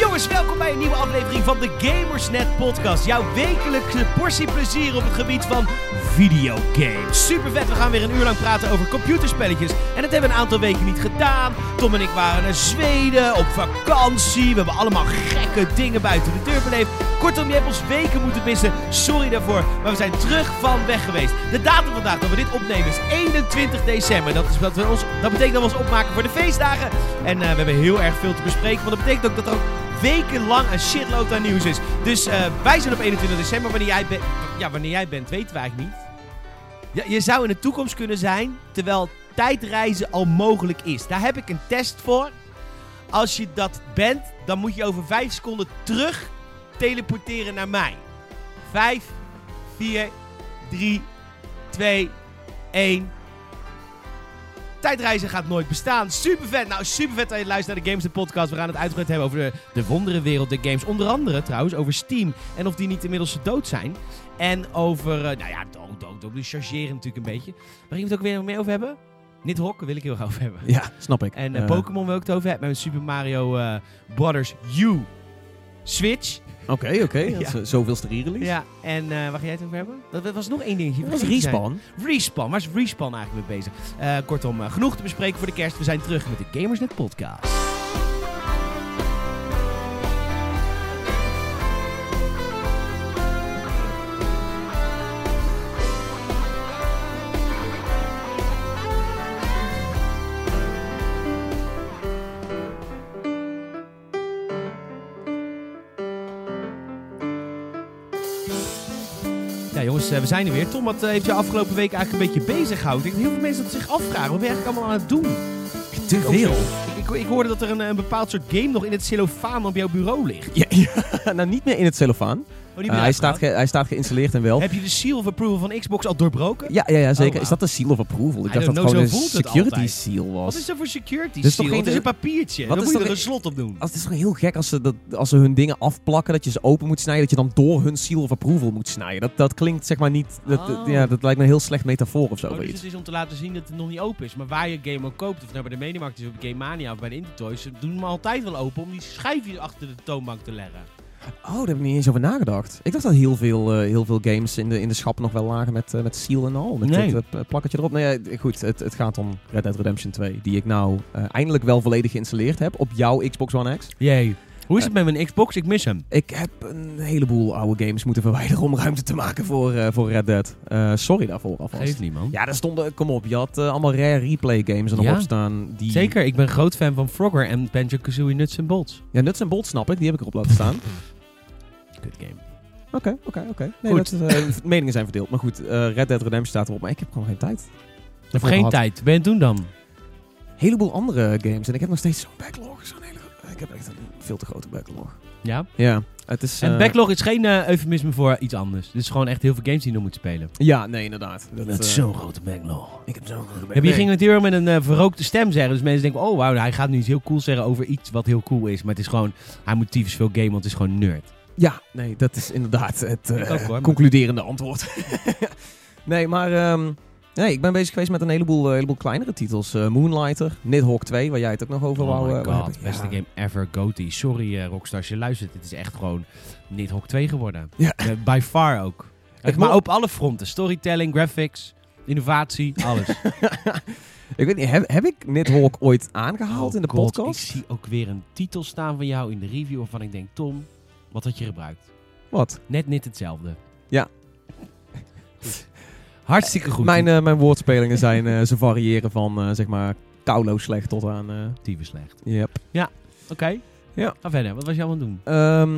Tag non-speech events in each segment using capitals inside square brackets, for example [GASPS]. jongens, welkom bij een nieuwe aflevering van de Gamersnet Podcast. Jouw wekelijkse portie plezier op het gebied van videogames. Super vet, we gaan weer een uur lang praten over computerspelletjes. En dat hebben we een aantal weken niet gedaan. Tom en ik waren naar Zweden, op vakantie. We hebben allemaal gekke dingen buiten de deur beleefd. Kortom, je hebt ons weken moeten missen. Sorry daarvoor, maar we zijn terug van weg geweest. De datum vandaag dat we dit opnemen is 21 december. Dat, is dat, we ons, dat betekent dat we ons opmaken voor de feestdagen. En eh, we hebben heel erg veel te bespreken, want dat betekent ook dat er ook wekenlang een shitload aan nieuws is. Dus eh, wij zijn op 21 december. Wanneer jij, bent, ja, wanneer jij bent, weten we eigenlijk niet. Ja, je zou in de toekomst kunnen zijn, terwijl tijdreizen al mogelijk is. Daar heb ik een test voor. Als je dat bent, dan moet je over 5 seconden terug teleporteren naar mij. 5, 4, 3, 2, 1. Tijdreizen gaat nooit bestaan. Super vet. Nou, super vet dat je luistert naar de Games de Podcast. We gaan het uitgebreid hebben over de, de wonderenwereld, de games. Onder andere trouwens over Steam en of die niet inmiddels dood zijn. En over, eh, nou ja, dood, dood, dood. Die chargeren natuurlijk een beetje. Waar ging het ook weer nog meer over hebben? Nidhogg wil ik heel graag over hebben. Ja, snap ik. En eh, Eh, Pokémon wil ik het over hebben. En Super Mario eh, Brothers U. Switch. Oké, oké. dat is, eh, Zoveelste re-release. Ja. En eh, waar ga jij het over hebben? Dat, dat was nog één dingetje. Dat was vergeten te zijn. Respawn. Respawn. Waar is Respawn eigenlijk mee bezig? Eh, kortom, eh, genoeg te bespreken voor de kerst. We zijn terug met de Gamersnet podcast. Ja jongens, eh, we zijn er weer. Tom, wat eh, heeft jou afgelopen week eigenlijk een beetje bezig gehouden? Ik denk dat heel veel mensen dat zich afvragen. Wat ben je eigenlijk allemaal aan het doen? Te veel. Ik, ik, ik hoorde dat er een, een bepaald soort game nog in het cellofaan op jouw bureau ligt. Ja, ja, [LAUGHS] nou, niet meer in het cellofaan. Oh, die ben je Eh, hij, staat uitgehaald. ge- hij staat geïnstalleerd en wel. Heb je de seal of approval van Xbox al doorbroken? Ja, ja, ja, zeker. wauw. Is dat de seal of approval? Ik I dacht dat don't het know, gewoon een zo voelt het security altijd. seal was. Wat is er voor security Dus toch seal? geen- Het is Oh, een papiertje. Wat Dan is moet je toch er een een- slot op doen. Als, Ah, het is toch heel gek als ze, dat, als ze hun dingen afplakken, dat je ze open moet snijden, dat je dan door hun seal of approval moet snijden. Dat, dat klinkt zeg maar niet... Dat, dat- Oh. ja, dat lijkt me een heel slecht metafoor of zo. Oh, weet dus je. het is om te laten zien dat het nog niet open is. Maar waar je game ook koopt, of nou bij de Mediamarkt is, of bij Game Mania of bij de Intertoys, ze doen hem altijd wel open om die schijfjes achter de toonbank te leggen. Oh, daar heb ik niet eens over nagedacht. Ik dacht dat heel veel, eh, heel veel games in de, in de schappen nog wel lagen met, eh, met seal en al. Met Nee. dit, eh, plakketje erop. Nee, eh, goed, het, het gaat om Red Dead Redemption 2. Die ik nou eh, eindelijk wel volledig geïnstalleerd heb op jouw Xbox One X. Jee. Hoe is het met mijn Xbox? Ik mis hem. Ik heb een heleboel oude games moeten verwijderen om ruimte te maken voor, eh, voor Red Dead. Eh, sorry daarvoor alvast. Geeft niet, man. Ja, daar stonden, kom op, je had eh, allemaal rare replay games erop Ja. staan. Die, Zeker, ik ben groot fan van Frogger en Banjo Kazooie Nuts and Bolts. Ja, Nuts en Bolt snap ik, die heb ik erop laten staan. Good game. Oké, oké, oké. Nee, Goed. dat is, eh, [LAUGHS] meningen zijn verdeeld. Maar goed, eh, Red Dead Redemption staat erop, maar ik heb gewoon geen tijd. Of Daarvoor geen gehad. tijd. Ben je het doen dan? heleboel andere games. En ik heb nog steeds zo'n backlog. Zo'n hele, ik heb echt een veel te grote backlog. Ja. Ja, het is... En eh, backlog is geen eh, eufemisme voor iets anders. Dit is gewoon echt heel veel games die je nog moet spelen. Ja, nee, inderdaad. Dat, eh, grote backlog. Ik heb zo'n grote backlog. Ja, maar je ging natuurlijk met een eh, verrookte stem zeggen. Dus mensen denken, oh wauw, hij gaat nu iets heel cool zeggen over iets wat heel cool is. Maar het is gewoon, hij moet tyfus veel gamen, want het is gewoon nerd. Ja, nee, dat is inderdaad het eh, Ik ook, hoor, maar- concluderende antwoord. [LAUGHS] nee, maar... ehm, nee, ik ben bezig geweest met een heleboel, eh, heleboel kleinere titels. Eh, Moonlighter, Nidhogg 2, waar jij het ook nog over oh wou... my eh, wou god, hebben. beste Ja. game ever, Goaty. Sorry eh, Rockstar, als je luistert, dit is echt gewoon Nidhogg 2 geworden. Ja. Eh, by far ook. Ik maar mo- op alle fronten. Storytelling, graphics, [LAUGHS] innovatie, alles. ik weet niet, heb, heb ik Nidhogg ooit aangehaald Oh in de god, podcast? Ik zie ook weer een titel staan van jou in de review waarvan ik denk, Tom, wat had je gebruikt? Wat? Net niet hetzelfde. Ja. Hartstikke goed. Mijn, eh, mijn woordspelingen zijn... eh, ze variëren van, eh, zeg maar, kaulo slecht tot aan... eh, Tyfus slecht. Yep. Oké. Ja. Ga verder. Wat was je allemaal aan het Ehm,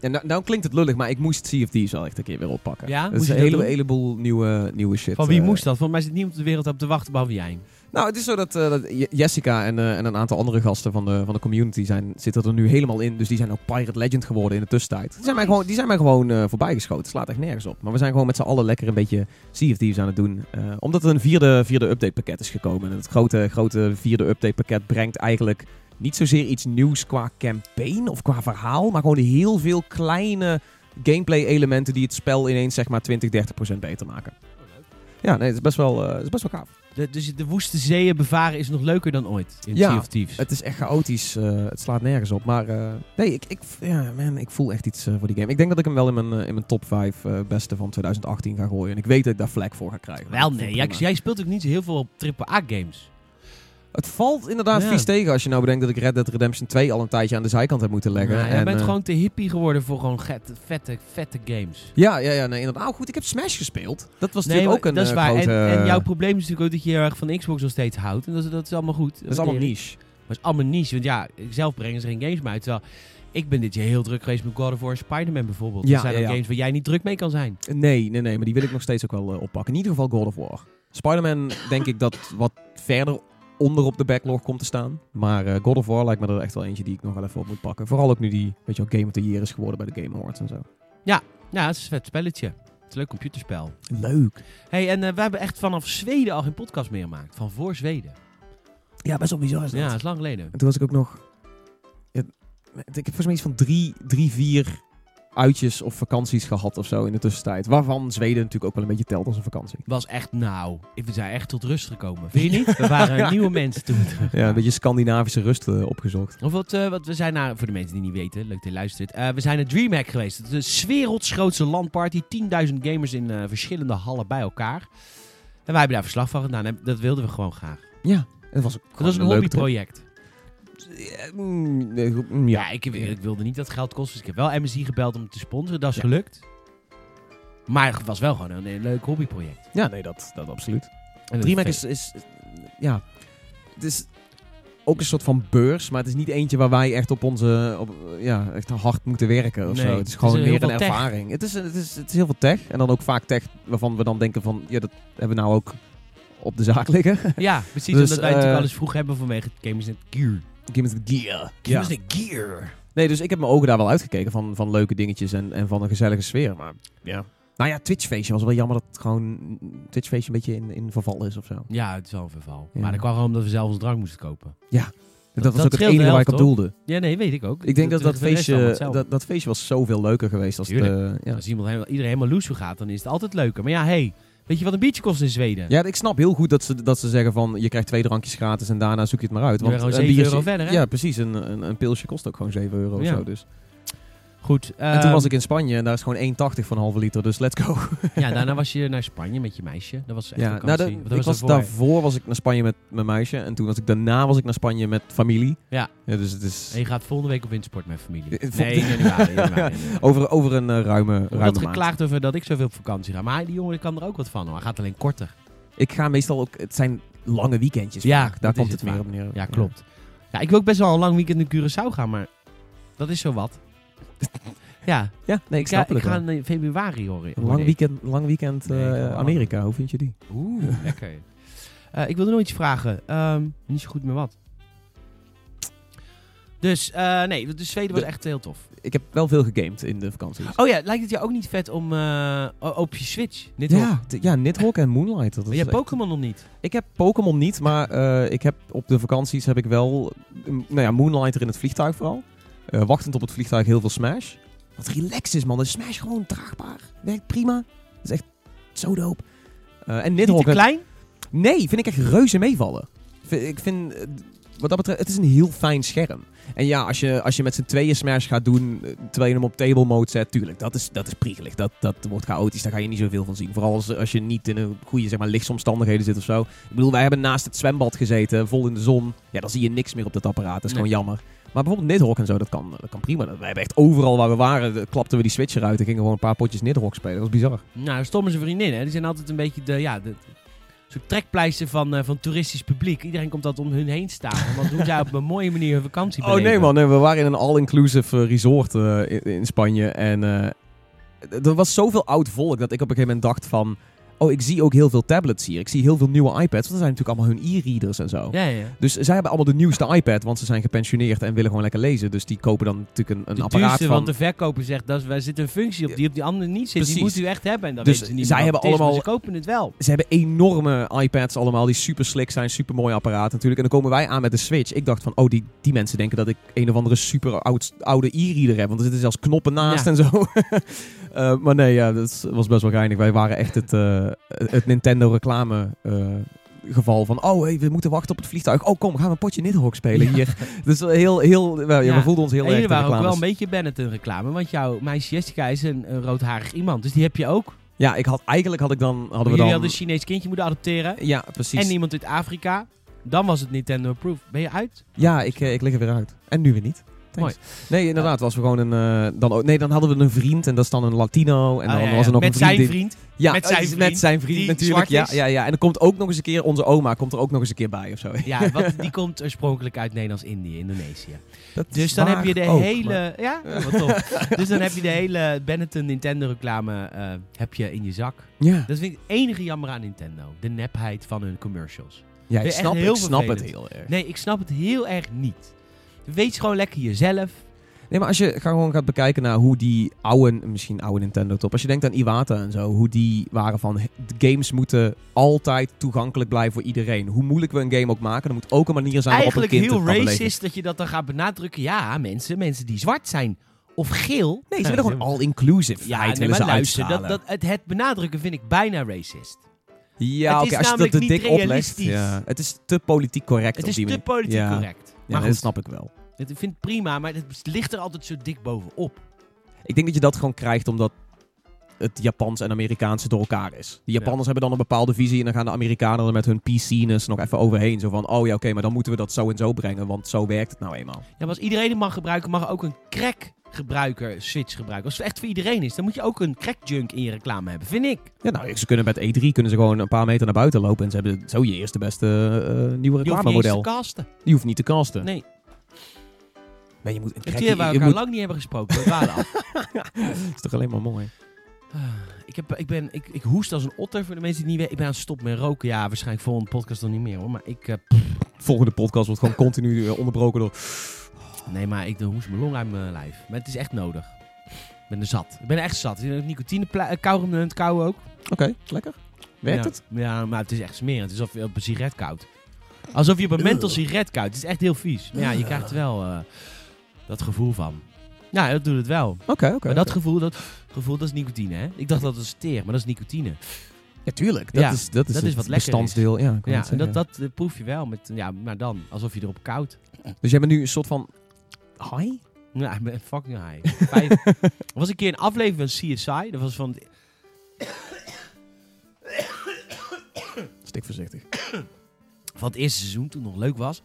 ja, nou, nou klinkt het lullig, maar ik moest Sea of Thieves wel echt een keer weer oppakken. Ja? dat Moest is je een dat hele, doen? heleboel nieuwe, nieuwe shit. doen? Van wie eh. moest dat? Volgens mij zit niemand op de wereld op te wachten, behalve jij. Nou, het is zo dat, eh, dat Je- Jessica en, eh, en een aantal andere gasten van de, van de community zijn, zitten er nu helemaal in. Dus die zijn ook Pirate Legend geworden in de tussentijd. Die zijn mij gewoon, die zijn mij gewoon eh, voorbijgeschoten. Slaat echt nergens op. Maar we zijn gewoon met z'n allen lekker een beetje Sea of Thieves aan het doen. Eh, omdat er een vierde, vierde update pakket is gekomen. En het grote, grote vierde update pakket brengt eigenlijk niet zozeer iets nieuws qua campaign of qua verhaal. Maar gewoon heel veel kleine gameplay elementen die het spel ineens zeg maar 20, 30% beter maken. Ja, nee, het is best wel, eh, het is best wel gaaf. De, dus de woeste zeeën bevaren is nog leuker dan ooit in Ja, Sea of Thieves. Het is echt chaotisch. eh, het slaat nergens op. Maar eh, nee, ik, ik, ja, man, ik voel echt iets eh, voor die game. Ik denk dat ik hem wel in mijn, eh, in mijn top 5 eh, beste van 2018 ga gooien. En ik weet dat ik daar vlek voor ga krijgen. Wel Ik vind nee, het jij, prima. jij speelt ook niet zo heel veel AAA-games. Het valt inderdaad Ja. vies tegen als je nou bedenkt dat ik Red Dead Redemption 2 al een tijdje aan de zijkant heb moeten leggen. Nou, jij En, bent eh, gewoon te hippie geworden voor gewoon get- vette, vette games. Ja, ja, ja nee, inderdaad. Oh, goed, ik heb Smash gespeeld. Dat was natuurlijk maar ook een dat is eh, waar. grote... En, en jouw probleem is natuurlijk ook dat je heel erg van Xbox nog steeds houdt. En dat, is- dat is allemaal goed. Dat is allemaal niche. Maar het is allemaal niche. Want ja, zelf brengen ze geen games meer uit. Terwijl ik ben dit jaar heel druk geweest met God of War en Spider-Man bijvoorbeeld. Ja, dat zijn ja, ook ja. games waar jij niet druk mee kan zijn. Nee, nee, nee, maar die wil ik nog steeds ook wel eh, oppakken. In ieder geval God of War. Spider-Man denk ik dat wat verder onder op de backlog komt te staan. Maar eh, God of War lijkt me er echt wel eentje die ik nog wel even op moet pakken. Vooral ook nu die, weet je wel, Game of the Year is geworden bij de Game Awards en zo. Ja, het is een vet spelletje. Het is een leuk computerspel. Leuk. hey, en eh, we hebben echt vanaf Zweden al geen podcast meer gemaakt. Van voor Zweden. Ja, best wel bizar is Ja, dat is lang geleden. En toen was ik ook nog... ja, ik heb volgens mij iets van drie, drie, vier uitjes of vakanties gehad of zo in de tussentijd. Waarvan Zweden natuurlijk ook wel een beetje telt als een vakantie. Was echt, nou, we zijn echt tot rust gekomen. Vind je [LAUGHS] niet? We waren nieuwe mensen [LAUGHS] toen. we terugkwamen. Ja, een beetje Scandinavische rust eh, opgezocht. Of wat, eh, wat we zijn naar, voor de mensen die niet weten, leuk dat je luistert. Eh, we zijn naar DreamHack geweest. Het is de werelds grootste landparty. 10.000 gamers in eh, verschillende hallen bij elkaar. En wij hebben daar verslag van gedaan. En dat wilden we gewoon graag. Ja, het was ook Dat was een hobbyproject. Ja, mm, nee, goed, mm, ja. Ja, ik, ik wilde niet dat het geld kost. Dus ik heb wel MSI gebeld om het te sponsoren. Dat is gelukt. Maar het was wel gewoon een, een leuk hobbyproject. dus- ja, nee, dat, dat absoluut. En een DreamHack feest. is, is, ja, het is ook een soort van beurs, maar het is niet eentje waar wij echt op onze, op, ja, echt hard moeten werken of Nee, zo. het Het is is gewoon heel meer veel een tech. ervaring. Het is, het, is, het is heel veel tech en dan ook vaak tech waarvan we dan denken van, ja, dat hebben we nou ook op de zaak [LAUGHS] liggen. Ja, precies. Dus, omdat wij natuurlijk eh, alles vroeg hebben vanwege het Games Net Gear. Give me the gear. Games Net Gear. Nee, dus ik heb mijn ogen daar wel uitgekeken van, van leuke dingetjes en, en van een gezellige sfeer. Maar ja. Nou ja, Twitchfeestje was wel jammer dat het gewoon Twitchfeestje een beetje in, in verval is of zo. Ja, het is wel een verval. Ja. Maar dat kwam gewoon omdat we zelf ons drank moesten kopen. Dat, dat was ook het scheelt de enige waar ik helft, op doelde. Ja, nee, weet ik ook. Ik denk dat dat, de rest allemaal feestje, hetzelfde. dat, dat feestje was zoveel leuker geweest als het... eh, ja. Als iemand helemaal, iedereen helemaal loes gaat, dan is het altijd leuker. Maar ja, hey, weet je wat een biertje kost in Zweden? ja, ik snap heel goed dat ze, dat ze zeggen van je krijgt twee drankjes gratis en daarna zoek je het maar uit. Dan Want ben je gewoon een 7 biertje- euro verder, hè? Ja, precies. Een, een, een pilsje kost ook gewoon 7 euro Ja. Ehm, of zo. Dus. Goed. En toen was ik in Spanje en daar is gewoon 1,80 van een halve liter. Dus let's go. Ja, daarna was je naar Spanje met je meisje. Dat was echt [LAUGHS] Ja, nou, vakantie. de- Wat ik was daarvoor? daarvoor was ik naar Spanje met mijn meisje. En toen was ik daarna was ik naar Spanje met familie. Ja. dus het is En [LAUGHS] je gaat volgende week op wintersport met familie. Eh, vol- Nee, in januari. [LAUGHS] in januari, in januari. over, over een eh, ruime, Er wordt ruime maand. geklaagd over dat ik zoveel op vakantie ga. Maar die jongen kan er ook wat van. Hoor. Hij gaat alleen korter. Ik ga meestal ook... Het zijn lange weekendjes. Ja, vaak. dat daar is komt het het meer vaak. op neer. Ja, klopt. Ja, ik wil ook best wel een lang weekend in Curaçao gaan, maar dat is zo [LAUGHS] wat. ja, Ja, nee, ik ik, ga, snap ik het ga wel. in eh, februari hoor. Een hoor lang ik. weekend, lang weekend eh, Nee, ik wil wel. Amerika. Hoe vind je die? Oeh, lekker. Eh, ik wilde nog iets vragen. Ehm, niet zo goed meer wat. Dus eh, nee, de Zweden was De- echt heel tof. Ik heb wel veel gegamed in de vakantie. Oh ja, lijkt het jou ook niet vet om eh, o- op je Switch? Dit ja, t- ja, Nidhogg en Moonlight. Dat Maar is je hebt echt- Pokémon nog niet. Ik heb Pokémon niet, maar eh, ik heb op de vakanties heb ik wel eh, m- nou ja, Moonlighter in het vliegtuig vooral. Eh, wachtend op het vliegtuig heel veel Smash. Wat relax is man, de Smash gewoon draagbaar. Werkt prima. Dat is echt zo dope. Eh, en Niet te Nidhogg... klein? Nee, vind ik echt reuze meevallen. V- Ik vind, eh, wat dat betreft, het is een heel fijn scherm. En ja, als je, als je met z'n tweeën Smash gaat doen, eh, terwijl je hem op table mode zet, tuurlijk, dat is, dat is priegelig. Dat, dat wordt chaotisch, daar ga je niet zoveel van zien. Vooral als, als je niet in een goede, zeg maar, lichtsomstandigheden zit of zo. Ik bedoel, wij hebben naast het zwembad gezeten, vol in de zon. Ja, dan zie je niks meer op dat apparaat, dat is Nee. gewoon jammer. Maar bijvoorbeeld Nidhogg en zo, dat kan, dat kan prima. We hebben echt overal waar we waren, eh, klapten we die switch eruit en gingen gewoon een paar potjes Nidhogg spelen. Dat was bizar. Nou, Stom is een vriendin, hè. Die zijn altijd een beetje de, ja, de, zo'n trekpleister van, eh, van toeristisch publiek. Iedereen komt altijd om hun heen staan. Want hoe zij op een mooie manier hun vakantie [LAUGHS] Oh nee beleven. man, nee, we waren in een all-inclusive eh, resort eh, in, in Spanje. En eh, d- er was zoveel oud volk dat ik op een gegeven moment dacht van... Oh, ik zie ook heel veel tablets hier. Ik zie heel veel nieuwe iPads. Want er zijn natuurlijk allemaal hun e-readers en zo. Ja, ja. Dus zij hebben allemaal de nieuwste iPad, want ze zijn gepensioneerd en willen gewoon lekker lezen. Dus die kopen dan natuurlijk een, een de apparaat duurste, van... want de verkoper zegt, dat is, wij zitten een functie op die op die andere niet zit. Die Precies. moet u echt hebben. En dat Dus weten ze niet zij meer wat hebben het is, maar allemaal- ze kopen het wel. Ze hebben enorme iPads allemaal, die super slick zijn, super mooi apparaat natuurlijk. En dan komen wij aan met de Switch. Ik dacht van, oh, die, die mensen denken dat ik een of andere super oud, oude e-reader heb. Want er zitten zelfs knoppen naast Ja. en zo. [LAUGHS] Eh, maar nee, ja, dat is- was best wel geinig. Wij waren echt het, eh, het Nintendo reclame eh, geval van, oh hey, we moeten wachten op het vliegtuig. Oh kom, gaan we een potje Nidhogg spelen hier. Dus heel, heel, wel, ja, Ja. we voelden ons heel En erg jullie de waren ook wel reclames. een beetje Bennett een reclame, want jouw meisje Jessica is een, een roodharig iemand. Dus die heb je ook. Ja, ik had, eigenlijk had ik dan, hadden we jullie dan... hadden een Chinees kindje moeten adopteren. ja, precies. En iemand uit Afrika. Dan was het Nintendo approved. Ben je uit? Ja, ik, eh, ik lig er weer uit. En nu weer niet. Thanks. Nee, inderdaad, was we gewoon een... eh, dan, ook- nee, dan hadden we een vriend en dat is dan een Latino. En Ah, dan ja, ja. was er nog Met een vriend. zijn die- vriend. Ja, Met zijn eh, vriend, Met zijn vriend die natuurlijk. Ja, zwart is. ja, ja. En dan komt ook nog eens een keer onze oma komt er ook nog eens een keer bij of zo. [LAUGHS] Ja, want die komt oorspronkelijk uit Nederlands-Indië, Indonesië. Dat is Dus dan heb waar je de ook, hele... maar- Ja, wat [LAUGHS] tof. dus dan heb je de hele Benetton Nintendo reclame eh, heb je in je zak. Ja, Dat vind ik het enige jammer aan Nintendo. De nepheid van hun commercials. ja ik echt snap, heel ik snap het vervelend. heel erg. Nee, ik snap het heel erg niet. Wees gewoon lekker jezelf. Nee, maar als je ga- gewoon gaat bekijken naar hoe die oude, misschien oude Nintendo top, als je denkt aan Iwata en zo, hoe die waren van he- de games moeten altijd toegankelijk blijven voor iedereen. Hoe moeilijk we een game ook maken, er moet ook een manier zijn waarop een Eigenlijk kind het heel kan beleven. racist dat je dat dan gaat benadrukken. Ja, mensen, mensen die zwart zijn of geel. Nee, ze willen gewoon all-inclusive. Ja, nee, willen maar ze luister, dat, uitstralen. dat, het, het benadrukken vind ik bijna racist. ja, het oké, is als je dat namelijk de niet dik oplegt. realistisch. Ja, het is te politiek correct Het op is die te manier. politiek Ja. correct. Ja, Maar dat goed, snap ik wel. het, ik vind het prima, maar het ligt er altijd zo dik bovenop. Ik denk dat je dat gewoon krijgt omdat het Japans en Amerikaanse door elkaar is. De Japanners hebben dan een bepaalde visie en dan gaan de Amerikanen er met hun PC-ness nog even overheen. Zo van, oh ja, oké, maar dan moeten we dat zo en zo brengen, want zo werkt het nou eenmaal. Ja, maar als iedereen het mag gebruiken, mag ook een crack gebruiker switch gebruiken. Als het echt voor iedereen is, dan moet je ook een crack junk in je reclame hebben, vind ik. Ja, nou, ze kunnen met E3 kunnen ze gewoon een paar meter naar buiten lopen en ze hebben zo je eerste beste eh, nieuwe Je hoeft niet eens te reclamemodel. casten. Die hoeft niet te casten. Nee. Nee, je moet een Het crack- hier waar je, we je elkaar moet- lang niet hebben gesproken. We dwalen [LAUGHS] af. Dat is toch alleen maar mooi. Ah, Ik, heb, ik, ben, ik, ik hoest als een otter voor de mensen die het niet weten. Ik ben aan het stoppen met roken. Ja, waarschijnlijk volgende podcast dan niet meer hoor. Maar ik, eh, pff, Volgende podcast wordt gewoon continu eh, onderbroken door... nee, maar ik hoest mijn long uit mijn lijf. Maar het is echt nodig. Ik ben er zat. Ik ben er echt zat. Ik ben nicotine kauwen en het kauwen ook. Oké, lekker. Werkt ja. het? Ja, maar het is echt smerig. Het is alsof je op een sigaret koudt. Alsof je op een menthol sigaret koudt. Het is echt heel vies. Maar ja, je krijgt er wel eh, dat gevoel van. Ja, dat doet het wel. Oké, oké. maar dat gevoel, dat gevoel, dat is nicotine, hè? Ik dacht dat het teer, maar dat is nicotine. Ja, tuurlijk. Dat Ja, is, dat is dat is het wat lekker bestandsdeel. Ja, ik wou Ja, net en dat, zeggen. dat eh, proef je wel. Met, ja, maar dan, alsof je erop koudt. Dus jij bent nu een soort van... Hi? Ja, ik ben fucking high. [LAUGHS] Vijf- Er was een keer een aflevering van CSI. Dat was van... Stik voorzichtig. van het eerste seizoen, toen het nog leuk was.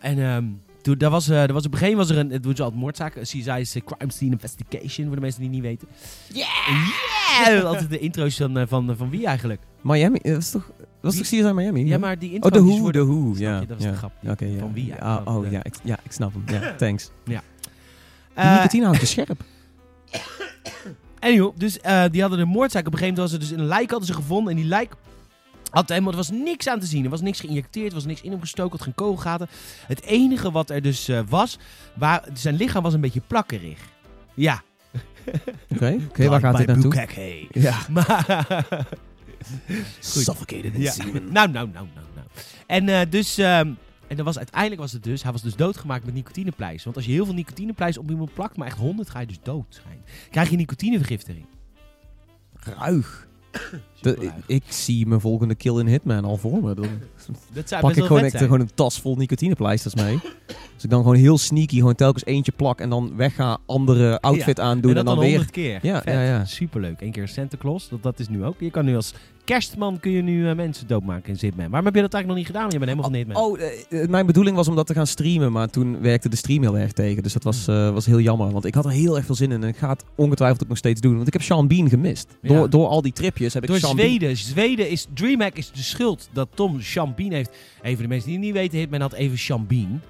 En ehm, toen, daar was, eh, daar was op een gegeven moment was er een, het doen ze altijd moordzaken, CSI is eh, Crime Scene Investigation, voor de mensen die het niet weten. Yeah! Yeah! altijd de intro's van, eh, van, eh, van wie eigenlijk? Miami? eh, Dat is toch, dat is toch CSI Miami? Ja, maar die Oh, intro's de Who, de worden... Who. Snap Ja, je? Dat was ja. de grap. Die- Oké, ja. van wie Ja, eigenlijk? oh, De- ja, ik, ja, ik snap hem. Ja, [LAUGHS] thanks. Die Eh, nicotine houdt je [LAUGHS] scherp. Anyhow, dus eh, die hadden een moordzaak. Op een gegeven moment was er dus een lijk hadden ze gevonden. En die lijk had helemaal, er was niks aan te zien. Er was niks geïnjecteerd, er was niks in hem gestoken, had geen kogelgaten. Het enige wat er dus eh, was, waar, zijn lichaam was een beetje plakkerig. Ja. Oké, oké, waar gaat dit naartoe? hey. Ja. [LAUGHS] Maar... Suffocated in Ja. semen. Nou, nou, nou, nou, nou. En eh, dus. ehm, en dan was, uiteindelijk was het dus, hij was dus doodgemaakt met nicotinepleis. Want als je heel veel nicotinepleis op iemand plakt, maar echt 100, ga je dus dood schijn. Krijg je nicotinevergiftiging. [LAUGHS] Ruig. De- ik, Superruig. ik zie mijn volgende kill in Hitman al voor me. Dat Dan zou pak best ik wel gewoon, vet echt, zijn. gewoon een tas vol nicotinepleisters mee. Als ik dan gewoon heel sneaky gewoon telkens eentje plak en dan wegga, andere outfit aandoen en, en dat dan dan weer 100 keer. Ja, Vet. ja, ja. Superleuk. Eén keer Santa Claus, dat, dat is nu ook. Je kan nu als kerstman kun je nu eh, mensen doodmaken in Zitman. Waarom heb je dat eigenlijk nog niet gedaan? Je bent helemaal van Hitman. Oh, eh, eh, mijn bedoeling was om dat te gaan streamen, maar toen werkte de stream heel erg tegen. Dus dat Hmm. was, eh, was heel jammer, want ik had er heel erg veel zin in. En ik ga het ongetwijfeld ook nog steeds doen, want ik heb Sean Bean gemist. Ja. Door, door al die tripjes heb ik Door Sean Zweden. Zweden is, DreamHack is de schuld dat Tom Champagne heeft. Even voor de mensen die het niet weten, Hitman had even Champagne. Bean...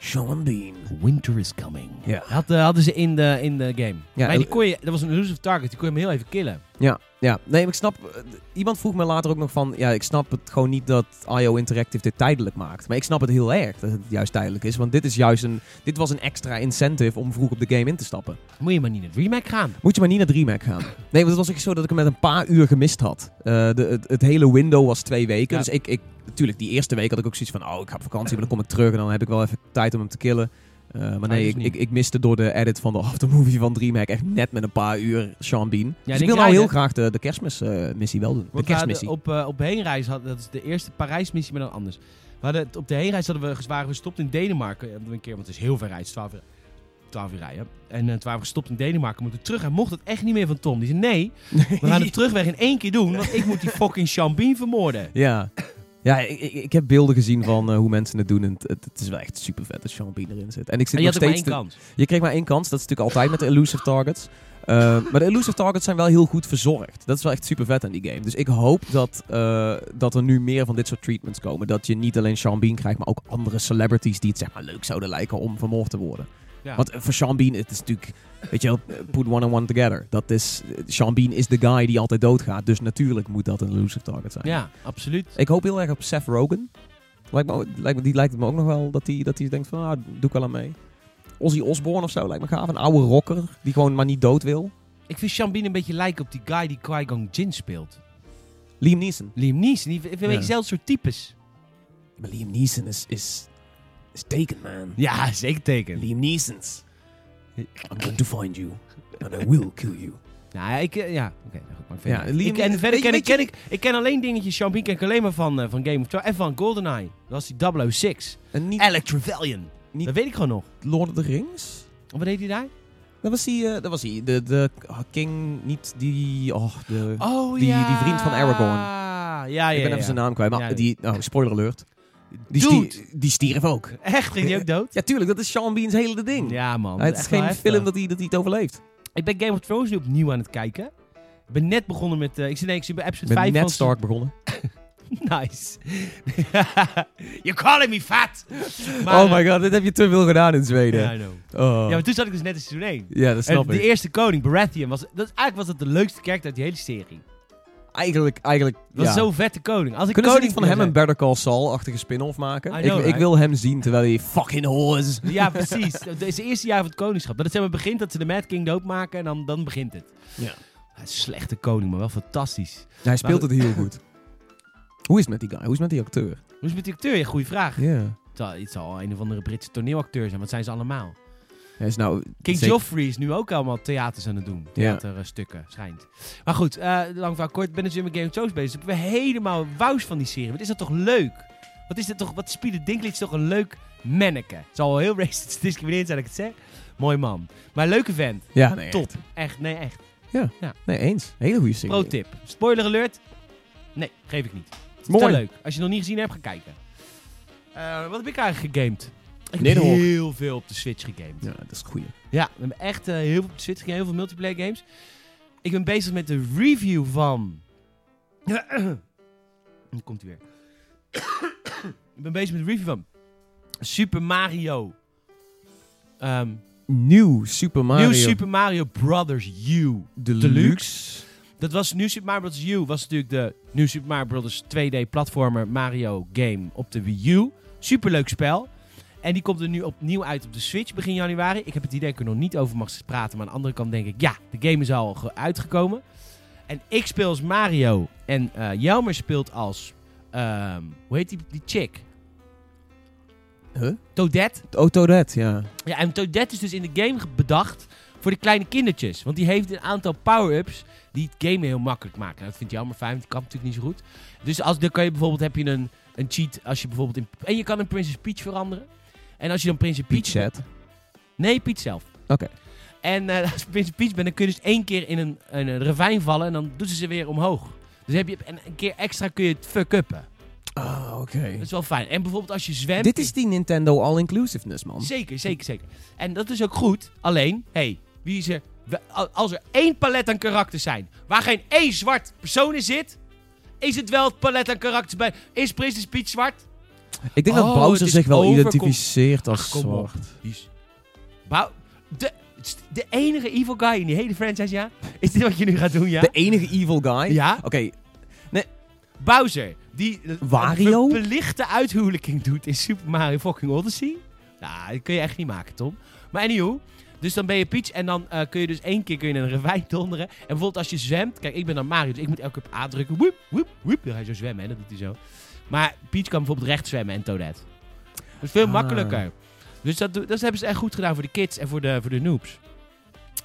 Sean Bean. Winter is coming. Ja. Had, eh, hadden ze in de, in de game. Ja, maar die eh, kon je, dat was een elusive target, die kon je hem heel even killen. Ja, ja. Nee, maar ik snap... eh, d- Iemand vroeg me later ook nog van... Ja, ik snap het gewoon niet dat IO Interactive dit tijdelijk maakt. Maar ik snap het heel erg dat het juist tijdelijk is. Want dit is juist een... Dit was een extra incentive om vroeg op de game in te stappen. Moet je maar niet naar DreamHack gaan. Moet je maar niet naar DreamHack gaan. Nee, want het was echt zo dat ik hem met een paar uur gemist had. Eh, de, het, het hele window was twee weken. Ja. Dus ik, ik, natuurlijk, die eerste week had ik ook zoiets van... Oh, ik ga op vakantie, maar dan kom ik terug en dan heb ik wel even tijd om hem te killen. Eh, maar dat nee, is ik, Ah, dus niet. ik, ik miste door de edit van de [LAUGHS] aftermovie van Dreamhack echt net met een paar uur Sean Bean. die dus ik wil krijg nou je. heel graag de, de kerstmismissie wel doen. De Want we hadden kerstmissie. op, eh, op heenreis, had, dat is de eerste Parijsmissie, maar dan anders. We hadden, het- op de heenreis hadden we, ges- waren we gestopt in Denemarken. Eh, Een keer, want het is heel ver rijden, 12 uur, 12 uur rijden. En eh, toen waren we gestopt in Denemarken, moeten terug. Hij mocht het echt niet meer van Tom. Die zei, nee, we gaan het terugweg in één keer doen, want ik moet die fucking Chambin [LAUGHS] vermoorden. Ja, ja ik, ik, ik heb beelden gezien van eh, hoe mensen het doen. En het, het, het is wel echt super vet dat Sean Bean erin zit. En ik zit En je nog had ook maar steeds één te- kans. Je kreeg maar één kans. Dat is natuurlijk altijd met de elusive targets. Eh, maar de elusive targets zijn wel heel goed verzorgd. Dat is wel echt super vet aan die game. Dus ik hoop dat, eh, dat er nu meer van dit soort treatments komen. Dat je niet alleen Sean Bean krijgt, maar ook andere celebrities die het zeg maar leuk zouden lijken om vermoord te worden. Ja. Want eh, voor Sean Bean, het is natuurlijk, weet je wel, eh, put one and one together. Dat is, eh, Sean Bean is de guy die altijd doodgaat. Dus natuurlijk moet dat een elusive target zijn. Ja, absoluut. Ik hoop heel erg op Seth Rogen. Lijkt me, ook- lijkt me, die lijkt het me ook nog wel dat hij dat die denkt van, ah, doe ik wel aan mee. Ozzy Osbourne of zo lijkt me gaaf. Een oude rocker die gewoon maar niet dood wil. Ik vind Chambin een beetje lijken op die guy die Qui-Gon Jinn speelt. Liam Neeson. Liam Neeson, die, een beetje Ja. hetzelfde soort types. Maar Liam Neeson is, is, is taken, man. Ja, zeker teken. Liam Neeson's. I'm going to find you. And I will kill you. Nou, ja, ik, eh, ja, oké, nou goed, maar verder. Ja, Liam- ik, en verder weet- ken, ik, weet je- ken ik, ik ken alleen dingetjes, Champagne ken ik alleen maar van, eh, van Game of Thrones en van GoldenEye. Dat was die 006. En niet Alec Trevelyan. Niet- Dat weet ik gewoon nog. Lord of the Rings? Wat deed hij daar? Dat was hij, eh, dat was hij. De, de ah, king, niet die... Oh, de, Oh Die- ja. die vriend van Aragorn. Ja, ja, ik ben Ah, ja. even zijn naam kwijt, maar Ja, ja. die... Oh, spoiler alert. Die, Dude. stie- die stierf ook. [LAUGHS] Echt, ging hij ook dood? Ja, tuurlijk, dat is Sean Bean's hele [LAUGHS] ding. Nou, Ja man, het echt is wel geen heftig. film dat hij, dat hij het overleeft. Ik ben Game of Thrones nu opnieuw aan het kijken. Ik ben net begonnen met... eh, ik zit nee, ik zit bij episode Ik ben 5 net van... Stark begonnen. [LAUGHS] Nice. [LAUGHS] You're calling me fat. oh my god, dit heb je te veel gedaan in Zweden. Ja, Ja, I know. oh. Ja, ja, maar toen zat ik dus net in seizoen 1. dat En snap de ik. eerste koning, Baratheon, was, dat, eigenlijk was dat de leukste kerk uit die hele serie. Eigenlijk, eigenlijk... Dat was ja. zo'n vette koning. Als ik Kunnen ze koning niet van hem zou een Better Call Saul-achtige spin-off maken? I Ik, know, ik right? wil hem zien terwijl hij fucking horse. zijn- Ja, precies. Dat is het eerste jaar van het koningschap. Dat het zeg maar begint dat ze de Mad King doodmaken en dan, dan begint het. Ja. Een slechte koning, maar wel fantastisch. Hij speelt Maar- het heel goed. [LAUGHS] Hoe is het met die guy? Hoe is het met die acteur? Hoe is het met die acteur? Ja, goede vraag. Ja. Het zal, het zal een of andere Britse toneelacteur zijn, want zijn ze allemaal. Hij is nou... King zeker- Joffrey is nu ook allemaal theaters aan het doen. Theaterstukken, eh, schijnt. Maar goed, eh, lang verhaal kort. Ik ben dus weer met Game of Thrones bezig. Ik ben helemaal wous van die serie. Wat is dat toch leuk? Wat is dat toch? Wat Spiele Dinklage is toch een leuk manneke? Het zal wel heel [LAUGHS] racist discriminerend zijn dat ik het zeg. Mooi man. Maar leuke vent. Ja, nee, Top. echt. Echt, nee, echt. Nee, eens. Hele goede serie. Pro tip. Spoiler alert. Nee, geef ik niet. Het is Mooi. te leuk. Als je het nog niet gezien hebt, ga kijken. Eh, wat heb ik eigenlijk gegamed? Ik heb Nederhoek. heel veel op de Switch gegamed. Ja, dat is het goede. Ja, we hebben echt eh, heel veel op de Switch gegaan, heel veel multiplayer games. Ik ben bezig met de review van... [CLEARS THROAT] Dan komt hij weer. [COUGHS] ik ben bezig met de review van Super Mario. Ehm, Nieuw Super Mario Nieuw Super Mario Brothers U. Deluxe. Dat was Nieuw Super Mario Bros. U. Was natuurlijk de Nieuw Super Mario Bros. 2D platformer Mario game op de Wii U. Superleuk spel. En die komt er nu opnieuw uit op de Switch begin januari. Ik heb het idee dat ik er nog niet over mag praten. Maar aan de andere kant denk ik, ja, de game is al ge- uitgekomen. En ik speel als Mario. En eh Jelmer speelt als, ehm, hoe heet die, die chick? Huh? Toadette. Oh, Toadette, ja. Ja, en Toadette is dus in de game ge- bedacht voor de kleine kindertjes. Want die heeft een aantal power-ups die het game heel makkelijk maken. Nou, dat vindt jammer fijn, want die kan natuurlijk niet zo goed. Dus als, dan kan je bijvoorbeeld, heb je een, een cheat als je bijvoorbeeld in... En je kan een Princess Peach veranderen. En als je dan Princess Peach... Peachette. Nee, Peach zelf. Oké. En eh, [LAUGHS] als je Princess Peach bent, dan kun je dus één keer in een, in een ravijn vallen en dan doet ze ze weer omhoog. Dus heb je en een keer extra kun je het fuck-uppen. Ah, oké. Dat is wel fijn. En bijvoorbeeld als je zwemt... Dit is die Nintendo all-inclusiveness, man. Zeker, zeker, zeker. En dat is ook goed. Alleen, hé, hey, wie is er... we- al- Als er één palet aan karakters zijn, waar geen één zwart persoon in zit... Is het wel het palet aan karakters bij... Is Princess Peach zwart? Ik denk Oh, dat Bowser het is zich wel overcom- identificeert als Ach, kom op. zwart. Die is... Bou- De, de enige evil guy in die hele franchise, ja? Is dit wat je nu gaat doen, ja? De enige evil guy. Ja? Oké, Bowser, die Wario? een verlichte uithuwelijking doet in Super Mario fucking Odyssey. Nou, dat kun je echt niet maken, Tom. Maar anyhow, dus dan ben je Peach en dan eh, kun je dus één keer kun je in een ravijn donderen. En bijvoorbeeld als je zwemt, kijk, ik ben dan Mario, dus ik moet elke keer op A drukken. Woep, woep, woep. Dan ga je zo zwemmen, hè, dat doet hij zo. Maar Peach kan bijvoorbeeld recht zwemmen en Toadette. Dat is veel Ah. makkelijker. Dus dat, do- dat hebben ze echt goed gedaan voor de kids en voor de, voor de noobs.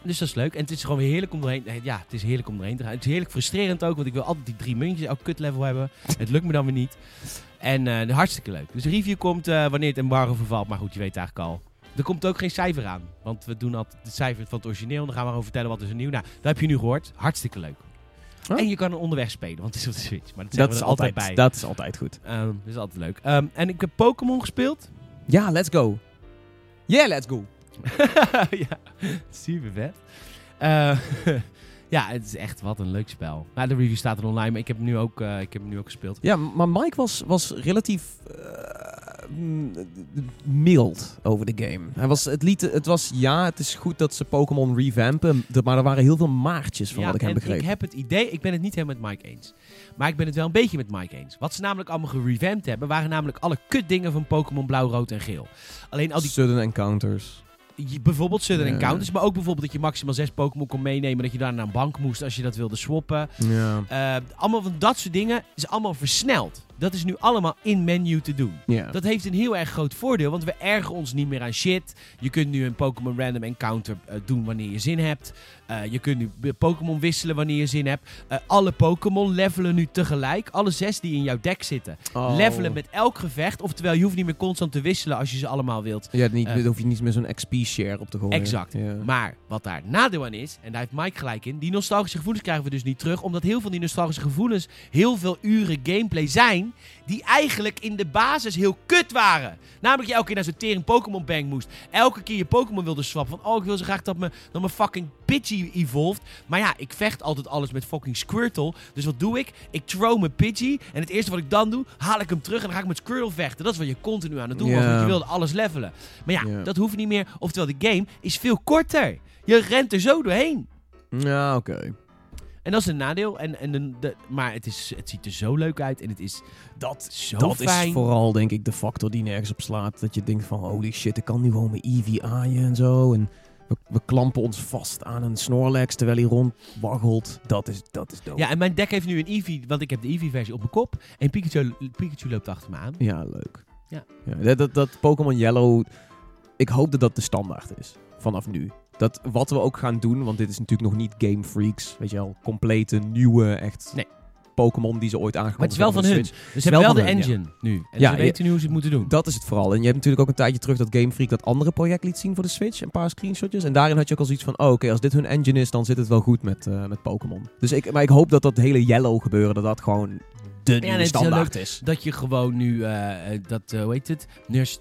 Dus dat is leuk. En het is gewoon weer heerlijk om doorheen... nee, Ja, het is heerlijk om doorheen te gaan. Het is heerlijk frustrerend ook, want ik wil altijd die drie muntjes elk kut level hebben. Het lukt me dan weer niet. En eh, hartstikke leuk. Dus de review komt eh, wanneer het embargo vervalt. Maar goed, je weet eigenlijk al. Er komt ook geen cijfer aan. Want we doen altijd het cijfer van het origineel. En dan gaan we gewoon vertellen wat is er nieuw. Nou, dat heb je nu gehoord. Hartstikke leuk. Huh? En je kan er onderweg spelen, want het is op de Switch. Maar dat, Dat zeggen is we er altijd, altijd, bij. dat is altijd goed. Ehm, dat is altijd leuk. Ehm, en ik heb Pokémon gespeeld. [LAUGHS] Ja, let's go. Yeah, let's go. ja, super vet. Eh, [LAUGHS] ja, het is echt wat een leuk spel. Nou, de review staat er online, maar ik heb hem nu ook, eh, ik heb hem nu ook gespeeld. Ja, maar Mike was, was relatief eh, mm, mild over de game. Hij was, het, liet, het was, ja, het is goed dat ze Pokémon revampen, dat- maar er waren heel veel maartjes van ja, wat ik en heb begrepen. ik heb het idee, ik ben het niet helemaal met Mike eens. Maar ik ben het wel een beetje met Mike eens. Wat ze namelijk allemaal gerevamped hebben, waren namelijk alle kutdingen van Pokémon Blauw, Rood en Geel. Alleen al die Sudden encounters. Je- bijvoorbeeld Southern Ja. Encounters, maar ook bijvoorbeeld dat je maximaal zes Pokémon kon meenemen, dat je daar naar een bank moest als je dat wilde swappen. Ja. Eh, allemaal van dat soort dingen is allemaal versneld. Dat is nu allemaal in menu te doen. ja. Dat heeft een heel erg groot voordeel, want we ergen ons niet meer aan shit. Je kunt nu een Pokémon Random Encounter eh, doen wanneer je zin hebt. Eh, je kunt nu b- Pokémon wisselen wanneer je zin hebt. Eh, alle Pokémon levelen nu tegelijk. Alle zes die in jouw deck zitten. Oh. Levelen met elk gevecht. Oftewel, je hoeft niet meer constant te wisselen als je ze allemaal wilt. Ja, niet, Eh. daar hoef je niet meer zo'n XP-share op te gooien. Exact. Ja. Maar wat daar nadeel aan is, en daar heeft Mike gelijk in, die nostalgische gevoelens krijgen we dus niet terug. Omdat heel veel die nostalgische gevoelens heel veel uren gameplay zijn. Die eigenlijk in de basis heel kut waren. Namelijk je elke keer naar zo'n tering Pokémon bank moest. Elke keer je Pokémon wilde swappen. Van oh, ik wil zo graag dat mijn, dat mijn fucking Pidgey evolved. Maar ja, ik vecht altijd alles met fucking Squirtle. Dus wat doe ik? Ik throw mijn Pidgey. En het eerste wat ik dan doe, haal ik hem terug en dan ga ik met Squirtle vechten. Dat is wat je continu aan het doen was. Ja. Want je wilde alles levelen. Maar ja, Ja. dat hoeft niet meer. Oftewel, de game is veel korter. Je rent er zo doorheen. Ja, oké. En dat is een nadeel. En, en de, de- maar het, is, het ziet er zo leuk uit. En het is Dat, zo dat fijn. is vooral, denk ik, de factor die nergens op slaat. Dat je denkt van, holy shit, ik kan nu gewoon mijn Eevee aaien en zo. En we, we klampen ons vast aan een Snorlax terwijl hij rondwaggelt. Dat is, dat is dope. Ja, en mijn deck heeft nu een Eevee. Want ik heb de Eevee-versie op mijn kop. En Pikachu, Pikachu loopt achter me aan. Ja, leuk. Ja. dat dat, dat Pokémon Yellow, ik hoop dat dat de standaard is vanaf nu. Dat wat we ook gaan doen, want dit is natuurlijk nog niet Game Freaks, weet je wel, complete nieuwe, echt Nee. Pokémon die ze ooit aangekomen Maar het is wel van hun. Dus ze hebben wel wel de van hun, ja. engine nu. En Ja, ze weten nu hoe ze het moeten doen. Dat is het vooral. En je hebt natuurlijk ook een tijdje terug dat Game Freak dat andere project liet zien voor de Switch. Een paar screenshotjes. En daarin had je ook al zoiets van, oh, oké, als dit hun engine is, dan zit het wel goed met, eh, met Pokémon. Dus ik, maar ik hoop dat dat hele Yellow gebeuren, dat dat gewoon de en nieuwe het is heel standaard is. Dat je gewoon nu, eh, eh, dat, eh, hoe heet het? Nurse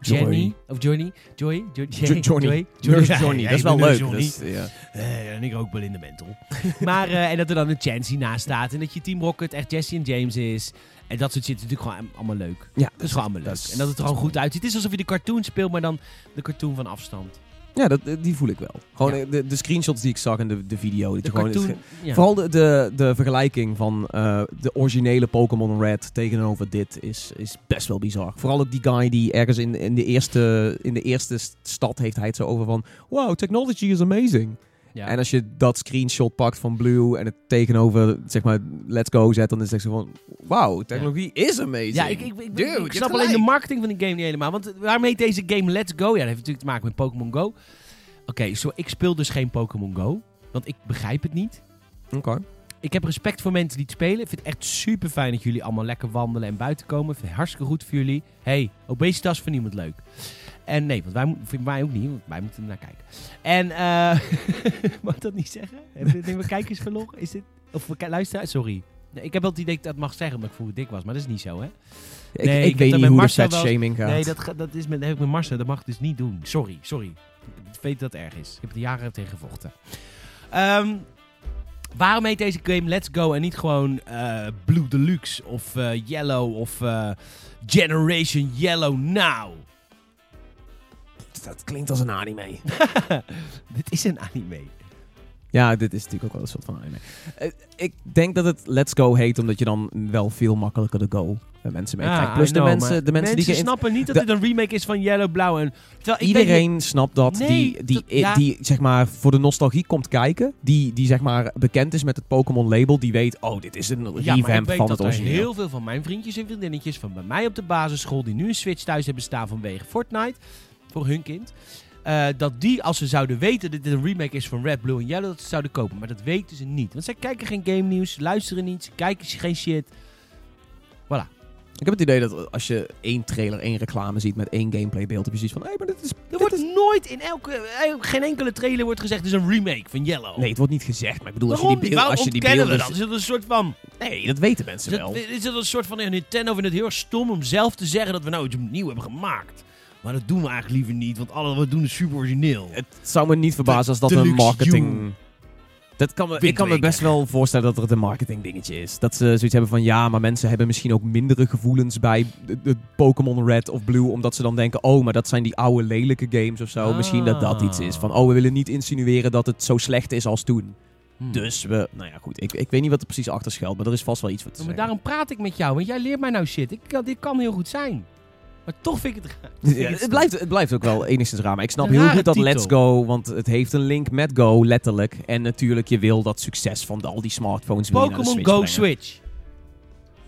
Jenny. Of Johnny. Joy. Jo- Jo- Johnny. Joy. Nurse Ja, Johnny, ja, dat is ik wel ben leuk. Nurse Johnny. Dus, ja. Eh, en ik ook wel in de mental. [LAUGHS] maar, eh, en dat er dan een Chansey naast staat. En dat je Team Rocket echt Jesse en James is. En dat soort shit is natuurlijk gewoon am- allemaal leuk. Ja, Dat is gewoon allemaal dat leuk. is- En dat het er dat is gewoon goed uitziet. Het is alsof je de cartoon speelt, maar dan de cartoon van afstand. Ja, dat, eh, die voel ik wel. Gewoon Ja. eh, de, de screenshots die ik zag en de, de video. Dat De je gewoon, cartoon. Ja. Vooral de, de, de vergelijking van eh, de originele Pokémon Red tegenover dit is, is best wel bizar. Vooral ook die guy die ergens in, in, de, eerste, in de eerste st- stad heeft hij het zo over van... Wow, technology is amazing. Ja. En als je dat screenshot pakt van Blue en het tegenover, zeg maar, let's go zet... dan is het echt zo van, wow, technologie is amazing. Ja, ik, ik, ik, Dude, je ik hebt snap alleen de gelijk. marketing van die game niet helemaal. Want waarmee heet deze game Let's Go? Ja, dat heeft natuurlijk te maken met Pokémon Go. Oké, zo, ik speel dus geen Pokémon Go. Want ik begrijp het niet. Oké. Ik heb respect voor mensen die het spelen. Ik vind het echt super fijn dat jullie allemaal lekker wandelen en buiten komen. Ik vind het hartstikke goed voor jullie. hey, obesitas is voor niemand leuk. En nee, want wij, mo- voor mij ook niet, want wij moeten er naar kijken. En, eh [LAUGHS] mag ik dat niet zeggen? Hebben we- Hebben we kijkers verloren? Is dit, of we ki- luisteraars? Sorry. Nee, ik heb wel het idee dat ik dat mag zeggen, omdat ik vroeger dik was. Maar dat is niet zo, hè? Ik, Nee, ik heb ik dat weet met niet hoe de Marcel wel- fatshaming gaat. Nee, dat, ga- dat is met, dat heb ik met Marcel. Dat mag ik dus niet doen. Sorry, sorry. Ik weet dat het erg is. Ik heb er jaren tegen gevochten. Ehm, waarom heet deze game Let's Go en niet gewoon eh, Blue Deluxe of eh, Yellow of eh, Generation Yellow Now? dat klinkt als een anime. Dit is een anime. Ja, dit is natuurlijk ook wel een soort van anime. Eh, ik denk dat het Let's Go heet, omdat je dan wel veel makkelijker de Go eh, mensen mee krijgt. Ja, Plus Ah, I de know, mensen, maar de mensen, die... geïn- snappen niet dat de- dit een remake is van Yellow Blauw. En, terwijl ik weet niet- Iedereen snapt dat, Nee, die, die, dat- ja. die zeg maar voor de nostalgie komt kijken. Die, die zeg maar bekend is met het Pokémon label. Die weet, oh dit is een ja, maar ik revamp weet van dat het er origineel. heel veel van mijn vriendjes en vriendinnetjes van bij mij op de basisschool... die nu een Switch thuis hebben staan vanwege Fortnite, voor hun kind... eh, dat die, als ze zouden weten dat dit een remake is van Red, Blue en Yellow, dat ze zouden kopen. Maar dat weten ze niet. Want zij kijken geen game nieuws, luisteren niet, ze kijken geen shit. Ik heb het idee dat als je één trailer, één reclame ziet met één gameplay beeld. Dan je zoiets van, hé, maar dit is... Er dit wordt is- nooit in elke, eh, geen enkele trailer wordt gezegd, het is een remake van Yellow. Nee, het wordt niet gezegd. Maar ik bedoel, als je Waarom die, niet? beeld- Waarom als je die ontkennen beelden... we dat? Is dat een soort van... Nee, dat weten mensen Is wel. dat, is dat een soort van eh, Nintendo vindt het heel erg stom om zelf te zeggen dat we nou iets nieuw hebben gemaakt. Maar dat doen we eigenlijk liever niet, want alles wat we doen is super origineel. Het zou me niet verbazen als dat een Deluxe marketing... June. Dat kan me, ik kan me Windwaker. best wel voorstellen dat het een marketing dingetje is. Dat ze zoiets hebben van ja, maar mensen hebben misschien ook mindere gevoelens bij de- de Pokémon Red of Blue. Omdat ze dan denken, oh, maar dat zijn die oude lelijke games of zo. Misschien dat dat iets is. Van oh, we willen niet insinueren dat het zo slecht is als toen. Hmm. Dus we, nou ja goed, ik, ik weet niet wat er precies achter schuilt, maar er is vast wel iets voor te Maar zeggen. daarom praat ik met jou, want jij leert mij nou shit. Ik, kan- dit kan heel goed zijn. Maar toch vind ik het... raar. Ja, het, blijft, het blijft ook wel enigszins raar. Maar ik snap Een heel rare goed dat titel. Let's Go, want het heeft een link met Go, letterlijk. En natuurlijk, je wil dat succes van de- al die smartphones weer naar de Pokémon Go Switch Switch.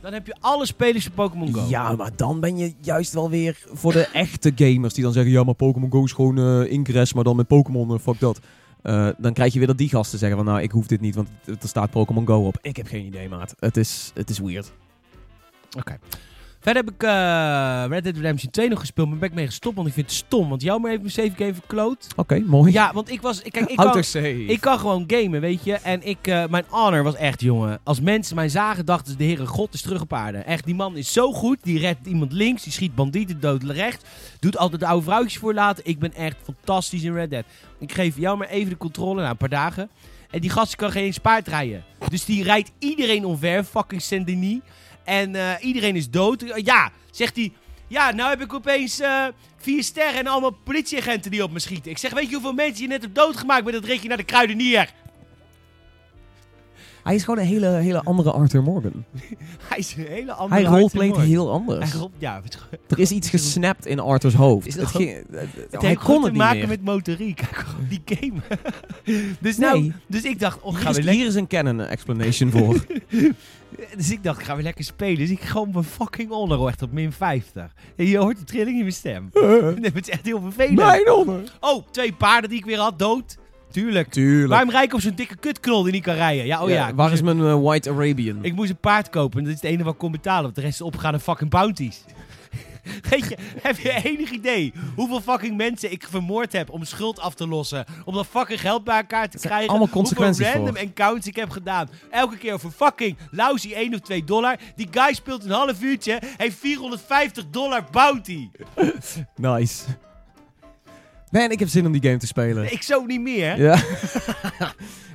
Dan heb je alle spelers van Pokémon Go. brengen. Ja, maar dan ben je juist wel weer voor de echte gamers die dan zeggen... Ja, maar Pokémon Go is gewoon eh, Ingress, maar dan met Pokémon, eh, fuck dat. Eh, dan krijg je weer dat die gasten zeggen van... Nou, ik hoef dit niet, want het- er staat Pokémon Go op. Ik heb geen idee, maat. Het is, het is weird. Verder heb ik eh, Red Dead Redemption 2 nog gespeeld, maar ben ik mee gestopt, want ik vind het stom. Want jou maar even mijn save game verkloot. Oké, mooi. Ja, want ik was... ik- Kijk, ik Houd kan- er safe. Ik kan gewoon gamen, weet je. En ik, eh, mijn honor was echt, jongen. Als mensen mij zagen, dachten ze, de Heere God is terug op aarde. Echt, die man is zo goed. Die redt iemand links, die schiet bandieten dood rechts. Doet altijd de oude vrouwtjes voor laten. Ik ben echt fantastisch in Red Dead. Ik geef jou maar even de controle, na een paar dagen. En die gast kan geen eens paard rijden. Dus die rijdt iedereen omver, fucking Saint-Denis. En eh, iedereen is dood. Ja, zegt hij... Ja, nou heb ik opeens eh, vier sterren en allemaal politieagenten die op me schieten. Ik zeg, weet je hoeveel mensen je net hebt doodgemaakt met dat ritje naar de kruidenier? [LAUGHS] Hij is gewoon een hele, hele andere Arthur Morgan. Hij is een hele andere Hij roleplayt Arthur Morgan. heel dus. anders. Hij rol- ja, het, Er is iets gesnapt in Arthur's hoofd. Is dat het gewoon- ging- het- het- het hij heeft kon gewoon het te niet maken meer. met motoriek. [LAUGHS] Hij kon gewoon die game. [LAUGHS] dus, nou, Nee. dus ik dacht, oh, Hier gaan is, we lekker, hier is een canon explanation voor. dus ik dacht, gaan we lekker spelen. Dus ik gewoon mijn fucking honor echt op min 50. En je hoort de trilling in [LAUGHS] mijn stem. [LAUGHS] Nee, het is echt heel vervelend. onder. Oh, twee paarden die ik weer had, dood. Tuurlijk. Tuurlijk. Waarom rij ik op zo'n dikke kutknol die niet kan rijden? Ja, oh ja. ik waar moest is mijn eh, White Arabian? Ik moest een paard kopen en dat is het enige wat ik kon betalen. Want de rest is opgegaan fucking bounties. [LAUGHS] Weet je, heb je enig idee hoeveel fucking mensen ik vermoord heb om schuld af te lossen? Om dat fucking geld bij elkaar te zijn krijgen? allemaal consequenties Hoeveel random accounts ik heb gedaan. Elke keer voor fucking lousy 1 of 2 dollar. Die guy speelt een half uurtje, heeft 450 dollar bounty. Nice. Man, ik heb zin om die game te spelen. Ik zo niet meer. [LAUGHS] Ja.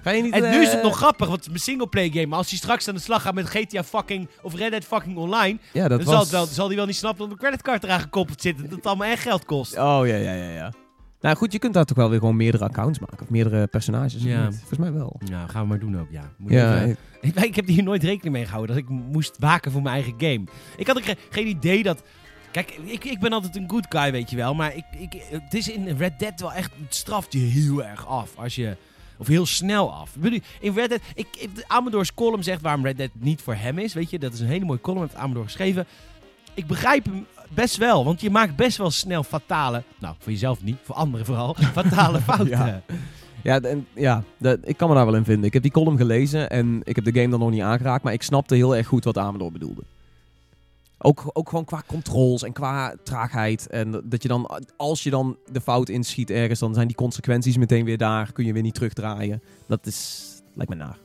Ga je niet... En eh, nu is het nog grappig, want het is mijn singleplay game. Maar als hij straks aan de slag gaat met GTA fucking of Red Dead fucking online, Ja, dat Dan was... zal, het wel, zal die wel niet snappen dat mijn creditcard eraan gekoppeld zit. En dat het allemaal echt geld kost. Oh, ja, ja, ja, ja. Nou goed, je kunt daar toch wel weer gewoon meerdere accounts maken. Of meerdere personages. of Ja. niet? Volgens mij wel. Nou, gaan we maar doen ook, ja. Moet Ja, even- ik- ik, ik heb hier nooit rekening mee gehouden. Dat ik moest waken voor mijn eigen game. Ik had ook ge- geen idee dat... Kijk, ik, ik ben altijd een good guy, weet je wel. Maar ik, ik, het is in Red Dead wel echt... Het straft je heel erg af als je... Of heel snel af. Ik bedoel, In Red Dead... Ik, ik, de Amador's column zegt waarom Red Dead niet voor hem is. Weet je, dat is een hele mooie column. Heeft Amador geschreven. Ik begrijp hem best wel. Want je maakt best wel snel fatale... Nou, voor jezelf niet. Voor anderen vooral. [LAUGHS] Fatale fouten. Ja. Ja, d- en, ja dat- ik kan me daar wel in vinden. Ik heb die column gelezen en ik heb de game dan nog niet aangeraakt. Maar ik snapte heel erg goed wat Amador bedoelde. Ook, ook gewoon qua controls en qua traagheid. En dat je dan, als je dan de fout inschiet ergens, dan zijn die consequenties meteen weer daar. Kun je weer niet terugdraaien. Dat is, lijkt me naar.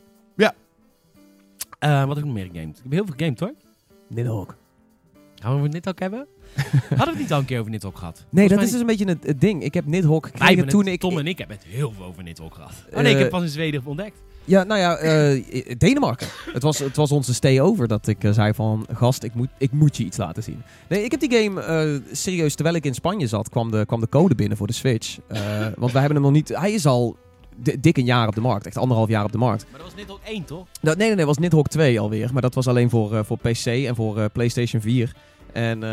Eh, wat heb ik nog meer gegamed? Ik heb heel veel gegamed hoor. Dit ook. Gaan we het net ook [LAUGHS] hebben? Hadden we het niet al een keer over Nidhogg gehad? Nee, dat mij is dus een beetje het, het ding. Ik heb Wij Nidhogg hebben gekregen het- toen ik... Tom en ik hebben het heel veel over Nidhogg gehad. Oh nee, ik Eh, heb pas in Zweden ontdekt. Ja, nou ja, eh, Denemarken. het, was, het was onze stay-over dat ik eh, zei van... Gast, ik moet, ik moet je iets laten zien. Nee, ik heb die game eh, serieus... Terwijl ik in Spanje zat, kwam de, kwam de code binnen voor de Switch. Eh, want wij hebben hem nog niet... Hij is al di- dik een jaar op de markt. Echt anderhalf jaar op de markt. Maar dat was net al één, toch? Nou, nee, nee, nee, was Nidhogg 2 alweer. Maar dat was alleen voor, eh, voor PC en voor eh, PlayStation 4. En eh,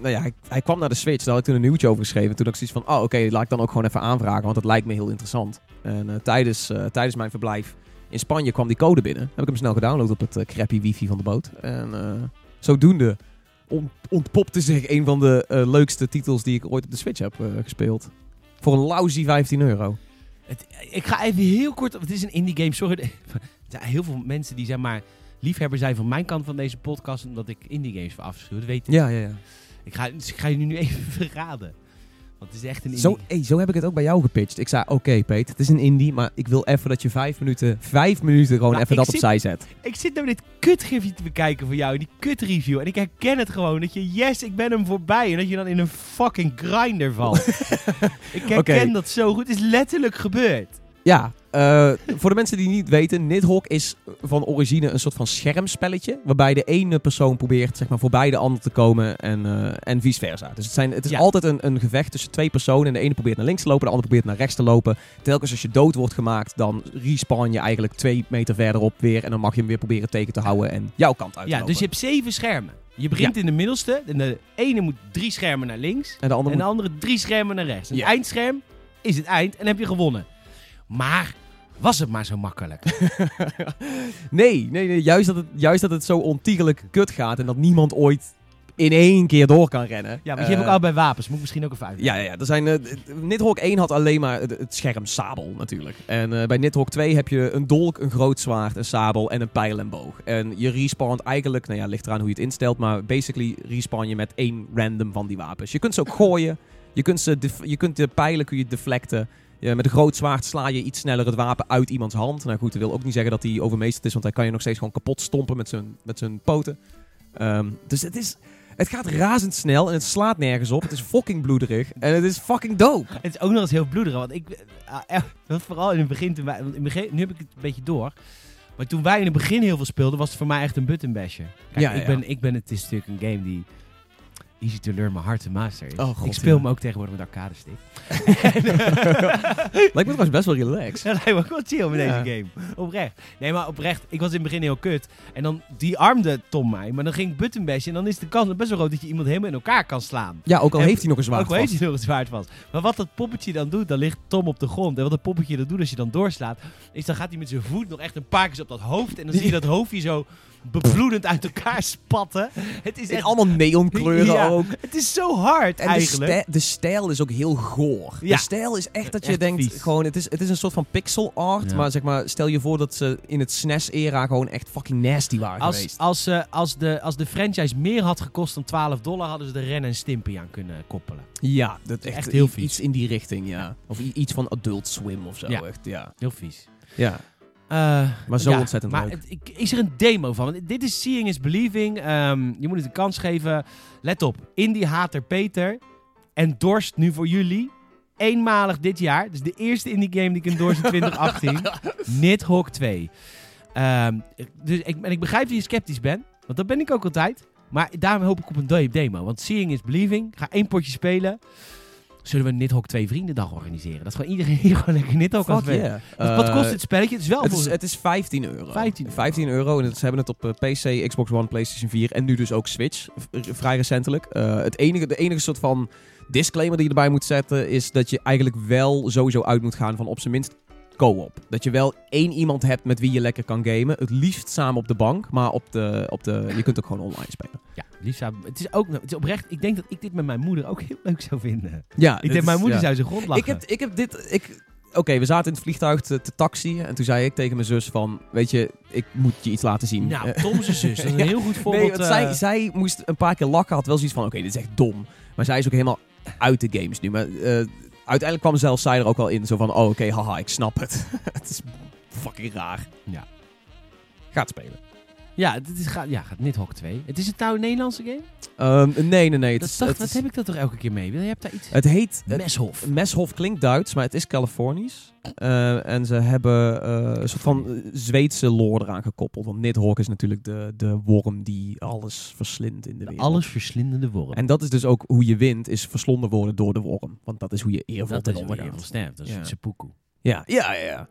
nou ja, hij, hij kwam naar de Switch. Daar had ik toen een nieuwtje over geschreven. Toen dacht ik zoiets van, oh oké, laat ik dan ook gewoon even aanvragen. Want dat lijkt me heel interessant. En eh, tijdens, eh, tijdens mijn verblijf in Spanje kwam die code binnen. Heb ik hem snel gedownload op het eh, crappy wifi van de boot. En eh, zodoende ont- ontpopte zich een van de eh, leukste titels die ik ooit op de Switch heb eh, gespeeld. Voor een lousy 15 euro. Het, ik ga even heel kort. Het is een indie game. Sorry. [LAUGHS] Er zijn heel veel mensen die zeg maar liefhebber zijn van mijn kant van deze podcast. Omdat ik indie games verafschuw. Dat weet ik. Ja, ja, ja. Ik ga, dus ik ga je nu even [LAUGHS] verraden. Want het is echt een indie. Zo, hey, zo heb ik het ook bij jou gepitcht. Ik zei, oké Peet, het is een indie, maar ik wil even dat je vijf minuten, vijf minuten gewoon Nou, even ik dat zit- opzij zet. Ik zit nou dit kutgifje te bekijken van jou. en Die kutreview. En ik herken het gewoon. Dat je, yes, ik ben hem voorbij. En dat je dan in een fucking grinder [LAUGHS] valt. ik herken Oké. dat zo goed. Het is letterlijk gebeurd. Ja, eh, voor de mensen die niet weten, Nidhogg is van origine een soort van schermspelletje. Waarbij de ene persoon probeert zeg maar, voorbij de ander te komen en, eh, en vice versa. Dus het, zijn, het is Ja. altijd een, een gevecht tussen twee personen. En de ene probeert naar links te lopen, de andere probeert naar rechts te lopen. Telkens als je dood wordt gemaakt, dan respawn je eigenlijk twee meter verderop weer. En dan mag je hem weer proberen tegen te houden en jouw kant uit te Ja, lopen. dus je hebt zeven schermen. Je begint in de middelste. En de ene moet drie schermen naar links. En de ander En moet- de andere drie schermen naar rechts. Een Ja. eindscherm is het eind en heb je gewonnen. Maar was het maar zo [LAUGHS] makkelijk. Nee, nee, nee juist, dat het, juist dat het zo ontiegelijk kut gaat en dat niemand ooit in één keer door kan rennen. Eh, Ja, want want je hebt ook allebei wapens. Moet ik misschien ook even uit. Ja, ja, ja, er zijn. eh, d- Nidhogg 1 had alleen maar het, het scherm sabel natuurlijk. En eh, bij Nidhogg 2 heb je een dolk, een groot zwaard, een sabel en een pijl en boog. En je respawnt eigenlijk, nou ja, ligt eraan hoe je het instelt, maar basically respawn je met één random van die wapens. Je kunt ze ook gooien, je kunt, ze def- je kunt de pijlen kun je deflecten. Ja, met een groot zwaard sla je iets sneller het wapen uit iemands hand. Nou goed, dat wil ook niet zeggen dat hij overmeesterd is, want hij kan je nog steeds gewoon kapot stompen met zijn, met zijn poten. Ehm, dus het is, het gaat razendsnel en het slaat nergens op. Het is fucking bloederig en het is fucking dope. Het is ook nog eens heel bloederig. Want ik, ah, eh, dat vooral in het begin, toen wij, want in het begin, nu heb ik het een beetje door. Maar toen wij in het begin heel veel speelden, was het voor mij echt een button basher. Kijk, Ja, ik, ja. Ben, ik ben, het is natuurlijk een game die easy to learn, maar hard to master is. Oh, god, ik speel ja. hem ook tegenwoordig met arcade stick. [LAUGHS] Lijkt me trouwens best wel relaxed. Ja, dat lijkt me ook wel chill met Ja. deze game. Oprecht. Nee, maar oprecht. Ik was in het begin heel kut. En dan die armde Tom mij. Maar dan ging ik buttonbashen. En dan is de kans best wel groot dat je iemand helemaal in elkaar kan slaan. Ja, ook al En- heeft hij nog een zwaard Ook al heeft vast. hij nog een zwaard vast. Maar wat dat poppetje dan doet, dan ligt Tom op de grond. En wat dat poppetje dan doet als je dan doorslaat, is dan gaat hij met zijn voet nog echt een paar keer op dat hoofd. En dan zie je dat hoofdje zo bebloedend uit elkaar spatten. Het is In echt... allemaal neonkleuren Ja, ook. Het is zo hard En de, eigenlijk. stij- de stijl is ook heel goor. Ja. De stijl is echt dat je Echt denkt, vies. gewoon, het is, het is een soort van pixel art. Ja. Maar zeg maar, stel je voor dat ze in het SNES-era gewoon echt fucking nasty waren Als, geweest. als, eh, als, de, als de franchise meer had gekost dan 12 dollar, hadden ze de Ren en Stimpy aan kunnen koppelen. Ja, dat is echt, echt heel i- vies. iets in die richting, ja. Of i- iets van Adult Swim of zo, Ja. echt, ja. Heel vies. Ja, maar zo ontzettend Eh, maar leuk. het- ik, is er een demo van? Want Dit is Seeing is Believing. Ehm, je moet het een kans geven. Let op. Indie hater Peter. En Dorst nu voor jullie. Eenmalig dit jaar. Dus de eerste indie game die ik endorse in 2018. [LAUGHS] Nidhogg 2. Ehm, dus ik, en ik begrijp dat je sceptisch bent. Want dat ben ik ook altijd. Maar daarom hoop ik op een de- demo. Want Seeing is Believing. Ik ga één potje spelen. Zullen we een Nidhogg 2 Vriendendag organiseren? Dat is gewoon iedereen [LAUGHS] hier gewoon lekker Nidhogg kan Fuck spelen. yeah. Wat- wat kost Eh, dit spelletje? Het is wel Het Oh, volgens- is, het is 15 euro. 15 euro. euro. En het- ze hebben het op eh, PC, Xbox One, PlayStation 4 en nu dus ook Switch. v- r- Vrij recentelijk. Eh, het enige, de enige soort van disclaimer die je erbij moet zetten is dat je eigenlijk wel sowieso uit moet gaan van op zijn minst co-op. Dat je wel één iemand hebt met wie je lekker kan gamen. Het liefst samen op de bank, maar op de, op de, je kunt ook gewoon online spelen. Ja, Lisa, het is ook het is oprecht. Ik denk dat ik dit met mijn moeder ook heel leuk zou vinden. Ja, Ik denk, mijn moeder zou zijn grond lachen. Ik heb, ik heb dit. Ik, Oké, we zaten in het vliegtuig te, te taxi. En toen zei ik tegen mijn zus van... Weet je, ik moet je iets laten zien. [LAUGHS] Nou, Eh, Tom's zus, dat is [LAUGHS] een Ja. heel goed voorbeeld. Nee, want zij, eh, zij moest een paar keer lachen. Had wel zoiets van, oké, dit is echt dom. Maar zij is ook helemaal uit de games nu. Maar eh, uiteindelijk kwam zelfs zij er ook wel in. Zo van, oh, oké, haha, ik snap het. [LAUGHS] het is fucking raar. Ja. Gaat spelen. Ja, dit is, gaat, ja, gaat Nidhogg 2. Het is het nou een Nederlandse game? Ehm, nee, nee, nee. Het, dat is- dacht, het wat is- heb ik dat toch elke keer mee? Je hebt daar iets... het heet... eh, het- Meshof. Meshof klinkt Duits, maar het is Californisch. Eh, en ze hebben eh, een soort van eh, Zweedse lore eraan gekoppeld. Want Nidhogg is natuurlijk de, de worm die alles verslindt in de wereld. Alles verslindende worm. En dat is dus ook hoe je wint, is verslonden worden door de worm. Want dat is hoe je eervol dat ten is weer onder gaat. heel sterk. Dat is Ja. een seppuku. Ja, ja, ja.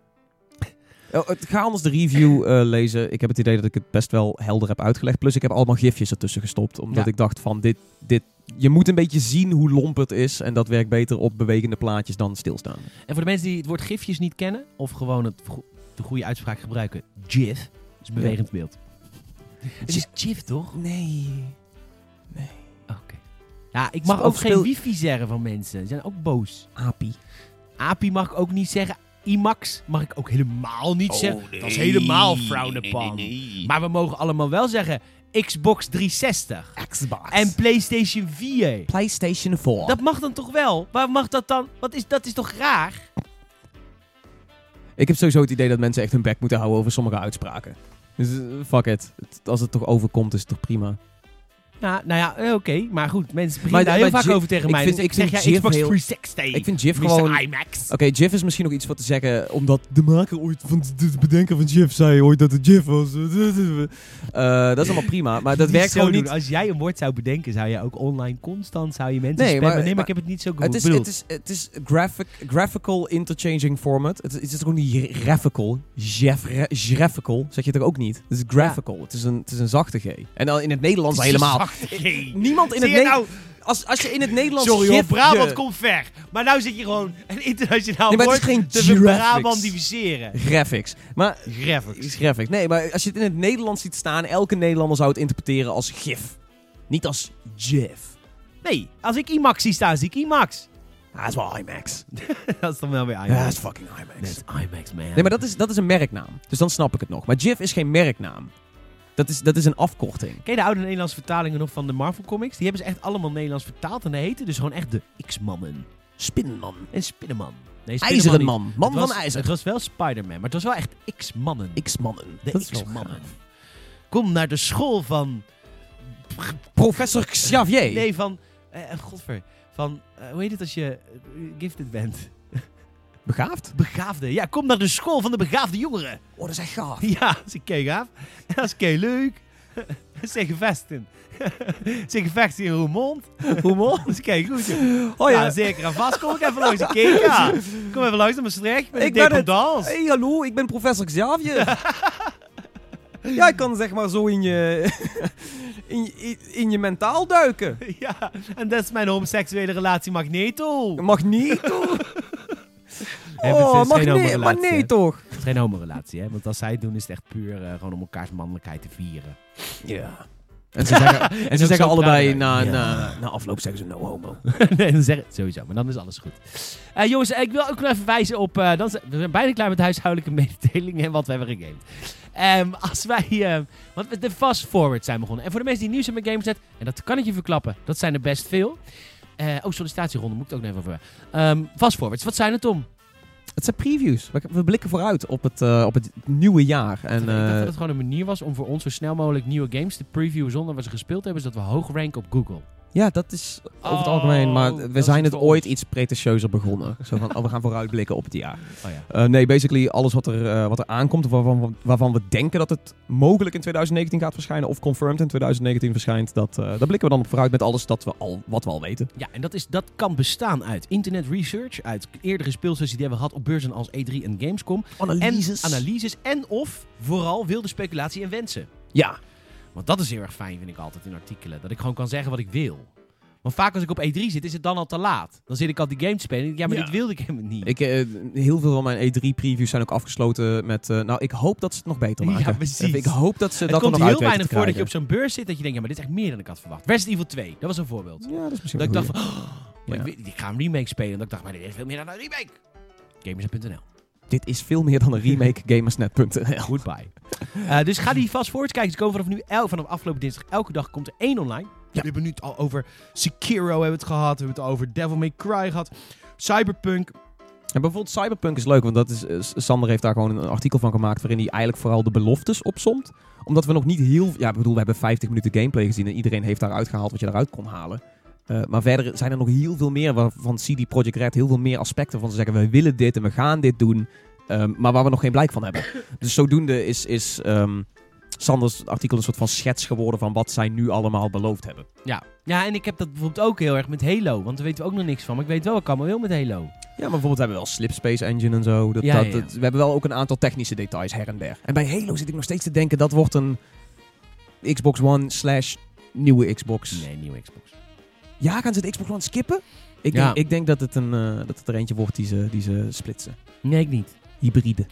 Oh, het- ga anders de review eh, lezen. Ik heb het idee dat ik het best wel helder heb uitgelegd. Plus ik heb allemaal gifjes ertussen gestopt. Omdat Ja. ik dacht van dit, dit... Je moet een beetje zien hoe lomp het is. En dat werkt beter op bewegende plaatjes dan stilstaan. En voor de mensen die het woord gifjes niet kennen, of gewoon het go- de goede uitspraak gebruiken, GIF, is bewegend beeld. Het is GIF, toch? Dus Nee. Oké. Ja, ik Is mag het ook ook speel- geen wifi zeggen van mensen. Ze zijn ook boos. Api. API mag ik ook niet zeggen. IMAX mag ik ook helemaal Oh, niet zeggen. Dat is Oh, nee. helemaal frowned upon. Maar we mogen allemaal wel zeggen Xbox 360 Xbox. en PlayStation 4. PlayStation 4. Dat mag dan toch wel? Waar mag dat dan? Wat is, dat is toch raar? Ik heb sowieso het idee dat mensen echt hun bek moeten houden over sommige uitspraken. Dus eh, fuck it. Het- Als het toch overkomt, is het toch prima. Ja, nou ja, eh, oké. Maar goed, mensen Maar- beginnen daar heel maar vaak Jif- over tegen ik mij. vind- Dus ik vind zeg, ja, Jif Xbox heel- 360. Ik vind Jif Mr. gewoon... IMAX. Oké, Jif is misschien nog iets voor te zeggen, omdat de maker ooit van het bedenken van Jif zei ooit dat het Jif was. [LAUGHS] Eh, dat is allemaal prima, maar dat Niet werkt zo gewoon doen. niet. Als jij een woord zou bedenken, zou je ook online constant zou je mensen Nee, spammen. nee, maar- maar maar- Ah, ik heb het niet zo goed Het is, bedoeld. het is, het is graphic, graphical interchanging format. Het, is- het is gewoon niet graphical. Jef, graphical, zeg je toch ook niet? Het is graphical. Het, is een, het is een zachte G. En dan in het Nederlands helemaal. Niemand in Zie het je Nederlands. nou, Als, als je in het Nederlands. sorry hoor, gif Brabant je- komt ver. Maar nou zit je gewoon een internationaal Nee, maar het woord is geen te ver- graphics. Brabant diviseren. Graphics. Maar Graphics. Is graphics. Nee, maar als je het in het Nederlands ziet staan, elke Nederlander zou het interpreteren als gif. Niet als jif. Nee, als ik IMAX zie staan, zie ik IMAX. [LAUGHS] Ah, dat is wel IMAX. dat is dan wel weer IMAX. Ja, dat is fucking IMAX. Dat is IMAX, man. Nee, maar dat is, dat is een merknaam. Dus dan snap ik het nog. Maar jif is geen merknaam. Dat is, dat is een afkorting. Ken je de oude Nederlandse vertalingen nog van de Marvel Comics? Die hebben ze echt allemaal Nederlands vertaald. En die heten dus gewoon echt de X-mannen. Spinman. En Spinnenman. Nee, Spinnenman IJzeren niet. man. Man Het was- van ijzer. Het was wel Spider-Man, maar het was wel echt X-mannen. X-mannen. De Dat is wel X-mannen. gaaf. Kom naar de school van... Professor Xavier. Nee, van... eh, godver. Van, eh, hoe heet het als je eh, gifted bent? Begaafd? Begaafde. Ja, kom naar de school van de begaafde jongeren. [LAUGHS] Oh, dat is echt gaaf. Ja, dat is een kei gaaf. [LAUGHS] En dat is kei leuk. [LAUGHS] Dat zijn gevesten. [LAUGHS] Dat zijn gevechten in Roermond. [LAUGHS] Roermond? Dat is kei goed, joh. Oh ja. zeker en vast. Kom ik even langs de keek. Ja. Kom even langs naar Maastricht. Met Ik ik ben ben het. dans. Hey, hallo, ik ben professor Xavier. ja, ik kan zeg maar zo in je, [LAUGHS] in, je- in, in je mentaal duiken. [LAUGHS] Ja, en dat is mijn homoseksuele relatie Magneto. Mag niet, toch? Nee, maar het Oh, is mag geen niet, homorelatie, maar nee, hè? toch? Het is geen homorelatie, hè. Want als zij het doen, is het echt puur eh, gewoon om elkaars mannelijkheid te vieren. [LAUGHS] Ja. En ze [LAUGHS] zeggen, en ze ook zeggen zo allebei na, praten. na, na afloop zeggen ze no homo. nee, dan zeg het sowieso. Maar dan is alles goed. Eh, jongens, ik wil ook nog even wijzen op... eh, dan zijn, we zijn bijna klaar met de huishoudelijke [LAUGHS] mededelingen en wat we hebben gegamed. Ehm, als wij... ehm, want we- de fast forward zijn begonnen. En voor de mensen die nieuw zijn met Gamersnet... En dat kan ik je verklappen. Dat zijn er best veel. Eh oh, sollicitatieronde. Moet ik het ook nog even over... Ehm fast forwards. Wat zijn het, Tom? Het zijn previews. We, we blikken vooruit op het, eh, op het nieuwe jaar. En, ik dacht dat eh, het gewoon een manier was om voor ons zo snel mogelijk nieuwe games te previewen zonder wat ze gespeeld hebben, zodat we hoog ranken op Google. ja, dat is over het Oh, algemeen. Maar dat we is zijn iets het voor ons. ooit iets pretentieuzer begonnen. Zo van, oh, we gaan vooruitblikken op het jaar. Oh ja. Eh, nee, basically alles wat er, eh, wat er aankomt, waarvan, we- waarvan we denken dat het mogelijk in 2019 gaat verschijnen of confirmed in 2019 verschijnt, dat, eh, daar blikken we dan op vooruit met alles dat we al, wat we al weten. Ja, en dat, is, dat kan bestaan uit internet research, uit eerdere speelsessies die we hebben gehad op beurzen als E3 en Gamescom. En analyses en of vooral wilde speculatie en wensen. ja, Want dat is heel erg fijn, vind ik altijd in artikelen. Dat ik gewoon kan zeggen wat ik wil. Want vaak als ik op E3 zit, is het dan al te laat. Dan zit ik al die game te spelen. en denk ik, Ja, maar Ja. dit wilde ik helemaal niet. ik, eh, heel veel van mijn E3-previews zijn ook afgesloten met, eh, nou, ik hoop dat ze het nog beter [LAUGHS] maken. Ja, precies. Ik hoop dat ze het dat er komt heel nog uit weten weinig te voor dat je op krijgen. zo'n beurs zit dat je denkt, ja, maar dit is echt meer dan ik had verwacht. Resident Evil 2, dat was een voorbeeld. Ja, dat is misschien Dat ik wel dacht goed, van, [GASPS] oh, maar Ja. ik, weet- ik ga een remake spelen. Dat ik dacht, maar dit is veel meer dan een remake. Gamers.nl. ja. Dit is veel meer [LAUGHS] dan een remake gamersnet.nl. Goodbye. Eh, dus ga die vast voorts kijken. Ze komen vanaf nu, el- vanaf afgelopen dinsdag, elke dag komt er één online. We hebben nu het al over Sekiro hebben we het gehad. We hebben het over Devil May Cry gehad. Cyberpunk. En bijvoorbeeld Cyberpunk is leuk, want dat is, eh, S- Sander heeft daar gewoon een artikel van gemaakt waarin hij eigenlijk vooral de beloftes opsomt. Omdat we nog niet heel... Ja, ik bedoel, we hebben 50 minuten gameplay gezien en iedereen heeft daaruit gehaald wat je daaruit kon halen. Eh, maar verder zijn er nog heel veel meer waarvan CD Projekt Red heel veel meer aspecten van ze zeggen, we willen dit en we gaan dit doen, ehm, maar waar we nog geen blijk van hebben. Dus zodoende is, is ehm, Sanders artikel een soort van schets geworden van wat zij nu allemaal beloofd hebben. Ja. ja, en ik heb dat bijvoorbeeld ook heel erg met Halo. Want daar weten we ook nog niks van. Maar ik weet wel, ik kan maar wel met Halo. Ja, maar bijvoorbeeld hebben we wel Slipspace Engine en zo. Dat, Ja, dat, ja, ja. dat- we hebben wel ook een aantal technische details her en der. En bij Halo zit ik nog steeds te denken, dat wordt een Xbox One slash nieuwe Xbox. Nee, nieuwe Xbox. Ja, gaan ze de Xbox One skippen? Ik, Ja. denk, ik denk dat het, een, eh, dat het er eentje wordt die ze, die ze splitsen. Nee, ik niet. Hybride.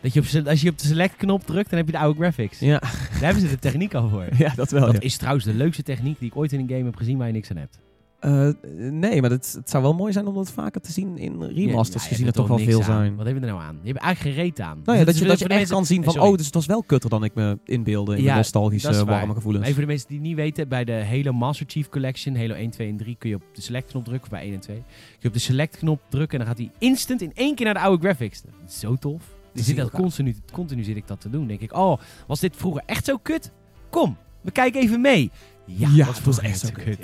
Dat je op, se- als je op de select knop drukt, dan heb je de oude graphics. Ja, Daar hebben ze de techniek al [LAUGHS] voor. [LAUGHS] ja dat wel. Dat ja. is trouwens de leukste techniek die ik ooit in een game heb gezien waar je niks aan hebt. Eh, nee, maar dat, het zou wel mooi zijn om dat vaker te zien in remasters, Ja, gezien ja, er je hebt toch wel niks veel aan. zijn. Wat hebben we er nou aan? Je hebt eigenlijk geen reet aan. Nou Dus ja, dat je, het dat is je voor echt de mensen- kan zien van, Eh, sorry. oh, dus het was wel kutter dan ik me inbeelde in Ja, mijn dat is nostalgische, eh, waar. warme gevoelens. Even voor de mensen die het niet weten, bij de Halo Master Chief Collection, Halo 1, 2 en 3, kun je op de select knop drukken, of bij 1 en 2. Kun je op de select knop drukken en dan gaat hij instant in één keer naar de oude graphics. Dat is zo tof. Dus zit heel dat gaaf. continu, continu zit ik dat te doen. denk ik, oh, was dit vroeger echt zo kut? Kom, we kijken even mee. Ja, dat was het was vroeger echt zo kut.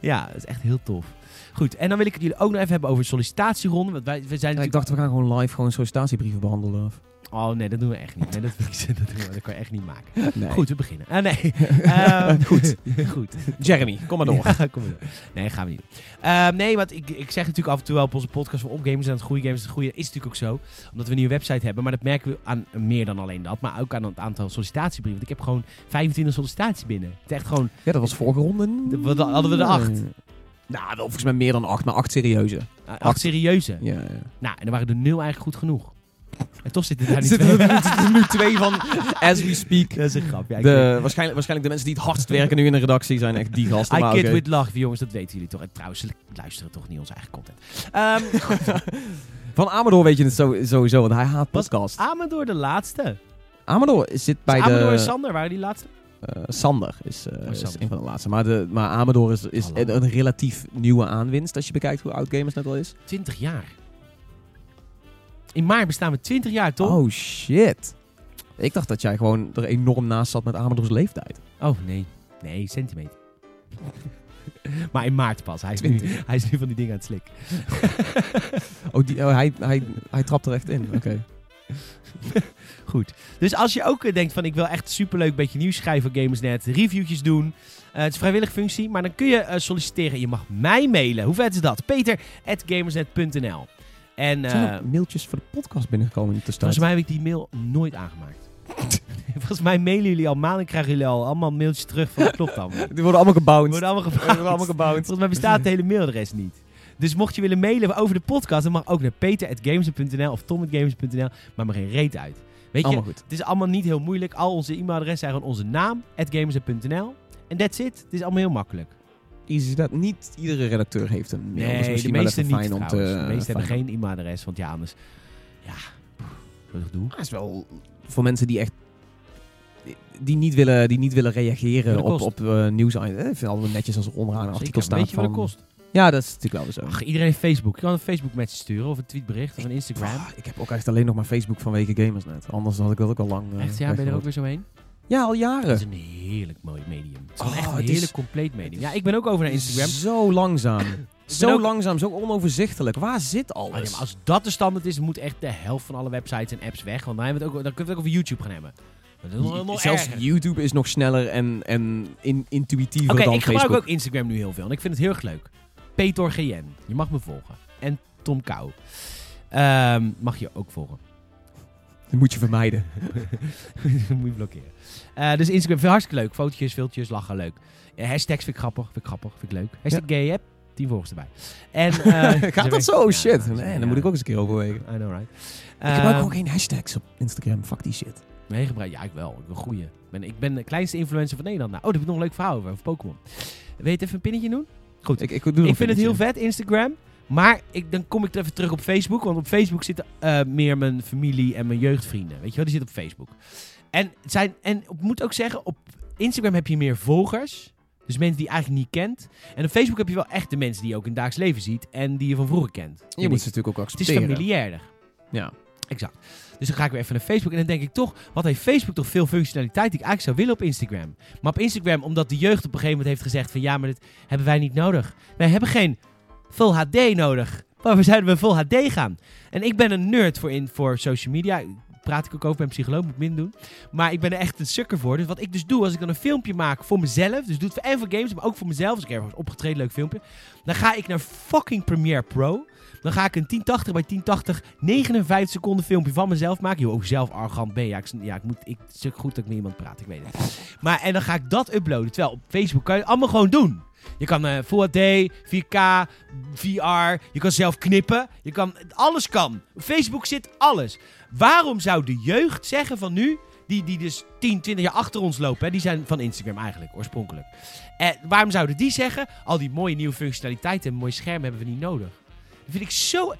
Ja. dat is echt heel tof. Goed, en dan wil ik het jullie ook nog even hebben over sollicitatieronden. Want wij, we zijn Ja, ik natuurlijk- dacht, we gaan gewoon live gewoon sollicitatiebrieven behandelen. [LAUGHS] Of... Oh nee, dat doen we echt niet. Nee, dat, [LAUGHS] vind ik- dat, doen we, dat kan je echt niet maken. Nee. Goed, we beginnen. Ah, nee. [LAUGHS] Ehm, Goed. [LAUGHS] goed. Jeremy, kom maar door. Ja, kom maar door. Nee, gaan we niet. doen. Ehm, nee, want ik, ik zeg natuurlijk af en toe wel op onze podcast van opgamers en het goede gamers. Het goede is natuurlijk ook zo. Omdat we een nieuwe website hebben. Maar dat merken we aan meer dan alleen dat. Maar ook aan het aantal sollicitatiebrieven. Want ik heb gewoon 25 sollicitaties binnen. Het is echt gewoon... Ja, dat was vorige ronde. De- wat- hadden we er acht? Nee. Nou, wel volgens mij meer dan acht, maar acht serieuze. eh, acht Acht. serieuze. Ja, ja. Nou, en dan waren er nul eigenlijk goed genoeg. En toch zitten [LAUGHS] daar Er niet zitten veel- er nu- zitten er nu twee van, as we speak. [LAUGHS] Dat is een grap. Ja, ik weet- De, waarschijnlijk, waarschijnlijk de mensen die het hardst werken nu in de redactie zijn echt die gasten. I maar kid oké. with love, jongens, dat weten jullie toch. En trouwens, ze luisteren toch niet onze eigen content. [LAUGHS] Ehm Van Amador weet je het zo- sowieso, want hij haat Was- podcast. Amador de laatste. Amador zit bij Amador en de... Sander waren die laatste. eh, Sander is, eh, is Sander. een van de laatste. Maar, de, maar Amador is, is Hallo. een, een relatief nieuwe aanwinst als je bekijkt hoe oud Gamers net al is. 20 jaar. In maart bestaan we 20 jaar, toch? Oh shit. Ik dacht dat jij gewoon er enorm naast zat met Amador's leeftijd. Oh, nee. Nee, centimeter. [LAUGHS] maar in maart pas. Hij is, nu, hij is nu van die dingen aan het slikken. [LAUGHS] Oh, die, oh, hij, hij, hij trapt er echt in. Oké. Goed. Dus als je ook eh, denkt van ik wil echt superleuk beetje nieuws schrijven voor Gamersnet, reviewtjes doen. eh, het is een vrijwillige functie, maar dan kun je eh, solliciteren. Je mag mij mailen. Hoe vet is dat? Peter@gamersnet.nl. En eh, Zijn er mailtjes voor de podcast binnengekomen te staan? volgens mij heb ik die mail nooit aangemaakt. [LAUGHS] volgens mij mailen jullie al maanden en krijgen jullie al allemaal mailtjes terug van dat klopt [LAUGHS] allemaal. Die worden allemaal We gebouwd. worden allemaal Die worden gebouwd. allemaal gebouwd. Volgens mij bestaat het hele mailadres niet. Dus mocht je willen mailen over de podcast, dan mag ook naar peter.games.nl of tom.games.nl, maar maar geen reet uit. Weet je, Allemaal goed. het is allemaal niet heel moeilijk. Al onze e-mailadressen zijn gewoon onze naam, gamers.nl. En that's it. Het is allemaal heel makkelijk. Easy is dat. Niet iedere redacteur heeft een mail. dus misschien de meeste wel even niet fijn om te... eh, trouwens. De meeste hebben fijn om- geen e-mailadres, want ja, anders... Ja, pff, wat ik doen. Ah, is wel voor mensen die echt... Die niet willen, die niet willen reageren Wat dat op, kost. op eh, nieuws. Eh, Ik vind het altijd netjes als er onderaan een artikel Zeker, staat weet je wat van... het kost? Ja, dat is natuurlijk wel weer zo. Ach, iedereen heeft Facebook. Je kan een Facebook-message sturen of een tweetbericht of een Instagram. Ah, ik heb ook echt alleen nog maar Facebook vanwege Gamers net. Anders had ik dat ook al lang. eh, Echt, ja, ben je er ook weggegooid. weer zo heen? Ja, al Dat jaren. is een heerlijk mooi medium. Het is Oh, echt een het is- heerlijk compleet medium. Ja, ik ben ook over naar Instagram. Zo langzaam. zo ook- langzaam, zo onoverzichtelijk. Waar zit Oh, ja, alles? maar als dat de standaard is, moet echt de helft van alle websites en apps weg. Want dan, hebben we het ook, dan kunnen we het ook over YouTube gaan hebben. Dat is nog, nog Zelfs erger. YouTube is nog sneller en, en in, intuïtiever Oké, dan ik gebruik Facebook. ook Instagram nu heel veel. En ik vind het heel erg leuk. Peter GN. Je mag me volgen. En Tom Kou. Ehm, mag je ook volgen. Dat moet je vermijden. [LAUGHS] Moet je blokkeren. Eh, dus Instagram, veel hartstikke leuk. Fotootjes, filmpjes, lachen, leuk. Eh, hashtags vind ik grappig, vind ik grappig, vind ik leuk. Hashtag gay, heb tien volgers erbij. [LAUGHS] En, eh, Gaat dat zo? Ja, shit. ja, nee, ja. dan moet ik ook eens een keer overwegen. I know, right. ik gebruik Ehm, gewoon geen hashtags op Instagram. Fuck die shit. Nee, gebruik. Ja, ik wel. Ik ben goeie. Ik ben, ik ben de kleinste influencer van Nederland. Nou, oh, daar heb ik nog een leuk verhaal over. Over Pokémon. Weet je het even een pinnetje doen? Goed. Ik, ik, doe Ik vind het heel vet, Instagram. Maar ik, dan kom ik er even terug op Facebook. Want op Facebook zitten eh, meer mijn familie en mijn jeugdvrienden. Weet je wel, die zitten op Facebook. En, het zijn, en ik moet ook zeggen, op Instagram heb je meer volgers. Dus mensen die je eigenlijk niet kent. En op Facebook heb je wel echt de mensen die je ook in het dagelijks leven ziet. En die je van vroeger kent. Je moet ze natuurlijk ook het is accepteren. familiairder. Ja. Exact. Dus dan ga ik weer even naar Facebook en dan denk ik toch, wat heeft Facebook toch veel functionaliteit die ik eigenlijk zou willen op Instagram. Maar op Instagram, omdat de jeugd op een gegeven moment heeft gezegd van ja, maar dit hebben wij niet nodig. Wij hebben geen Full HD nodig. Waarvoor zouden we Full HD gaan? En ik ben een nerd voor, in, voor social media. Praat ik ook over, ben psycholoog, moet ik minder doen. Maar ik ben er echt een sukker voor. Dus wat ik dus doe, als ik dan een filmpje maak voor mezelf. Dus doe het voor, en voor games, maar ook voor mezelf. Als ik ergens opgetreden, leuk filmpje. Dan ga ik naar fucking Premiere Pro. Dan ga ik een 1080 bij 1080 59 seconden filmpje van mezelf maken. Joh, hoe zelf arrogant ben je. Ja, ik, ja, ik moet, ik, het is ook goed dat ik met iemand praat. Ik weet het. Maar en dan ga ik dat uploaden. Terwijl op Facebook kan je het allemaal gewoon doen. Je kan eh Full HD, 4K, VR. Je kan zelf knippen. Je kan, alles kan. Op Facebook zit alles. Waarom zou de jeugd zeggen van nu... Die, die dus 10, 20 jaar achter ons lopen. Hè, die zijn van Instagram eigenlijk, oorspronkelijk. Eh, waarom zouden die zeggen... Al die mooie nieuwe functionaliteiten en mooi scherm hebben we niet nodig. Dat vind ik zo...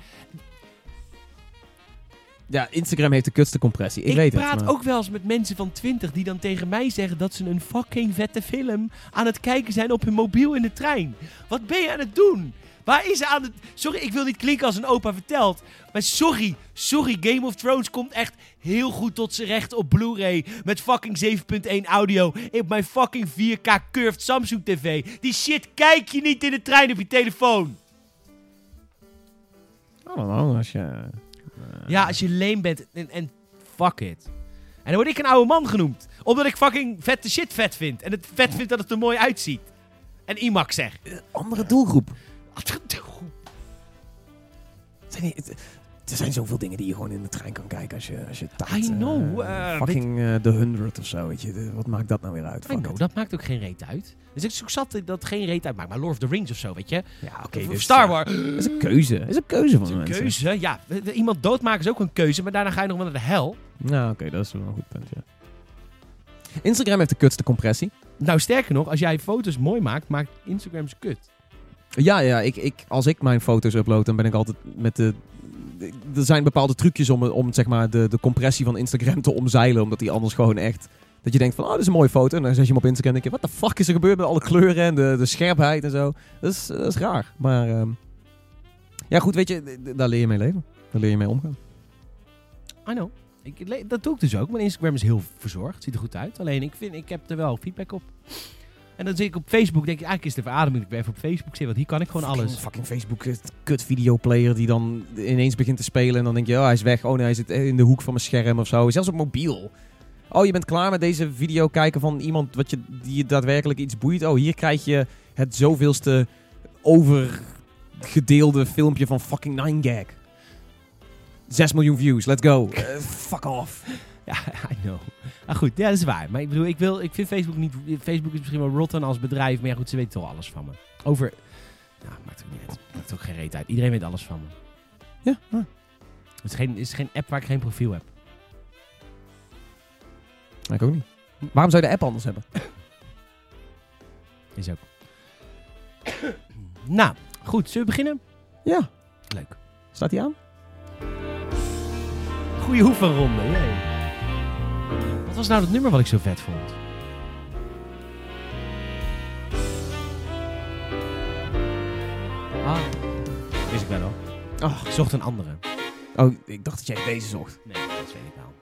Ja, Instagram heeft de kutste compressie. Ik, weet praat het. maar- ook wel eens met mensen van 20 die dan tegen mij zeggen dat ze een fucking vette film aan het kijken zijn op hun mobiel in de trein. Wat ben je aan het doen? Waar is ze aan het. Sorry, ik wil niet klinken als een opa vertelt. Maar sorry, sorry, Game of Thrones komt echt heel goed tot zijn recht op Blu-ray. Met fucking 7.1 audio. Op mijn fucking 4K curved Samsung TV. Die shit kijk je niet in de trein op je telefoon. I don't know, Oh, als je... Ja, als je leem bent en, en fuck it. En dan word ik een oude man genoemd. Omdat ik fucking vette shit vet vind. En het vet vind dat het er mooi uitziet. En IMAX zeg. Andere doelgroep. Doe. Het zijn niet- het- er zijn zoveel dingen die je gewoon in de trein kan kijken als je, als je taart, I eh, know, eh, fucking eh, The 100 of zo, weet je. De- wat maakt dat nou weer uit? I Fuck know, it. Oh, dat maakt ook geen reet uit. Dus ik zoek zat dat het geen reet uitmaakt. Maar Lord of the Rings of zo, weet je. Ja, oké. Of dus, Star ja, Wars. Dat is een keuze. Dat is een keuze van de Een mensen. keuze, ja. Iemand doodmaken is ook een keuze, maar daarna ga je nog wel naar de hel. Nou, oké, dat is wel een goed punt, ja. Instagram heeft de kutste compressie. Nou, sterker nog, als jij foto's mooi maakt, maakt Instagram ze kut. Ja, ja, ik, ik, als ik mijn foto's upload, dan ben ik altijd met de... de- Er zijn bepaalde trucjes om, om zeg maar, de, de compressie van Instagram [LAUGHS] te omzeilen. Omdat die anders gewoon echt... Dat je denkt van, oh, dit is een mooie foto. En dan zet je hem op Instagram en denk je, wat de fuck is er gebeurd met alle kleuren en de, de scherpheid en zo. Dat is, dat is raar. Maar ehm, ja, goed, weet je, d- d- daar leer je mee leven. Daar leer je mee omgaan. I know. Ik, le- dat doe ik dus ook. Mijn Instagram is heel verzorgd. Ziet er goed uit. Alleen ik, vind, ik heb er wel feedback op. En dan zit ik op Facebook. denk ik, eigenlijk is het de verademing dat ik weer even op Facebook zit. Want hier kan ik gewoon Fucking- alles. Fucking Facebook, het kut videoplayer die dan ineens begint te spelen. En dan denk je, oh hij is weg. Oh nee, hij zit in de hoek van mijn scherm of zo. Zelfs op mobiel. Oh, je bent klaar met deze video kijken van iemand wat je, die je daadwerkelijk iets boeit. Oh, hier krijg je het zoveelste overgedeelde filmpje van fucking 9gag. 6 miljoen views, let's go. Eh, fuck [LAUGHS] off. Ja, I know. Maar goed, ja, dat is waar. Maar ik bedoel, ik, wil, ik vind Facebook niet... Facebook is misschien wel rotten als bedrijf. Maar ja, goed, ze weten toch alles van me. Over... Nou, maakt ook niet uit. Maakt ook geen reet uit. Iedereen weet alles van me. Ja, Het is geen, is geen app waar ik geen profiel heb. ik ook niet. Waarom zou je de app anders hebben? Is ook. [COUGHS] nou, goed. Zullen we beginnen? Ja, Leuk. staat die aan? Goeie oefenronde. jee. Wat was nou dat nummer wat ik zo vet vond? Ah, wist ik wel al. Oh, Ik zocht een andere. oh ik dacht dat jij deze zocht. Nee, dat weet ik wel.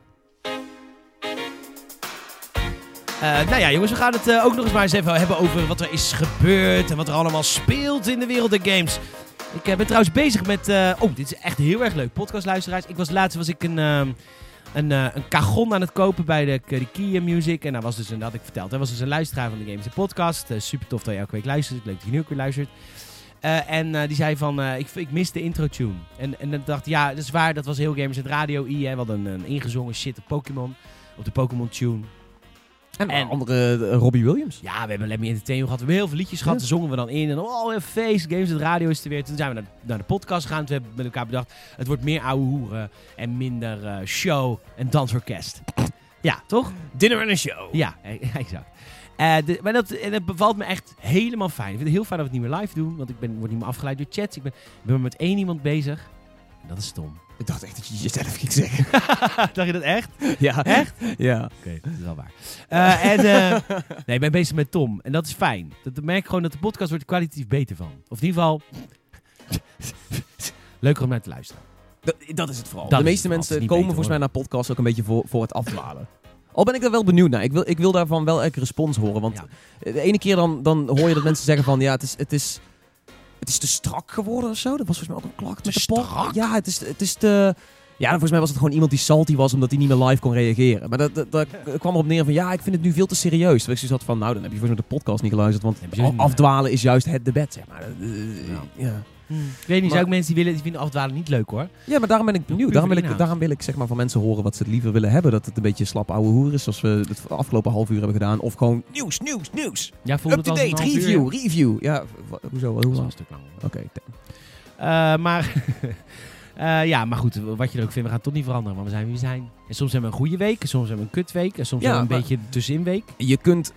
Eh, nou ja, jongens, we gaan het eh, ook nog eens maar eens even hebben over wat er is gebeurd en wat er allemaal speelt in de wereld der games. Ik eh, ben trouwens bezig met. eh, oh, dit is echt heel erg leuk. Podcastluisteraars. Ik was laatst was ik een. ehm, een, eh, een kagon aan het kopen bij de Kurikia Music. En daar was dus, en dat had ik verteld, hij was dus een luisteraar van de Games en Podcast. Eh, super tof dat je elke week luistert. Leuk dat je nu ook weer luistert. Eh, en eh, die zei van, eh, ik, ik mis de intro tune. En, en dan dacht ik, ja, dat is waar, dat was heel Gamers het Radio I. Hè. We hadden een, een ingezongen shit op Pokémon, op de Pokémon tune. En, En- andere eh, Robbie Williams. Ja, we hebben Let Me Entertain gehad. We hebben heel veel liedjes gehad. Ja. Daar zongen we dan in. En oh, een feest. Games het Radio is er weer. Toen zijn we naar, naar de podcast gegaan. Toen hebben we met elkaar bedacht... Het wordt meer ouwe hoeren en minder eh, show en dansorkest. ja, toch? Dinner en een show. Ja, e- [LAUGHS] exact. Eh, de- maar dat, en dat bevalt me echt helemaal fijn. Ik vind het heel fijn dat we het niet meer live doen. Want ik ben, word niet meer afgeleid door chats. Ik ben, ik ben maar met één iemand bezig. En dat is Tom. Ik dacht echt dat je jezelf ging zeggen. [LAUGHS] Dacht je dat echt? ja. Echt? Ja. Oké, dat is wel waar. Eh, en, [LAUGHS] eh, nee, ik ben bezig met Tom. En dat is fijn. Dat dat merk ik gewoon dat de podcast wordt er kwalitatief beter van. Of in ieder geval... [LAUGHS] Leuker om naar te luisteren. Dat, dat is het vooral. Dat de is het meeste vooral. Het is mensen niet komen beter, volgens hoor. mij naar podcasts ook een beetje voor, voor het afdwalen. [LAUGHS] Al ben ik daar wel benieuwd naar. Ik wil, ik wil daarvan wel elke respons horen. Want Ja. de ene keer dan, dan hoor je dat mensen zeggen van... Ja, het is, het, is, het is te strak geworden of zo. Dat was volgens mij ook een klacht met de pod. strak? Ja, het is, het is te... Ja, volgens mij was het gewoon iemand die salty was omdat hij niet meer live kon reageren. Maar dat, dat, dat kwam erop neer van... Ja, ik vind het nu veel te serieus. Dat ik zoiets had van... Nou, dan heb je volgens mij de podcast niet geluisterd. Want Heb je sowieso niet- afdwalen is juist het debat, zeg maar. Eh, Ja. ja. Ik weet niet, er zijn Maar- ook mensen die, willen, die vinden afdwalen niet leuk hoor. Ja, maar daarom ben ik benieuwd. puur Daarom wil ik, inhoud. daarom wil ik zeg maar, van mensen horen wat ze het liever willen hebben. Dat het een beetje slap ouwe hoer is, zoals we het afgelopen half uur hebben gedaan. Of gewoon nieuws, nieuws, nieuws. Ja, voelt het als een Up-to-date, half uur? review, review. Ja, wa- hoezo, hoe Dat is wel lang? een stuk langer. Oké, damn. Eh, maar, [LAUGHS] eh, ja, maar goed, wat je er ook vindt, we gaan het toch niet veranderen, maar we zijn wie we zijn. En soms hebben we een goede week, en soms hebben we een kutweek, en soms Ja, hebben we een maar- beetje tusseninweek. je kunt...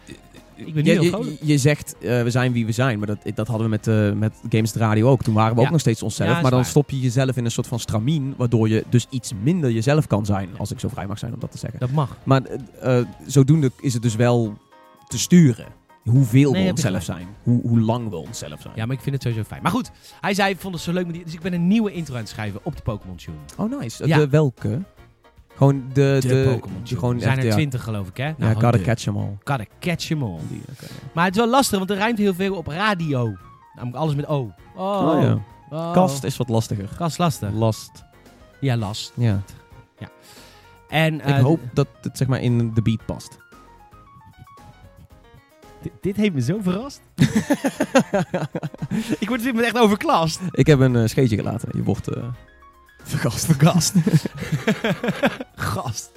Ik ben nu je, heel je, vrolijk. je zegt, eh, we zijn wie we zijn. Maar dat, dat hadden we met, eh, met Games de Radio ook. Toen waren we Ja. ook nog steeds onszelf. Ja, is maar dan waar. stop je jezelf in een soort van stramien. Waardoor je dus iets minder jezelf kan zijn. Als ik zo vrij mag zijn om dat te zeggen. Dat mag. Maar eh, eh, zodoende is het dus wel te sturen. Hoeveel Nee, we heb je onszelf zijn. Hoe, hoe lang we onszelf zijn. Ja, maar ik vind het sowieso fijn. Maar goed, hij zei, ik vond het zo leuk, met die- dus ik ben een nieuwe intro aan het schrijven op de Pokémon Tune. Oh, nice. Ja. De welke? Gewoon de... De, Pokémon de- Tune. Gewoon Er zijn echt, er ja. twintig geloof ik, hè? Nou, ja, gewoon gotta de- catch them all. Gotta catch 'em all. Die, oké. Maar het is wel lastig, want er ruimt heel veel op radio. Namelijk alles met O. Oh, Oh, ja. oh. Kast is wat lastiger. Kast lastig. Last. Ja, last. Ja. En, eh, ik hoop dat het zeg maar in de beat past. d- dit heeft me zo [LAUGHS] verrast. ik word dit moment echt overklast. [LAUGHS] Ik heb een eh, scheetje gelaten. Je wordt eh vergast. [LAUGHS] Vergast. Gast.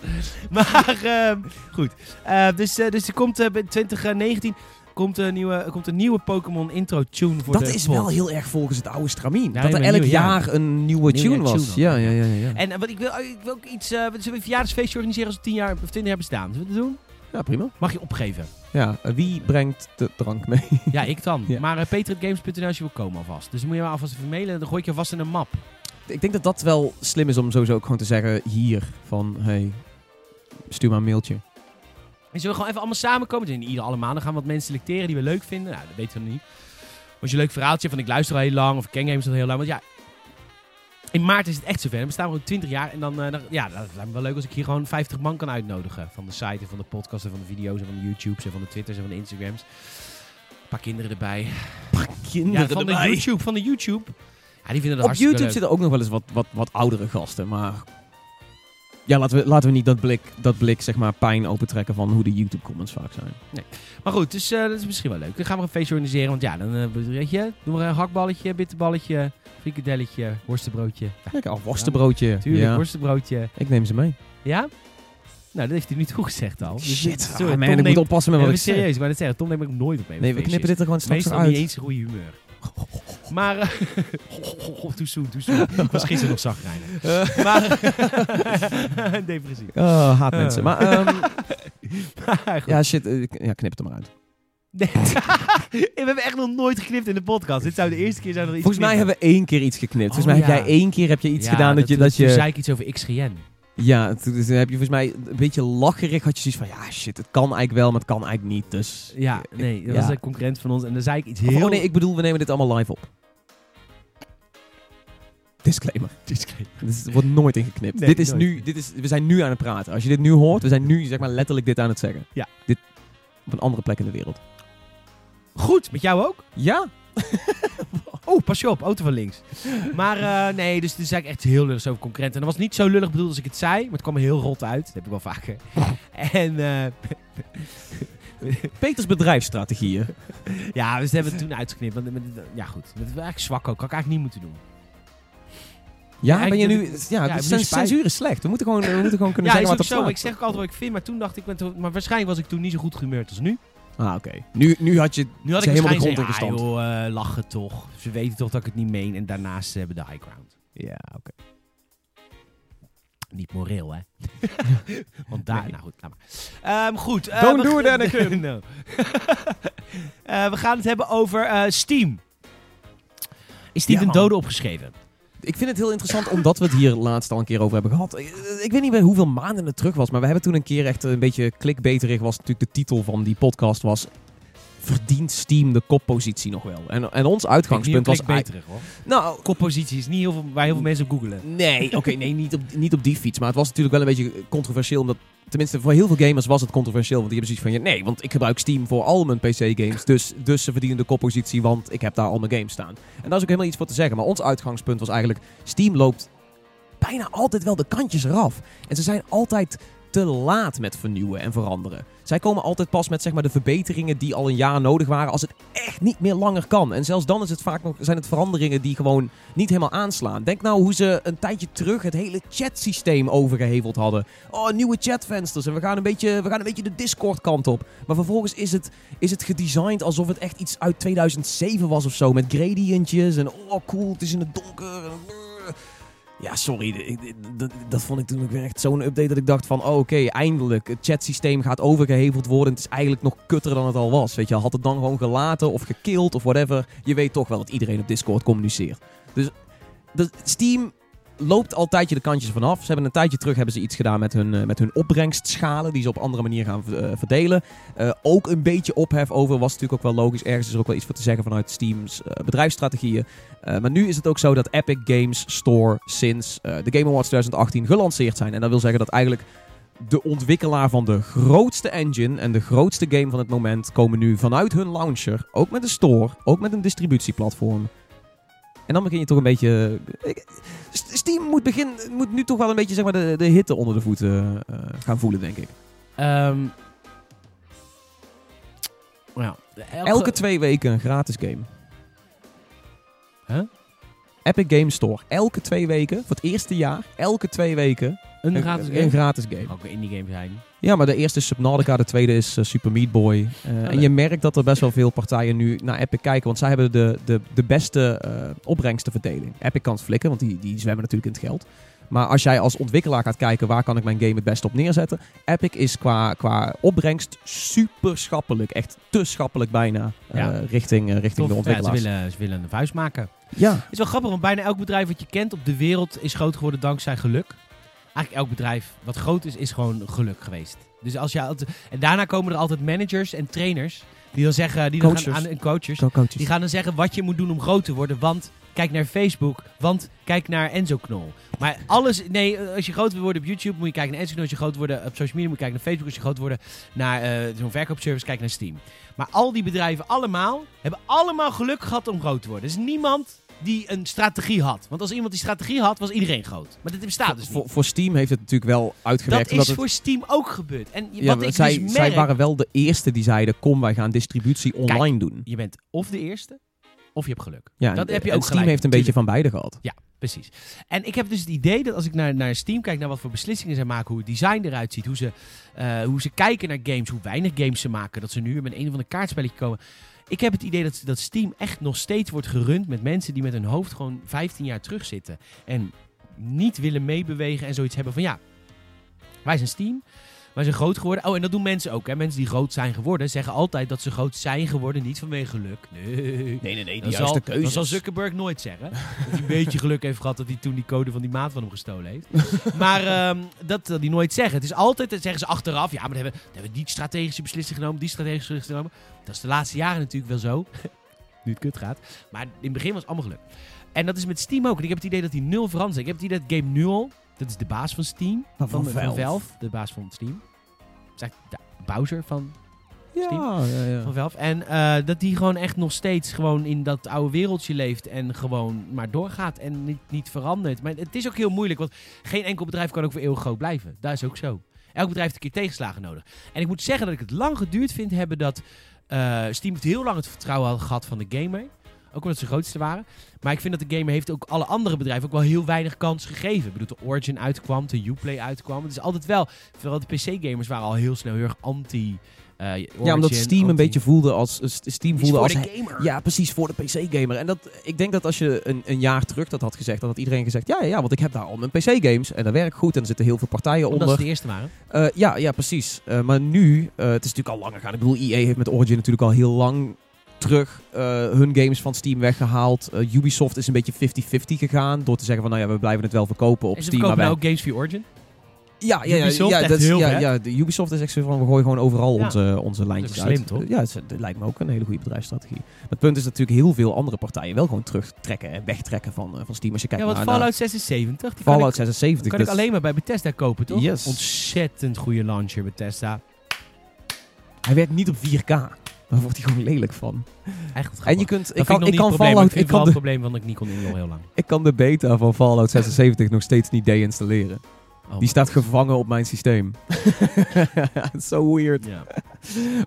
Maar ehm, goed. Eh, dus, eh, dus er komt eh, bij 2019 komt een nieuwe, komt een nieuwe Pokémon intro tune voor Dat de is pod. wel heel erg volgens het oude stramien. Ja, dat er maar elk nieuw, ja. jaar een nieuwe Nieuw tune jaar was. tune ja, dan. ja, ja, ja. En eh, wat ik, wil, ik wil ook iets... eh, zullen we een verjaardagsfeestje organiseren als we 10 jaar, of 20 jaar bestaan? Zullen we dat doen? Ja, prima. Mag je opgeven. Ja, eh, wie brengt de drank mee? Ja, ik dan. Ja. Maar uh, peter.games.nl als je wil komen alvast. Dus moet je me alvast even mailen en dan gooi ik je vast in een map. [LAUGHS] Ik denk dat dat wel slim is om sowieso ook gewoon te zeggen hier van... Hey, stuur maar een mailtje. En zullen we gewoon even allemaal samenkomen? Dus in ieder allemaal. Dan gaan we wat mensen selecteren die we leuk vinden. Nou, dat weten we nog niet. Als je een leuk verhaaltje van ik luister al heel lang of ik ken games al heel lang. Want ja, in maart is het echt zover. Dan bestaan we gewoon 20 jaar. En dan, eh, dan- ja, dat lijkt me wel leuk als ik hier gewoon 50 man kan uitnodigen. Van de site en van de podcast en van de video's en van de YouTubes en van de Twitters en van de Instagrams. Een paar kinderen erbij. Ja, Kinderen van de erbij. YouTube. Van de YouTube. Ja, die vinden dat Op hartstikke YouTube leuk. zitten ook nog wel eens wat, wat, wat oudere gasten, maar... Ja, laten we, laten we niet dat blik, dat blik zeg maar, pijn opentrekken van hoe de YouTube-comments vaak zijn. Maar goed, dus eh, dat is misschien wel leuk. Dan gaan we een feestje organiseren. Want ja, dan eh, weet je, doen we een hakballetje, bitterballetje, frikadelletje, worstenbroodje. Ja, Lekker, oh, worstenbroodje. tuurlijk, ja, worstenbroodje. ik neem ze Oh, mee. Ja? Nou, dat heeft hij nu toegezegd al. Dus dit- Shit, ah, sorry, man, Tom ik moet neemt- oppassen met Nee, wat maar ik zeg. serieus, ik wou net zeggen, Tom neem ik nooit op mee. op Nee, we knippen feestjes. dit er gewoon straks Meestal niet uit. eens een goede humeur. Maar... eh, [LAUGHS] too soon, too soon. Ik was gisteren nog zagrijnig. [LAUGHS] [LAUGHS] Maar... [LAUGHS] Depressief. Oh, haat mensen. Eh. [LAUGHS] Maar ehm, Maar goed. ja, shit, eh, k- ja, knip het er maar uit. Nee. [LAUGHS] we hebben echt nog nooit geknipt in de podcast. Dit zou de eerste keer zijn dat er iets Volgens mij geknipt hebben we één keer iets geknipt. Volgens mij Oh, heb ja. jij één keer heb je iets Ja, gedaan dat je... toen- Dat Toen zei je ik iets over XGN. ja, toen toen heb je volgens mij een beetje lacherig had je zoiets van... Ja, shit, het kan eigenlijk wel, maar het kan eigenlijk niet. Dus... Ja, nee, dat ja. was een concurrent van ons. En dan zei ik iets Of, heel... Oh nee, ik bedoel, we nemen dit allemaal live op. Disclaimer. Dit wordt nooit ingeknipt. Nee, dit is nooit. nu, dit is, we zijn nu aan het praten. Als je dit nu hoort, we zijn nu zeg maar letterlijk dit aan het zeggen. Ja. Dit op een andere plek in de wereld. Goed, met jou ook? Ja? Oh, pas je op, auto van links. Maar eh, nee, dus toen zei ik echt heel lullig over concurrenten. En dat was niet zo lullig bedoeld als ik het zei, maar het kwam er heel rot uit. Dat heb ik wel [LAUGHS] vaker. en eh, Peters bedrijfsstrategieën. ja, dus dat hebben we toen uitgeknipt. Want, ja, goed. Dat was eigenlijk zwak ook. Had ik eigenlijk niet moeten doen. Ja, Ja, ben je ik- nu... dat- Ja, ja, dit ik ben zijn nu spijt. censuur is slecht. We moeten gewoon, we moeten gewoon kunnen ja, is zeggen ook wat er zo. Maar ik staat. zeg ook altijd wat ik vind. Maar toen dacht ik, ben toen- maar waarschijnlijk was ik toen niet zo goed gehumeurd als nu. Ah, oké. Nu, nu had je... Nu had Ze ik helemaal waarschijnlijk de grond gezegd, in ah, joh, eh, lachen toch. Ze weten toch dat ik het niet meen. En daarnaast eh, hebben de high ground. Ja, oké. Niet moreel, [LAUGHS] hè? Want daar... Nou goed, laat maar. Ehm, goed. eh, Don't we- do it, [LAUGHS] Anakin. No. Eh, we gaan het hebben over eh, Steam. Is Steam Ja, een man. dode opgeschreven? Ik vind het heel interessant omdat we het hier laatst al een keer over hebben gehad. Ik, ik weet niet meer hoeveel maanden het terug was, maar we hebben toen een keer echt een beetje clickbaiterig was. Natuurlijk de titel van die podcast was... Verdient Steam de koppositie nog wel? En, en ons uitgangspunt was... eigenlijk- beter, hoor. Nou, Koppositie is niet heel veel, waar heel veel mensen op googelen. nee, oké, nee, niet op, niet op die fiets. Maar het was natuurlijk wel een beetje controversieel, omdat... Tenminste, voor heel veel gamers was het controversieel. Want die hebben zoiets van, ja, nee, want ik gebruik Steam voor al mijn PC-games. Dus, dus ze verdienen de koppositie, want ik heb daar al mijn games staan. En daar is ook helemaal iets voor te zeggen. Maar ons uitgangspunt was eigenlijk... Steam loopt bijna altijd wel de kantjes eraf. En ze zijn altijd te laat met vernieuwen en veranderen. Zij komen altijd pas met zeg maar, de verbeteringen die al een jaar nodig waren als het echt niet meer langer kan. En zelfs dan is het vaak nog, zijn het veranderingen die gewoon niet helemaal aanslaan. Denk nou hoe ze een tijdje terug het hele chatsysteem overgeheveld hadden. Oh, nieuwe chatvensters en we gaan een beetje, we gaan een beetje de Discord kant op. Maar vervolgens is het, is het gedesigned alsof het echt iets uit 2007 was of zo. Met gradientjes en oh cool, het is in het donker. en, brrr. Ja, sorry. d- d- d- Dat vond ik toen ook weer echt zo'n update dat ik dacht van... Oh, oké, eindelijk. Het chatsysteem gaat overgeheveld worden. Het is eigenlijk nog kutter dan het al was. Weet je, had het dan gewoon gelaten of gekild of whatever. Je weet toch wel dat iedereen op Discord communiceert. Dus dat- Steam loopt al een tijdje de kantjes vanaf. Ze hebben een tijdje terug hebben ze iets gedaan met hun, eh, met hun opbrengstschalen... die ze op andere manier gaan eh, verdelen. Eh, ook een beetje ophef over was natuurlijk ook wel logisch. Ergens is er ook wel iets voor te zeggen vanuit Steam's eh, bedrijfsstrategieën. Eh, maar nu is het ook zo dat Epic Games Store sinds eh, de Game Awards 2018 gelanceerd zijn. En dat wil zeggen dat eigenlijk de ontwikkelaar van de grootste engine en de grootste game van het moment komen nu vanuit hun launcher, ook met een store, ook met een distributieplatform. En dan begin je toch een beetje. eh, ik- S- Steam moet, begin, moet nu toch wel een beetje zeg maar, de, de hitte onder de voeten eh, gaan voelen, denk ik. Ehm, nou, elke, Elke twee weken een gratis game. Huh? Epic Games Store. Elke twee weken, voor het eerste jaar, elke twee weken een gratis game. een gratis game. Ook een indie game zijn. Ja, maar de eerste is Subnautica, de tweede is eh, Super Meat Boy. Eh, en leuk. je merkt dat er best wel veel partijen nu naar Epic kijken, want zij hebben de, de, de beste eh, opbrengstenverdeling. Epic kan het flikken, want die, die zwemmen natuurlijk in het geld. Maar als jij als ontwikkelaar gaat kijken waar kan ik mijn game het best op neerzetten. Epic is qua, qua opbrengst super schappelijk. Echt te schappelijk bijna eh, Ja. richting, eh, richting de Tof. Ja, ze, ontwikkelaars. willen, ze willen een vuist maken. Ja, Het is wel grappig, want bijna elk bedrijf wat je kent op de wereld is groot geworden dankzij geluk. Eigenlijk elk bedrijf wat groot is, is gewoon geluk geweest. Dus als je, altijd- en daarna komen er altijd managers en trainers die dan zeggen, die dan gaan Coaches. aan, en coaches, zo coaches. die gaan dan zeggen wat je moet doen om groot te worden. Want kijk naar Facebook, want kijk naar Enzo Knol. Maar alles, nee, als je groot wil worden op YouTube moet je kijken naar Enzo Knol. Als je groot wil worden op social media moet je kijken naar Facebook. Als je groot wil worden naar eh, zo'n verkoopservice, kijk naar Steam. Maar al die bedrijven allemaal hebben allemaal geluk gehad om groot te worden. Er is niemand die een strategie had. Want als iemand die strategie had, was iedereen groot. Maar dit bestaat dus voor, niet. voor Steam heeft het natuurlijk wel uitgewerkt. Dat omdat is het- voor Steam ook gebeurd. En je- Ja, wat ik zij, dus merk... zij waren wel de eerste die zeiden: kom, wij gaan distributie online doen. Je bent of de eerste, of je hebt geluk. Ja, dat en- heb je en ook Steam gelijk. heeft een beetje van beide gehad. Precies. En ik heb dus het idee dat als ik naar, naar Steam kijk, naar wat voor beslissingen zij maken, hoe het design eruit ziet, hoe ze, eh, hoe ze kijken naar games, hoe weinig games ze maken, dat ze nu met een van de kaartspelletjes komen. Ik heb het idee dat, dat Steam echt nog steeds wordt gerund met mensen die met hun hoofd gewoon 15 jaar terugzitten. En niet willen meebewegen en zoiets hebben van ja, wij zijn Steam. Wij zijn groot geworden. Oh, en dat doen mensen ook. Hè. Mensen die groot zijn geworden zeggen altijd dat ze groot zijn geworden. Niet vanwege geluk. Nee. nee, nee, Dat zal, dat zal Zuckerberg nooit zeggen. Dat hij een beetje geluk heeft gehad dat hij toen die code van die maat van hem gestolen heeft. maar ehm, dat zal hij nooit zeggen. Het is altijd, dat zeggen ze achteraf, ja, maar dan hebben, dan hebben we die strategische beslissing genomen, die strategische beslissing genomen. Dat is de laatste jaren natuurlijk wel zo. nu het kut gaat. Maar in het begin was het allemaal geluk. En dat is met Steam ook. En ik heb het idee dat hij nul verandert. Ik heb het idee dat Game Nul, dat is de baas van Steam. Van Valve. de baas van Steam. Dat is eigenlijk de Bowser van Ja, ja, ja. van Valve. En eh, dat die gewoon echt nog steeds gewoon in dat oude wereldje leeft. En gewoon maar doorgaat en niet, niet verandert. Maar het is ook heel moeilijk, want geen enkel bedrijf kan ook voor eeuwig groot blijven. Dat is ook zo. Elk bedrijf heeft een keer tegenslagen nodig. En ik moet zeggen dat ik het lang geduurd vind hebben dat eh, Steam heeft heel lang het vertrouwen had gehad van de gamer. Ook omdat ze de grootste waren. Maar ik vind dat de gamer heeft ook alle andere bedrijven ook wel heel weinig kans gegeven. Ik bedoel, de Origin uitkwam, de Uplay uitkwam. Het is altijd wel... Vooral de PC-gamers waren al heel snel heel erg anti... eh, ja, omdat Origin, Steam een anti- beetje voelde als. eh, Steam voelde als gamer. Ja, precies, voor de PC-gamer. En dat, ik denk dat als je een, een jaar terug dat had gezegd, dan had iedereen gezegd: ja, ja, ja, want ik heb daar al mijn PC-games en dat werkt goed en er zitten heel veel partijen Omdat ze onder. de eerste waren. Eh, ja, ja, precies. Eh, maar nu, eh, het is natuurlijk al langer gaan. Ik bedoel, EA heeft met Origin natuurlijk al heel lang terug eh, hun games van Steam weggehaald. Eh, Ubisoft is een beetje 50-50 gegaan door te zeggen van, nou ja, we blijven het wel verkopen op en ze Steam. Maar verkopen wij... nou ook games via Origin. Ja, ja, ja, Ubisoft ja, echt dat is- heel ja, vet. ja, de Ubisoft is echt zo van, we gooien gewoon overal Ja. onze, onze lijntjes slim, uit. toch? Ja, het is- dat lijkt me ook een hele goede bedrijfsstrategie. Maar het punt is dat natuurlijk heel veel andere partijen wel gewoon terugtrekken en wegtrekken van, eh, van Steam. Als je kijkt ja, want naar, Fallout 76, die naar Fallout kan ik, 76. kan ik dat is- alleen maar bij Bethesda kopen, toch? Yes. Ontzettend goede launcher, Bethesda. Hij werkt niet op 4K. Daar wordt hij gewoon lelijk van. Echt wat En je grappig. kunt, ik Dat vind kan, nog ik niet kan het probleem. Fallout, vind ik het wel kan, het de, probleem, want ik niet kon in nog heel lang. [LAUGHS] ik kan de beta van Fallout 76 nog steeds niet deinstalleren. Oh, Die staat gevangen op mijn systeem. [LAUGHS] so weird. Ja. [LAUGHS]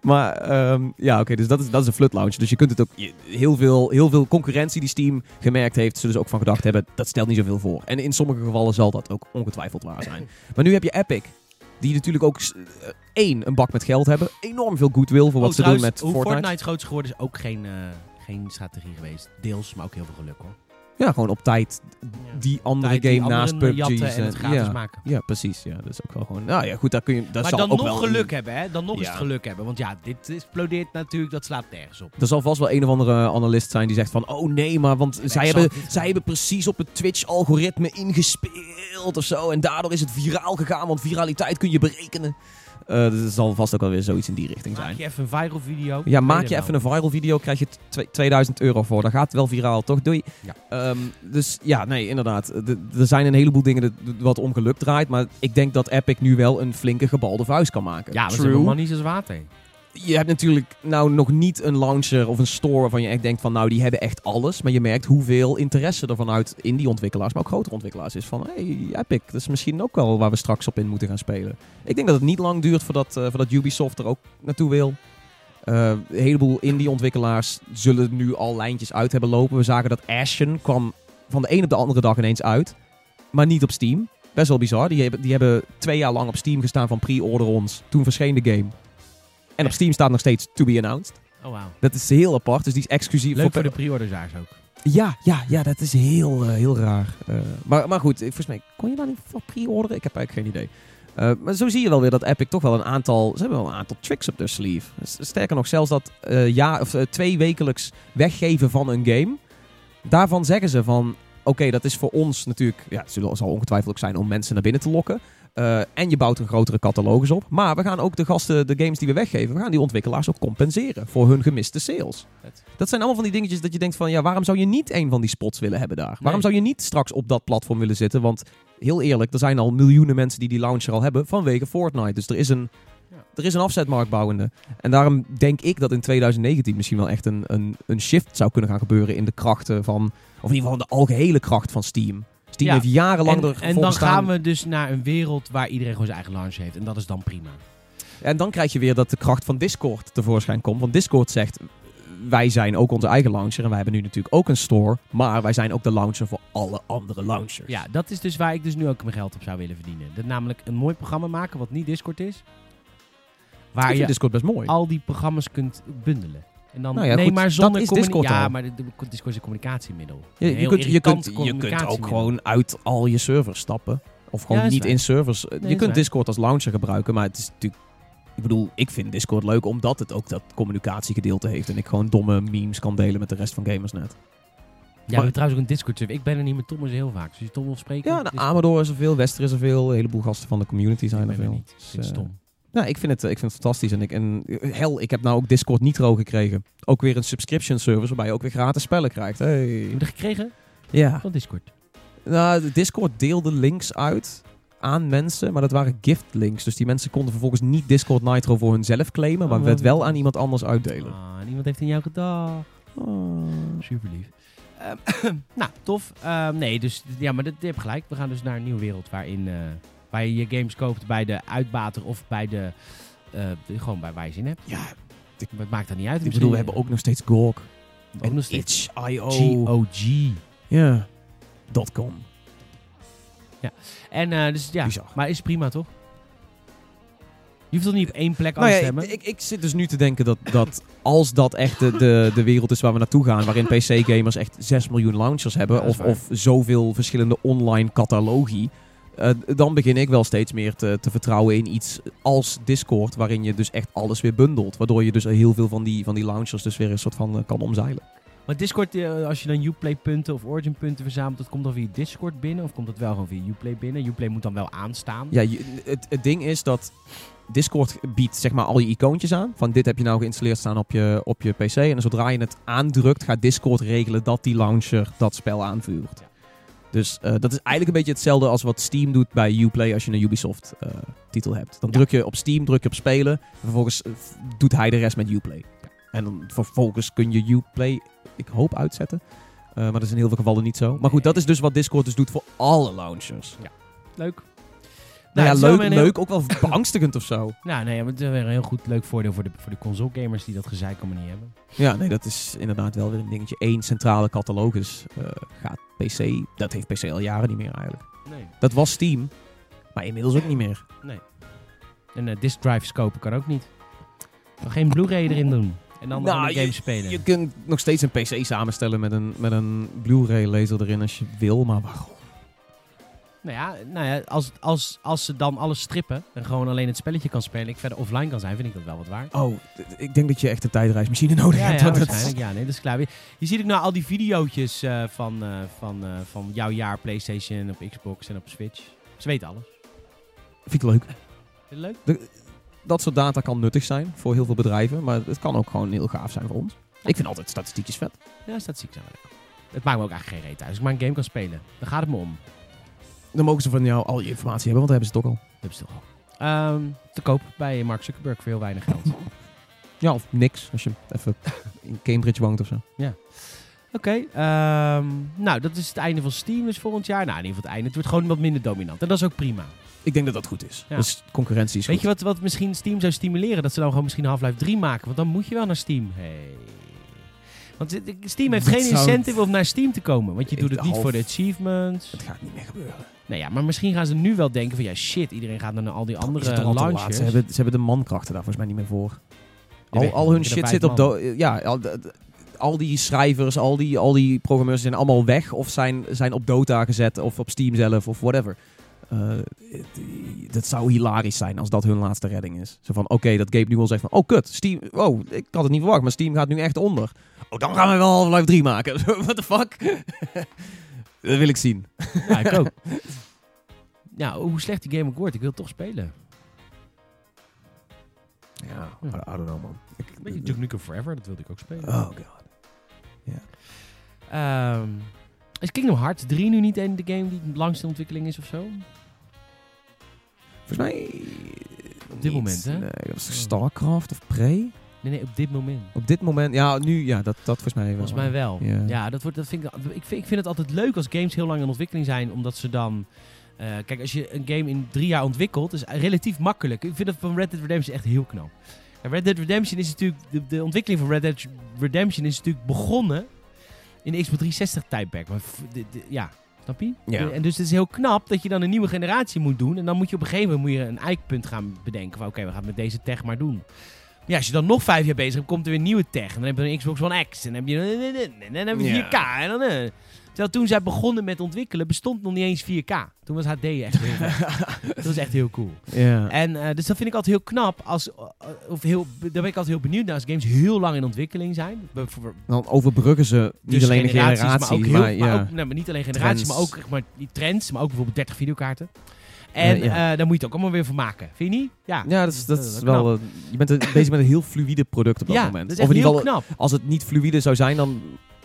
Maar ehm, ja, oké, dus dat is, dat is een flut lounge. Dus je kunt het ook... je- heel, veel, heel veel concurrentie die Steam gemerkt heeft... zullen ze ook van gedacht hebben, dat stelt niet zoveel voor. En in sommige gevallen zal dat ook ongetwijfeld waar zijn. Maar nu heb je Epic. Die natuurlijk ook s- eh, één, een bak met geld hebben. Enorm veel goodwill voor wat Oh, ze trouwens, doen met hoe Fortnite. groot is geworden is ook geen, eh, geen strategie geweest. Deels, maar ook heel veel geluk hoor. Ja, gewoon op tijd die andere Tijd die game anderen naast PUBG. jatten en het gratis ja. maken. Ja, precies. Ja, dat is ook wel gewoon... Nou ja, goed, daar kun je... Dat maar zal dan ook nog wel geluk hebben, hè? Dan nog eens Ja. het geluk hebben. Want ja, dit explodeert natuurlijk, dat slaat nergens op. Er zal vast wel een of andere analist zijn die zegt van... Oh nee, maar want Nee, zij, ik zal hebben, het niet zij gaan. hebben precies op het Twitch-algoritme ingespeeld of zo. En daardoor is het viraal gegaan, want viraliteit kun je berekenen. Eh dus er zal vast ook wel weer zoiets in die richting Maak zijn. je even een viral video. Ja, maak je even een viral video, krijg je tw- 2000 euro voor. Dan gaat het wel viraal, toch? Doei. Ja. Ehm, dus ja, nee, inderdaad. De- Er zijn een heleboel dingen dat- dat wat ongeluk draait. Maar ik denk dat Epic nu wel een flinke gebalde vuist kan maken. Ja, dat is True. helemaal niet als water. Je hebt natuurlijk nou nog niet een launcher of een store waarvan je echt denkt van nou die hebben echt alles. Maar je merkt hoeveel interesse er vanuit indie-ontwikkelaars, maar ook grotere ontwikkelaars is van hey Epic, dat is misschien ook wel waar we straks op in moeten gaan spelen. Ik denk dat het niet lang duurt voordat, eh, voordat Ubisoft er ook naartoe wil. Eh, een heleboel indie-ontwikkelaars zullen nu al lijntjes uit hebben lopen. We zagen dat Ashen kwam van de een op de andere dag ineens uit, maar niet op Steam. Best wel bizar. Die hebben, die hebben twee jaar lang op Steam gestaan van pre-order ons. Toen verscheen de game. En op Steam staat nog steeds to be announced. Oh, wauw. Dat is heel apart, dus die is exclusief Leuk voor de pre-orders ook. Ja, ja, ja, dat is heel, eh, heel raar. Eh, maar, maar goed, ik- volgens mij kon je daar niet voor pre-orderen? Ik heb eigenlijk geen idee. Eh, maar zo zie je wel weer dat Epic toch wel een aantal... Ze hebben wel een aantal tricks op de sleeve. S- Sterker nog, zelfs dat eh, ja, of, eh, twee wekelijks weggeven van een game... Daarvan zeggen ze van... Oké, dat is voor ons natuurlijk... Ja, het zal zal ongetwijfeld ook zijn om mensen naar binnen te lokken. Eh, en je bouwt een grotere catalogus op. Maar we gaan ook de gasten, de games die we weggeven... We gaan die ontwikkelaars ook compenseren voor hun gemiste sales. Vet. Dat zijn allemaal van die dingetjes dat je denkt van... Ja, waarom zou je niet een van die spots willen hebben daar? Waarom Nee. zou je niet straks op dat platform willen zitten? Want heel eerlijk, er zijn al miljoenen mensen die die launcher al hebben vanwege Fortnite. Dus er is een, Ja. er is een afzetmarkt bouwende. En daarom denk ik dat in 2019 misschien wel echt een, een, een shift zou kunnen gaan gebeuren in de krachten van... Of in ieder geval de algehele kracht van Steam. Steam Ja, heeft jarenlang En, ervoor en dan gestaan. gaan we dus naar een wereld waar iedereen gewoon zijn eigen launch heeft. En dat is dan prima. En dan krijg je weer dat de kracht van Discord tevoorschijn komt. Want Discord zegt, wij zijn ook onze eigen launcher. En wij hebben nu natuurlijk ook een store. Maar wij zijn ook de launcher voor alle andere launchers. Ja, dat is dus waar ik dus nu ook mijn geld op zou willen verdienen. Dat namelijk een mooi programma maken wat niet Discord is. Ik Waar vind je Discord best dus mooi. al die programma's kunt bundelen. En dan, Nou ja, nee, goed, maar dat zonder is communi- Discord Ja, al. maar de- de- Discord is een communicatiemiddel. Ja, Een je, heel kunt, je, irritant kunt, je kunt ook communicatiemiddel. gewoon uit al je servers stappen. Of gewoon Ja, is niet waar. in servers. je is kunt waar. Discord als launcher gebruiken, maar het is natuurlijk... Ik bedoel, ik vind Discord leuk omdat het ook dat communicatiegedeelte heeft. En ik gewoon domme memes kan delen met de rest van Gamersnet. Ja, we hebben trouwens ook een Discord server. Ik ben er niet met Tom is heel vaak. Dus je Tom wil spreken. Ja, de Discord- Amador is er veel, Wester is er veel. Een heleboel gasten van de community Ik zijn er ben er veel. niet. Dus, Dit is eh, Tom. Nou, ik vind het, ik vind het fantastisch. En, ik, en eh, hel, ik heb nou ook Discord Nitro gekregen. Ook weer een subscription service waarbij je ook weer gratis spellen krijgt. Heb Hey. je dat gekregen eh, Ja. van Discord? Nou, de Discord deelde links uit aan mensen, maar dat waren gift links. Dus die mensen konden vervolgens niet Discord Nitro voor hunzelf claimen, maar Oh, werd wel wat- aan iemand anders uitdelen. Ah, niemand heeft in jou gedacht. Oh. Super lief. [COUGHS] nou, tof. Ehm, nee, dus ja, maar dat, je hebt gelijk. We gaan dus naar een nieuwe wereld waarin eh, waar je je games koopt bij de uitbater of bij de. eh, de- gewoon bij waar je zin hebt. Ja, Maar Het maakt dat niet uit. ik bedoel, we hebben ook nog steeds Gork. ook nog steeds Itch.io. GOG. Ja. Dot .com. En eh, dus ja, Bizar. maar is prima toch? Je hoeft toch niet op één plek aan Nou te ja, stemmen? ik, ik, ik zit dus nu te denken dat, dat als dat echt de, de, de wereld is waar we naartoe gaan, waarin PC-gamers echt 6 miljoen launchers hebben, Ja, dat is of, of zoveel verschillende online catalogie, eh, dan begin ik wel steeds meer te, te vertrouwen in iets als Discord, waarin je dus echt alles weer bundelt. Waardoor je dus heel veel van die, van die launchers dus weer een soort van eh, kan omzeilen. Maar Discord, eh, als je dan Uplay punten of Origin punten verzamelt, dat komt dan via Discord binnen of komt dat wel gewoon via Uplay binnen? Uplay moet dan wel aanstaan. Ja, je- het, het ding is dat Discord biedt zeg maar al je icoontjes aan. Van dit heb je nou geïnstalleerd staan op je, op je PC. En zodra je het aandrukt, gaat Discord regelen dat die launcher dat spel aanvuurt. Ja. Dus eh, dat is eigenlijk een beetje hetzelfde als wat Steam doet bij Uplay als je een Ubisoft-titel hebt. Dan Ja. druk je op Steam, druk je op spelen. En vervolgens eh, f- doet hij de rest met Uplay. En dan vervolgens kun je Uplay, ik hoop, uitzetten. Eh, maar dat is in heel veel gevallen niet zo. Maar goed, Nee. dat is dus wat Discord dus doet voor alle launchers. Leuk. Nou het ja, is wel leuk, weer een heel- leuk ook wel [LAUGHS] beangstigend of zo. Nou, nee, maar het is weer een heel goed leuk voordeel voor de, voor de console gamers die dat gezeik allemaal niet hebben. Ja, nee, dat is inderdaad wel weer een dingetje. Eén centrale catalogus eh, gaat PC. Dat heeft PC al jaren niet meer eigenlijk. Nee. Dat was Steam, maar inmiddels ook niet meer. En eh disk drives kopen kan ook niet. Kan geen Blu-ray erin doen. En dan Nou, nou, de je- game spelen. Je kunt nog steeds een PC samenstellen met een, met een Blu-ray laser erin als je wil, maar waarom? Nou ja, nou ja als, als, als ze dan alles strippen en gewoon alleen het spelletje kan spelen, ik verder offline kan zijn, vind ik dat wel wat waar. Oh, d- ik denk dat je echt een tijdreismachine nodig Ja, hebt. ja, want Oh, [LAUGHS] dat is- waarschijnlijk. Ja, nee, dat is klaar. Je- Je ziet ook nou al die video's eh, van, eh, van, eh, van jouw jaar PlayStation op Xbox en op Switch. Ze weten alles. vind ik leuk. Vind je het leuk? Dat soort data kan nuttig zijn voor heel veel bedrijven, maar het kan ook gewoon heel gaaf zijn voor ons. Ik vind altijd statistiekjes vet. Ja, statistiek zijn wel leuk. Het maakt me ook eigenlijk geen reet uit. Als ik maar een game kan spelen, dan gaat het me om. Dan mogen ze van jou al je informatie hebben, want dan hebben ze het ook al. Dat is toch wel. Ehm, te koop bij Mark Zuckerberg voor heel weinig [LAUGHS] geld. Oké, Ja, of niks, als je [LAUGHS] even in Cambridge woont of zo. ehm, nou, dat is het einde van Steam dus volgend jaar. Nou, in ieder geval het einde. Het wordt gewoon wat minder dominant. En dat is ook prima. Ik denk dat dat goed is. Ja. Dus concurrentie is Weet goed. je wat, wat misschien Steam zou stimuleren? Dat ze dan gewoon misschien Half-Life 3 maken. Want dan moet je wel naar Steam. Hey. Want dit- ik- Steam heeft [LAUGHS] Dat geen zou- incentive om naar Steam te komen. Want je Ik- doet het niet half- voor de achievements. Het gaat niet meer gebeuren. Nou ja, maar misschien gaan ze nu wel denken van... Ja, shit, iedereen gaat naar al die Is het andere toch al te laat? launchers. Ze hebben, ze hebben de mankrachten daar volgens mij niet meer voor. Je Al, weet al niet, hun er shit vijf zit op... man. do- ja, al, de- de- al die schrijvers, al die, al die programmeurs zijn allemaal weg. Of zijn, zijn op Dota gezet. Of op Steam zelf. Of whatever. Eh, die- dat zou hilarisch zijn als dat hun laatste redding is. Zo van, oké, dat Gabe nu al zegt van... Oh, kut. Steam... Wow, ik had het niet verwacht. Maar Steam gaat nu echt onder. Oh, dan gaan we wel Half-Life 3 maken. [LAUGHS] What the fuck? dat wil ik zien. Ja, [LAUGHS] ik ook. Nou, hoe slecht die game ook wordt, ik wil het toch spelen. Ja, I- I don't know, man. Beetje Duke Nukem Forever, dat wilde ik ook spelen. Oh god. Ehm, is Kingdom Hearts 3 nu niet een de game die langste ontwikkeling is of zo? Volgens mij... dit niet. moment, hè? Nee, dat was toch Starcraft of Prey? Nee, nee, op dit moment. Op dit moment... Ja, nu... Ja, dat, dat volgens mij wel. Volgens mij wel. Ja. Ja, dat wordt, dat vind ik, ik, vind, ik vind het altijd leuk als games heel lang in ontwikkeling zijn, omdat ze dan... eh, kijk, als je een game in drie jaar ontwikkelt, is relatief makkelijk. Ik vind dat van Red Dead Redemption echt heel knap. Ja, Red Dead Redemption is natuurlijk... De, de ontwikkeling van Red Dead Redemption is natuurlijk begonnen in de Xbox 360 tijdperk. Maar f- de- de- ja, snap je? Ja. En dus het is heel knap dat je dan een nieuwe generatie moet doen. En dan moet je op een gegeven moment moet je een eikpunt gaan bedenken. Van oké, we gaan het met deze tech maar doen. Ja, als je dan nog vijf jaar bezig bent, komt er weer nieuwe tech. En dan heb je een Xbox One X. En dan heb je, en dan heb je Ja. 4K. En dan, eh. Terwijl toen zij begonnen met ontwikkelen, bestond nog niet eens 4K. Toen was HD echt heel vet. [LAUGHS] Dat was echt heel cool. Ja. En eh, dus dat vind ik altijd heel knap. Als, eh, of heel, daar ben ik altijd heel benieuwd naar als games heel lang in ontwikkeling zijn. Bijvoorbeeld Dan overbruggen ze niet dus alleen een generaties, generatie, maar ook heel, maar ja. ook- nee, maar niet alleen generaties, Trends. maar ook zeg maar, die trends, maar ook bijvoorbeeld 30 videokaarten. En Ja, ja. eh, daar moet je het ook allemaal weer van maken, vind je niet? Ja, ja, dat is, dat is Dat is wel... eh, je bent eh, bezig met een heel fluïde product op dat ja moment. dat is of echt in ieder heel geval, knap. als het niet fluïde zou zijn, dan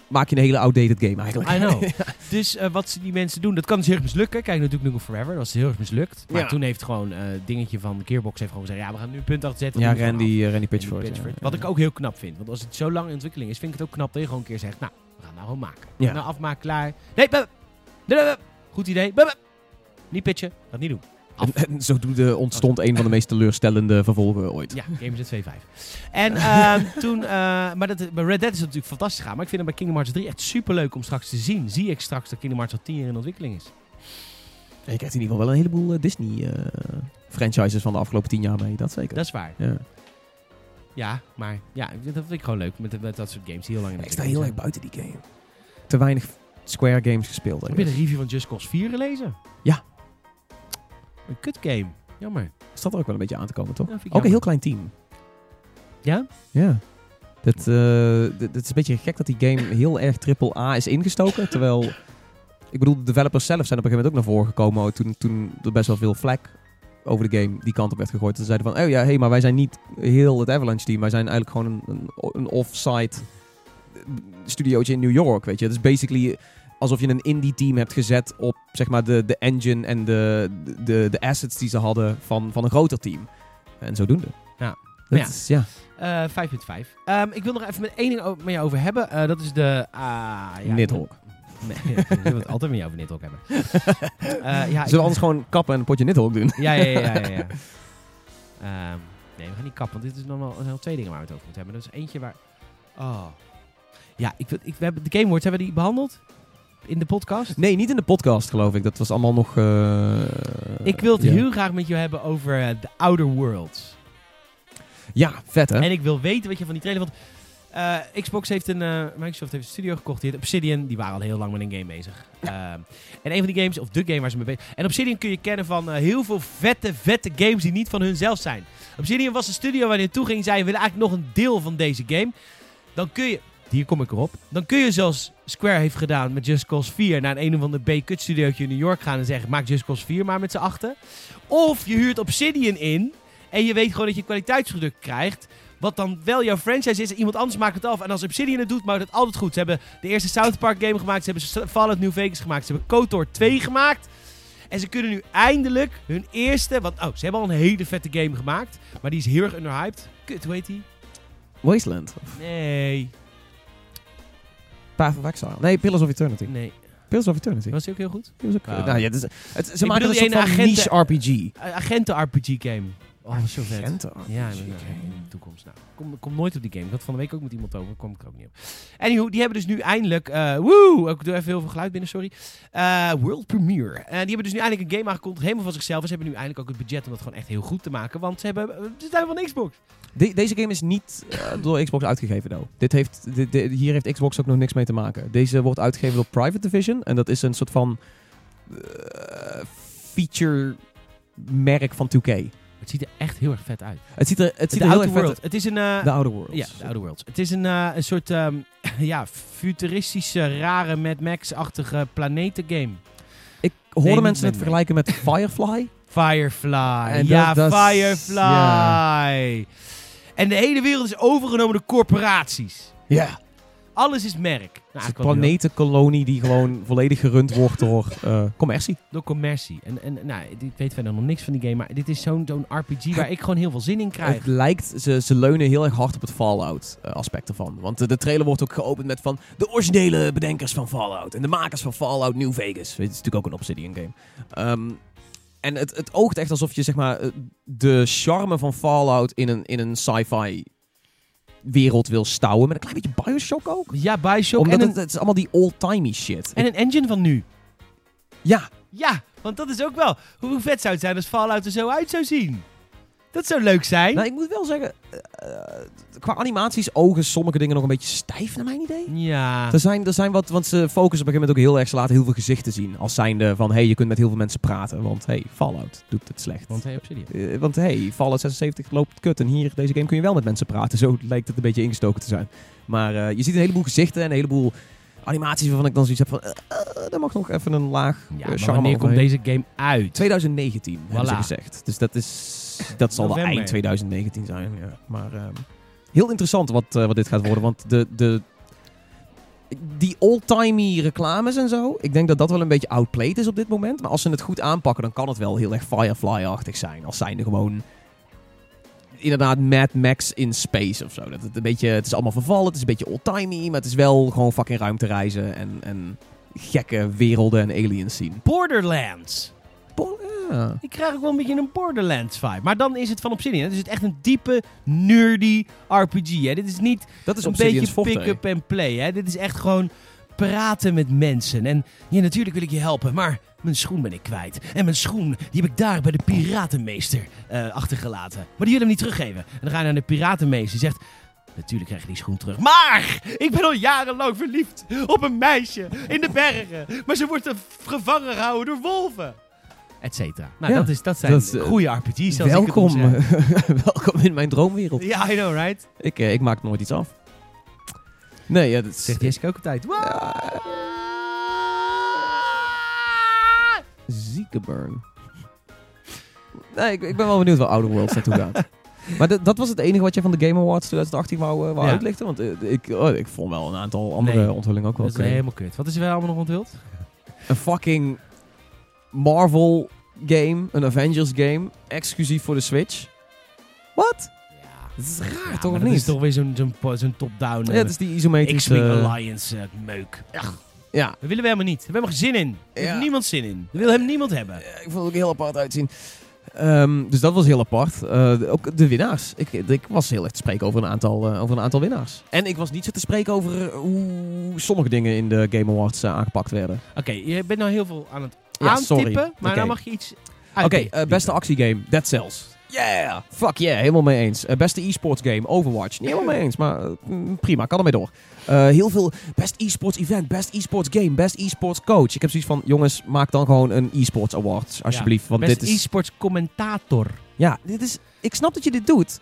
maak je een hele outdated game eigenlijk. I [LAUGHS] know. Dus eh, wat ze die mensen doen, dat kan dus heel erg mislukken. Kijk, natuurlijk nog Forever, dat was heel erg mislukt. Maar Ja. toen heeft gewoon eh dingetje van Gearbox heeft gewoon gezegd, ja, we gaan nu een punt achter zetten. Ja, we doen het Randy, gewoon af. eh, Randy Randy Pitchford. ja. Pitchford. Wat ik ook heel knap vind, want als het zo lang in ontwikkeling is, vind ik het ook knap dat je gewoon een keer zegt, nou, we gaan nou gewoon maken. Ja. Nou, afmaak, klaar. Nee, bup. Nee, bup. goed idee. Bup. Niet pitchen, dat niet doen. En, en zodoende ontstond een van de meest teleurstellende vervolgen ooit. [LAUGHS] Ja, Games at 2.5. En ehm, toen, eh, maar dat, bij Red Dead is het natuurlijk fantastisch gaan. Maar ik vind het bij Kingdom Hearts 3 echt superleuk om straks te zien. Zie ik straks dat Kingdom Hearts al 10 jaar in ontwikkeling is. En je krijgt in ieder geval wel een heleboel eh, Disney-franchises van de afgelopen tien jaar mee, dat zeker. Dat is waar. ja. Ja, maar ja, ik- dat vind ik gewoon leuk met, met dat soort games die heel lang in Ik sta ontwikkeling heel erg zijn. buiten die game. Te weinig Square games gespeeld. Heb je de review van Just Cause 4 gelezen? Ja. Een kut game. Jammer. Staat er ook wel een beetje aan te komen, toch? Ja, vind ik ook jammer. een heel klein team. Ja? Ja. Dat, eh, dat dat is een beetje gek dat die game heel erg triple A is ingestoken. Terwijl, ik bedoel, de developers zelf zijn op een gegeven moment ook naar voren gekomen. oh, Toen, toen er best wel veel vlak over de game die kant op werd gegooid. Ze zeiden van, oh ja, hey, maar wij zijn niet heel het Avalanche team. Wij zijn eigenlijk gewoon een, een, een off-site studiootje in New York, weet je. Het is basically alsof je een indie team hebt gezet op, zeg maar, de, de engine en de, de, de assets die ze hadden van, van een groter team. En zodoende. Ja. Dat Ja. Is, ja. Eh, 5.5. Ehm, ik wil nog even met één ding o- met jou over hebben. Eh, dat is de... ah, ja, Nidhogg. Nee, [LAUGHS] je wilt het altijd met jou over Nidhogg [LAUGHS] hebben. Eh, ja, ik- Zullen we anders gewoon kappen en een potje nithok doen? ja, ja, ja, ja. ja, ja. Ehm, nee, we gaan niet kappen, want dit is nog wel er zijn nog twee dingen waar we het over moeten hebben. Dat is eentje waar... Oh. Ja, ik, wil- ik, we hebben, de Game Awards, hebben we die behandeld? In de podcast? [LAUGHS] Nee, niet in de podcast geloof ik. Dat was allemaal nog... eh, Ik wil het ja. heel graag met jou hebben over eh, The Outer Worlds. Ja, vet hè? En ik wil weten wat je van die trailer... Want eh, Xbox heeft een... eh, Microsoft heeft een studio gekocht. Die heet Obsidian. Die waren al heel lang met een game bezig. Ehm, en een van die games... Of de game waar ze mee bezig En Obsidian kun je kennen van eh, heel veel vette, vette games die niet van hunzelf zijn. Obsidian was een studio waar je naartoe ging en zei... We willen eigenlijk nog een deel van deze game. Dan kun je... Hier kom ik erop. Dan kun je zoals Square heeft gedaan met Just Cause 4... naar een, een of ander B-cut studiootje in New York gaan en zeggen... Maak Just Cause 4 maar met z'n achten. Of je huurt Obsidian in en je weet gewoon dat je een kwaliteitsproduct krijgt. Wat dan wel jouw franchise is en iemand anders maakt het af. En als Obsidian het doet, maakt het altijd goed. Ze hebben de eerste South Park game gemaakt. Ze hebben Fallout New Vegas gemaakt. Ze hebben KOTOR 2 gemaakt. En ze kunnen nu eindelijk hun eerste... Want, oh, ze hebben al een hele vette game gemaakt. Maar die is heel erg underhyped. Kut, hoe heet die? Wasteland. Nee. Path of Exile. Nee, Pillars of Eternity. Nee. Pillars of Eternity. Was die ook heel goed? Die was ook- Oh. nou, ja, het is, het, ze Ik maken bedoel een die soort ene van niche agenten- RPG. Eh, Agenten-RPG game. Oh, zo vet. Agenten Ja, RPG. in de toekomst. Nou, kom, kom nooit op die game. Ik had van de week ook met iemand over. Kom ik er ook niet op. Anywho, die hebben dus nu eindelijk... eh woe! Ik doe even heel veel geluid binnen, sorry. Eh, world premiere. Eh, die hebben dus nu eindelijk een game aangekondigd. Helemaal van zichzelf. En ze hebben nu eindelijk ook het budget om dat gewoon echt heel goed te maken. Want ze, hebben, eh, ze zijn van Xbox. De- deze game is niet eh, door Xbox uitgegeven, though. Dit heeft, dit- dit- hier heeft Xbox ook nog niks mee te maken. Deze wordt uitgegeven door Private Division. En dat is een soort van eh, feature-merk van 2K. Het ziet er echt heel erg vet uit. Het ziet er, het ziet de er heel Outer erg vet World. uit. Het is een... eh, De Outer Worlds. Ja, de Outer Worlds. Het is een, eh, een soort ehm, [LAUGHS] ja, futuristische, rare Mad Max-achtige planetengame. Ik hoorde niet mensen met het vergelijken [LAUGHS] met Firefly. Firefly. En ja, dat- dat is- Firefly. ja. En de hele wereld is overgenomen door corporaties. Ja. Alles is merk. Het Nou, is een eigenlijk wel niet planetenkolonie die gewoon [LAUGHS] volledig gerund wordt door eh, commercie. door commercie. En, en nou, ik weet verder nog niks van die game, maar dit is zo'n zo'n RPG waar ik gewoon heel veel zin in krijg. Het lijkt, ze, ze leunen heel erg hard op het Fallout-aspect ervan. Want eh, de trailer wordt ook geopend met van de originele bedenkers van Fallout. En de makers van Fallout New Vegas. Weet je, Het is natuurlijk ook een Obsidian game. Ehm, en het, het oogt echt alsof je zeg maar, eh, de charme van Fallout in een, in een sci-fi wereld wil stouwen. Met een klein beetje Bioshock ook. Ja, Bioshock Omdat en het, een, het is allemaal die old-timey shit. en een engine van nu. ja, Ja, want dat is ook wel. Hoe vet zou het zijn als Fallout er zo uit zou zien? Dat zou leuk zijn. nou ik moet wel zeggen, eh, eh, qua animaties ogen sommige dingen nog een beetje stijf naar mijn idee. Ja. Er zijn, er zijn wat, want ze focussen op een gegeven moment ook heel erg, ze laten heel veel gezichten zien. Als zijnde van, hey, je kunt met heel veel mensen praten, want hey, Fallout doet het slecht. Want hey, Obsidian. Eh, want hey, Fallout 76 loopt kut en hier, deze game kun je wel met mensen praten. Zo lijkt het een beetje ingestoken te zijn. Maar eh, je ziet een heleboel gezichten en een heleboel animaties waarvan ik dan zoiets heb van, eh, eh, daar mag nog even een laag eh, Ja, maar charme wanneer komt overheen. deze game uit? 2019 hebben ze Voilà. gezegd. Dus dat, is, dat zal wel November. eind 2019 zijn. Ja. Maar ehm, heel interessant wat, eh, wat dit gaat worden. Want de, de, die old-timey reclames en zo. Ik denk dat dat wel een beetje outplayed is op dit moment. Maar als ze het goed aanpakken, dan kan het wel heel erg Firefly-achtig zijn. Als zijnde gewoon... Inderdaad, Mad Max in space of zo. Dat het, een beetje, het is allemaal vervallen, het is een beetje old-timey. Maar het is wel gewoon fucking ruimtereizen en, en gekke werelden en aliens zien. Borderlands. Bo- ja. Ik krijg ook wel een beetje een Borderlands vibe. Maar dan is het van Obsidian. hè. Dus het is echt een diepe, nerdy RPG. Hè? Dit is niet Dat is een Obsidian's beetje forte. pick-up en play. Hè? Dit is echt gewoon praten met mensen. En ja, natuurlijk wil ik je helpen, maar mijn schoen ben ik kwijt. En mijn schoen, die heb ik daar bij de piratenmeester eh, achtergelaten. Maar die wil hem niet teruggeven. En dan ga je naar de piratenmeester die zegt... Natuurlijk krijg je die schoen terug. Maar ik ben al jarenlang verliefd op een meisje in de bergen. Maar ze wordt eh, gevangen gehouden door wolven. Et cetera. Nou, Ja, dat, is, dat zijn dat, eh, goede RPG's. zoals ik het Welkom, noem, [LAUGHS] zeg. welkom in mijn droomwereld. Ja, I know, right? Ik, eh, ik maak nooit iets af. Nee, ja, dat is- Zegt Jessica ook altijd. zieke burn. Nee, ik, ik ben wel benieuwd waar Outer Worlds naartoe [LAUGHS] gaat. Maar dat- dat was het enige wat jij van de Game Awards 2018 wou, eh, wou Ja. uitlichten. Want eh, ik, oh, ik vond wel een aantal andere Nee. onthullingen ook wel Dat is oké. helemaal kut. Wat is er wel allemaal nog onthuld? Een fucking Marvel game, een Avengers game, exclusief voor de Switch. Wat? Ja, Dat is raar, maar toch of Dat niet? is toch weer zo'n zo'n po- zo'n top-down... Ja, eh, het is die isometrische... X-Wing Alliance eh, meuk. Ach, Ja, Dat willen we helemaal niet. Daar hebben we geen zin in. Daar heeft Ja. niemand zin in. Dat wil hem niemand hebben. Ja, ik vond het ook heel apart uitzien. Ehm, dus dat was heel apart. Eh, de- ook de winnaars. Ik, ik was heel erg te spreken over een, aantal, eh, over een aantal winnaars. En ik was niet zo te spreken over eh, hoe sommige dingen in de Game Awards eh, aangepakt werden. Oké, je bent nou heel veel aan het Ja, aantippen, sorry. maar Oké. dan mag je iets Oké, uitdiepen. eh, beste actiegame, Dead Cells. Yeah! Fuck yeah, helemaal mee eens. Eh, beste e-sports game, Overwatch. Niet helemaal mee eens, maar eh, mm, prima, kan ermee door. Eh, heel veel best e-sports event, best e-sports game, best e-sports coach. Ik heb zoiets van, jongens, maak dan gewoon een e-sports award, alsjeblieft. want Beste dit is... e-sports commentator. Ja, dit is, ik snap dat je dit doet.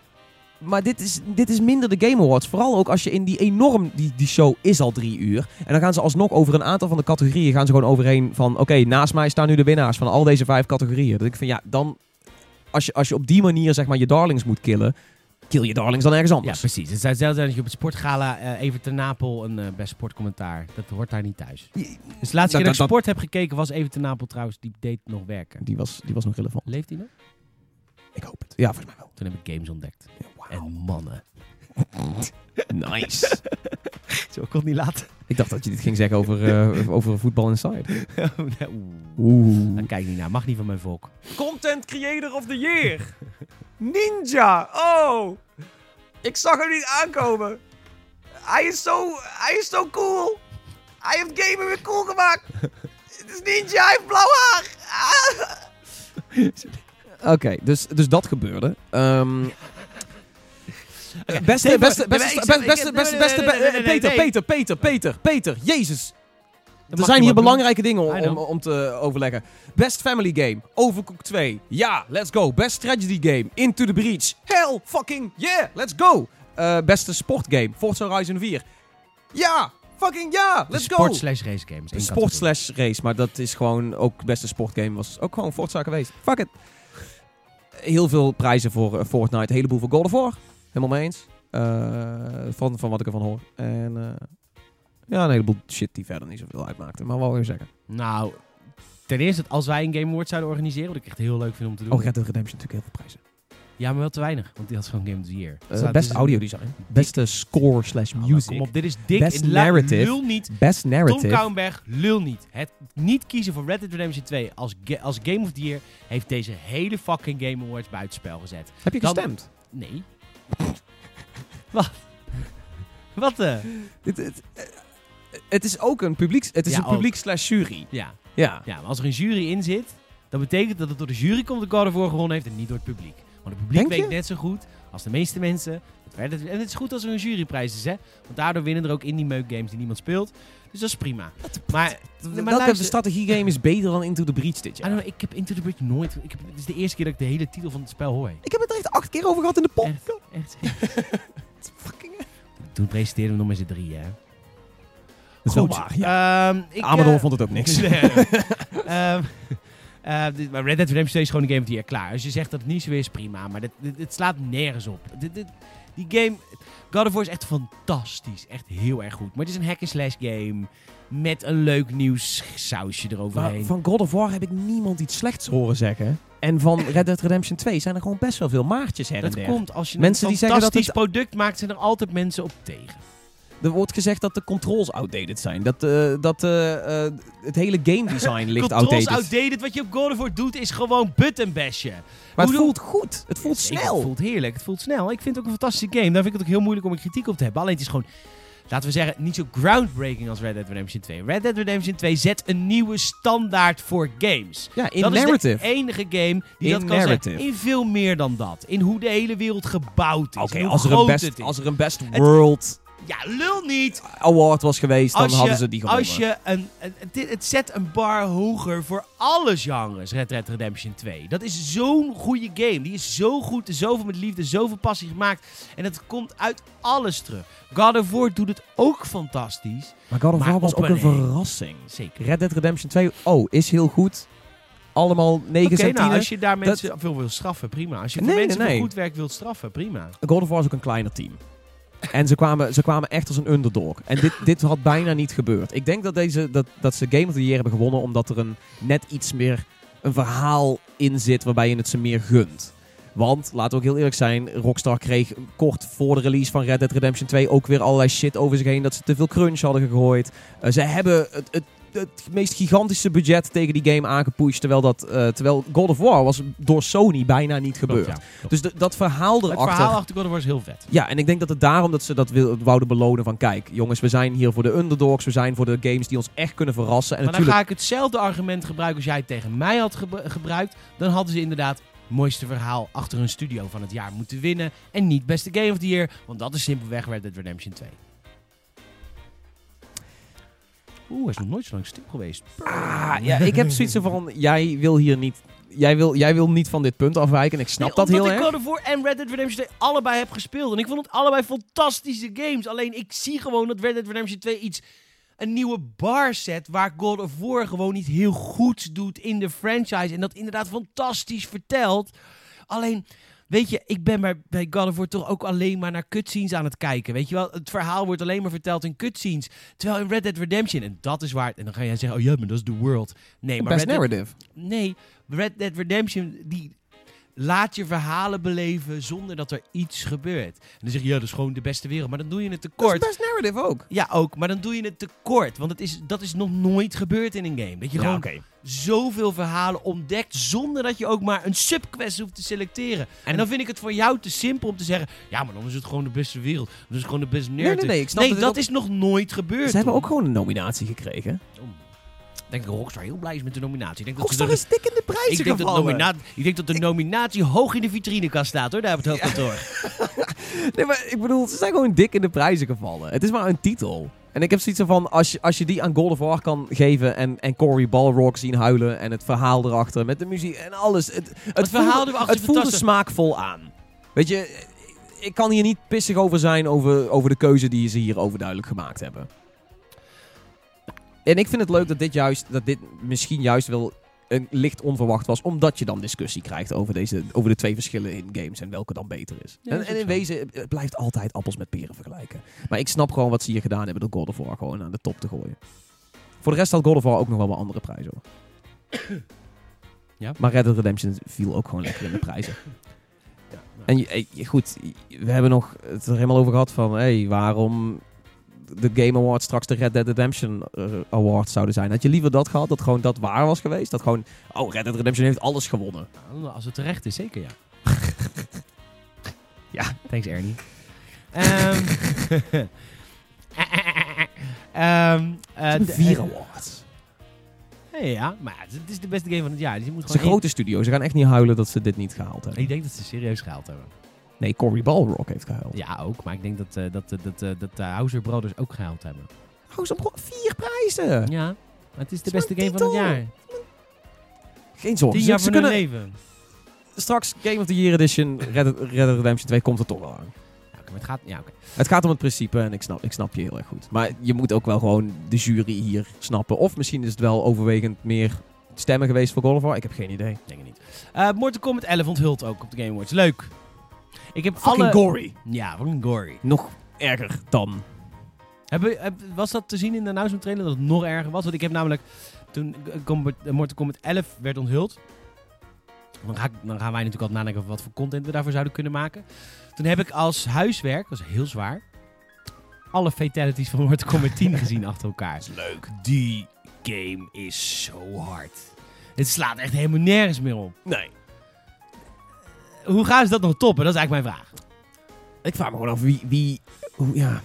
Maar dit is, dit is minder de Game Awards. Vooral ook als je in die enorm... Die, die show is al drie uur. En dan gaan ze alsnog over een aantal van de categorieën... gaan ze gewoon overheen van... Oké, naast mij staan nu de winnaars van al deze vijf categorieën. Dat ik van ja, dan... Als je, als je op die manier zeg maar je darlings moet killen... Kill je darlings dan ergens Ja, anders. precies. Het zou zelfs zijn dat je op het sportgala eh, even te Napel een eh, best sportcommentaar. Dat hoort daar niet thuis. Ja, Dus de laatste Nou, dat- keer dat ik dat- sport heb gekeken was even te Napel trouwens. Die deed nog werken. Die, was, die was nog relevant. Leeft hij nog? Ik hoop het. Ja, volgens mij wel. Toen heb ik games ontdekt. Ja, En mannen. wauw. [LAUGHS] Nice. Zo kon niet laten. ik dacht dat je dit ging zeggen over, eh, over [LAUGHS] voetbal inside. Oeh. Oeh. Daar kijk niet naar. Mag niet van mijn volk. Content Creator of the Year. Ninja. Oh. Ik zag hem niet aankomen. Hij is zo, hij is zo cool. Hij heeft gamen weer cool gemaakt. Het is Ninja, hij heeft blauw haar. Oké, dus, dus dat gebeurde. Ehm, Beste, nee, beste, beste, maar- nee, beste, maar ik- beste, ik- nee, beste, nee, beste, nee, nee, nee, eh, Peter, nee, nee. Peter, Peter, Peter, Peter, Jezus. mag Er je zijn hier maar doen. belangrijke dingen om, I om, know. om te eh, overleggen. Best Family Game, Overcooked 2. Ja, let's go. Best Tragedy Game, Into the Breach. Hell fucking yeah, let's go. Eh, beste sportgame, Forza Horizon 4. Ja, fucking ja, let's De Sport go. slash race games. De Sport slash race, maar dat is gewoon ook beste sportgame. Was ook gewoon Forza geweest. Fuck it. Heel veel prijzen voor eh, Fortnite. Een heleboel voor God of War. Helemaal mee eens. Eh, van, van wat ik ervan hoor. En eh, ja, een heleboel shit die verder niet zoveel uitmaakte. Maar wat wil je zeggen? Nou, ten eerste, als wij een Game Award zouden organiseren, wat ik echt heel leuk vind om te doen. Oh, Red Dead Redemption natuurlijk heel veel prijzen. Ja, maar wel te weinig, want die had gewoon Game of the Year. Eh, Dus dat best Nou, is- audio design. Beste score slash Oh, maar music. Kom op, dit is dik. Best en la- narrative. Lul niet. Best Tom narrative. Kouwenberg, lul niet. Het niet kiezen voor Red Dead Redemption 2 als, ga- als Game of the Year heeft deze hele fucking Game Awards buitenspel gezet. Heb je Dan- gestemd? Nee. [LAUGHS] Wat? Wat? eh? Het, het, eh, het is ook een publiek, het is Ja, een publiek slash jury. Ja. Ja. ja, maar als er een jury in zit, dan betekent dat het door de jury komt dat God of War gewonnen heeft en niet door het publiek. Want het publiek Denk je? weet net zo goed als de meeste mensen. dat Red Dead- En het is goed als er een juryprijs is, hè? Want daardoor winnen er ook indie meuk games die niemand speelt. Dus dat is prima. Maar, maar Welke luister- strategiegame is beter dan Into the Breach dit I jaar? don't know, ik heb Into the Bridge nooit. Ik heb, dit is de eerste keer dat ik de hele titel van het spel hoor. Ik heb het er echt acht keer over gehad in de pop. Echt, [LAUGHS] echt. Fucking Toen presenteerden we nog maar z'n drieën, hè? is wel waar, Ehm, ik, eh, vond het ook [LAUGHS] Nee. Ehm, eh, dit- maar Red Dead Redemption 2 is gewoon een game of the year. Klaar. Als je zegt dat het niet zo is, prima. Maar dit, dit, dit slaat nergens op. Dit, dit- die game... God of War is echt fantastisch. Echt heel erg goed. Maar het is een hack-and-slash game. Met een leuk nieuws sausje Maar eroverheen. van God of War heb ik niemand iets slechts horen zeggen. En van Red Dead Redemption 2 zijn er gewoon best wel veel maartjes her en Dat der. komt als je Mensen een die zeggen dat fantastisch product maakt, zijn er altijd mensen op tegen. Er wordt gezegd dat de controls outdated zijn. Dat, eh, dat eh, eh, het hele game design ligt Controls outdated. outdated. Wat je op God of War doet, is gewoon button bashen. Maar het Hoe voelt goed. Het voelt Ik- snel. Het voelt heerlijk. Het voelt snel. Ik vind het ook een fantastische game. Daar vind ik het ook heel moeilijk om een kritiek op te hebben. Alleen het is gewoon, laten we zeggen, niet zo groundbreaking als Red Dead Redemption 2. Red Dead Redemption 2 zet een nieuwe standaard voor games. ja, in dat is narrative. de enige game die In dat kan narrative. zijn. In veel meer dan dat. In hoe de hele wereld gebouwd is. Oké, en hoe als, er een groot best- het is. als er een Best World Ja, lul niet! Award was geweest, Dus dan Als je- hadden ze die gewonnen. Als je een, een- dit, het zet een bar hoger voor alle genres, Red Dead Redemption 2. Dat is zo'n goede game. Die is zo goed, zoveel met liefde, zoveel passie gemaakt. En dat komt uit alles terug. God of War doet het ook fantastisch. Maar God of Maar War was op ook een een- verrassing. Zeker. Red Dead Redemption 2, oh, is heel goed. Allemaal 9 Oké, nou, centienen. als je daar Dat- mensen voor wilt straffen, prima. Als je voor Nee, nee, mensen voor nee. goed werk wilt straffen, prima. God of War is ook een kleiner team. En ze kwamen, ze kwamen echt als een underdog. En dit, dit had bijna niet gebeurd. Ik denk dat, deze, dat, dat ze Game of the Year hebben gewonnen omdat er een, net iets meer een verhaal in zit waarbij je het ze meer gunt. Want, laten we ook heel eerlijk zijn, Rockstar kreeg kort voor de release van Red Dead Redemption 2 ook weer allerlei shit over zich heen. Dat ze te veel crunch hadden gegooid. Eh, ze hebben het, het, het meest gigantische budget tegen die game aangepusht. Terwijl, dat, eh, terwijl God of War was door Sony bijna niet gebeurd. Klopt, ja. Klopt. Dus de- dat verhaal het erachter... verhaal achter God of War is heel vet. Ja, en ik denk dat het daarom dat ze dat wil, wouden belonen van... Kijk, jongens, we zijn hier voor de underdogs. We zijn voor de games die ons echt kunnen verrassen. En maar dan natuurlijk... ga ik hetzelfde argument gebruiken als jij het tegen mij had gebru- gebruikt. Dan hadden ze inderdaad het mooiste verhaal achter hun studio van het jaar moeten winnen. En niet beste Game of the Year, want dat is simpelweg Red Dead Redemption 2. Oeh, hij is nog nooit zo lang stil geweest. Ah, ja, ik heb zoiets van... Jij wil hier niet... Jij wil, jij wil niet van dit punt afwijken. En ik snap Nee, dat heel omdat erg. ik God of War en Red Dead Redemption 2 allebei heb gespeeld. En ik vond het allebei fantastische games. Alleen ik zie gewoon dat Red Dead Redemption 2 iets... Een nieuwe bar zet waar God of War gewoon niet heel goed doet in de franchise. En dat inderdaad fantastisch vertelt. Alleen, weet je, ik ben bij, bij God of War toch ook alleen maar naar cutscenes aan het kijken. Weet je wel, het verhaal wordt alleen maar verteld in cutscenes. Terwijl in Red Dead Redemption, en dat is waar... En dan ga jij zeggen, oh ja, maar dat is the world. Nee, maar Best Red Dead narrative. Nee, Red Dead Redemption die laat je verhalen beleven zonder dat er iets gebeurt. En dan zeg je, ja, dat is gewoon de beste wereld. Maar dan doe je het tekort. Dat is best narrative ook. Ja, ook. Maar dan doe je het tekort. Want het is, dat is nog nooit gebeurd in een game. Dat je gewoon zoveel verhalen ontdekt zonder dat je ook maar een subquest hoeft te selecteren. En, dan vind ik het voor jou te simpel om te zeggen, ja, maar dan is het gewoon de beste wereld. Dan is het gewoon de beste nee, narrative. nee, ik snap dat dat, dit ook- is nog nooit gebeurd. Ze hebben hoor. ook gewoon een nominatie gekregen. Ik denk dat Rockstar heel blij is met de nominatie. Ik denk dat ze Rockstar er- is dik in de prijzen ik denk, dat gevallen. nomina- ik denk dat de nominatie hoog in de vitrinekast staat hoor, daar op het hoofdkantoor. [LAUGHS] Nee, maar ik bedoel, ze zijn gewoon dik in de prijzen gevallen. Het is maar een titel. En ik heb zoiets van, als je, als je die aan God of War kan geven en, en Cory Balrog zien huilen en het verhaal erachter met de muziek en alles. Het, het, verhaal voelde- erachter is Het voelde fantastisch. smaakvol aan. Weet je, ik kan hier niet pissig over zijn over, over de keuze die ze hier overduidelijk gemaakt hebben. En ik vind het leuk dat dit, juist, dat dit misschien juist wel een licht onverwacht was, omdat je dan discussie krijgt over, deze, over de twee verschillen in games en welke dan beter is. Ja, dat en, is en ook in zo. wezen eh, het- het blijft altijd appels met peren vergelijken. Maar ik snap gewoon wat ze hier gedaan hebben door God of War gewoon aan de top te gooien. Voor de rest had God of War ook nog wel wat andere prijzen hoor. [COUGHS] Ja. Maar Red Dead Redemption viel ook gewoon lekker in de [COUGHS] prijzen. En je- eh, je- goed, we hebben nog het er helemaal over gehad van... Hey, waarom de Game Awards straks de Red Dead Redemption eh, Awards zouden zijn. Had je liever dat gehad, dat gewoon dat waar was geweest? Dat gewoon, oh, Red Dead Redemption heeft alles gewonnen. Nou, Als het terecht is, zeker [LAUGHS] ja. Ja. Thanks Ernie. Ehm [LAUGHS] Ehm, eh, de- Vier awards. eh, ja, maar ja, het is de beste game van het jaar. Dus je moet Het is een gewoon grote studio. Ze gaan echt niet huilen dat ze dit niet gehaald één- Ik hebben. denk dat ze serieus gehaald hebben. Nee, Cory Balrog heeft gehuild. Ja, ook. Maar ik denk dat, eh, dat, eh, dat, eh, dat de Hauser Brothers ook gehaald hebben. House of Rock, vier prijzen. Ja, maar het is de Het is beste maar game een van het titel. jaar. Geen zorgen. Tien Ze, jaar ze van hun kunnen leven. straks Game of the Year Edition, Red Dead, Red Dead Redemption 2 komt er toch wel aan. Ja, oké, maar het gaat... Ja, oké. Het gaat om het principe en ik snap, ik snap je heel erg goed. Maar je moet ook wel gewoon de jury hier snappen. Of misschien is het wel overwegend meer stemmen geweest voor God of War. Ik heb geen idee. Denk het niet. Eh Mortal Kombat 11 onthult ook op de Game Awards. Leuk. Ik heb alle... Fucking gory. Ja, fucking gory. Nog erger dan. Hebben- heb- was dat te zien in de announcement trailer dat het nog erger was? Want ik heb namelijk toen eh, Combat- eh, Mortal Kombat 11 werd onthuld. Dan, ga ik- dan gaan wij natuurlijk altijd nadenken over wat voor content we daarvoor zouden kunnen maken. Toen heb ik als huiswerk, dat was heel zwaar, alle fatalities van Mortal Kombat [LAUGHS] 10 gezien achter elkaar. Dat is leuk. Die game is zo hard. Het slaat echt helemaal nergens meer op. Nee. Hoe gaan ze dat nog toppen? Dat is eigenlijk mijn vraag. Ik vraag me gewoon af wie. wie hoe, ja.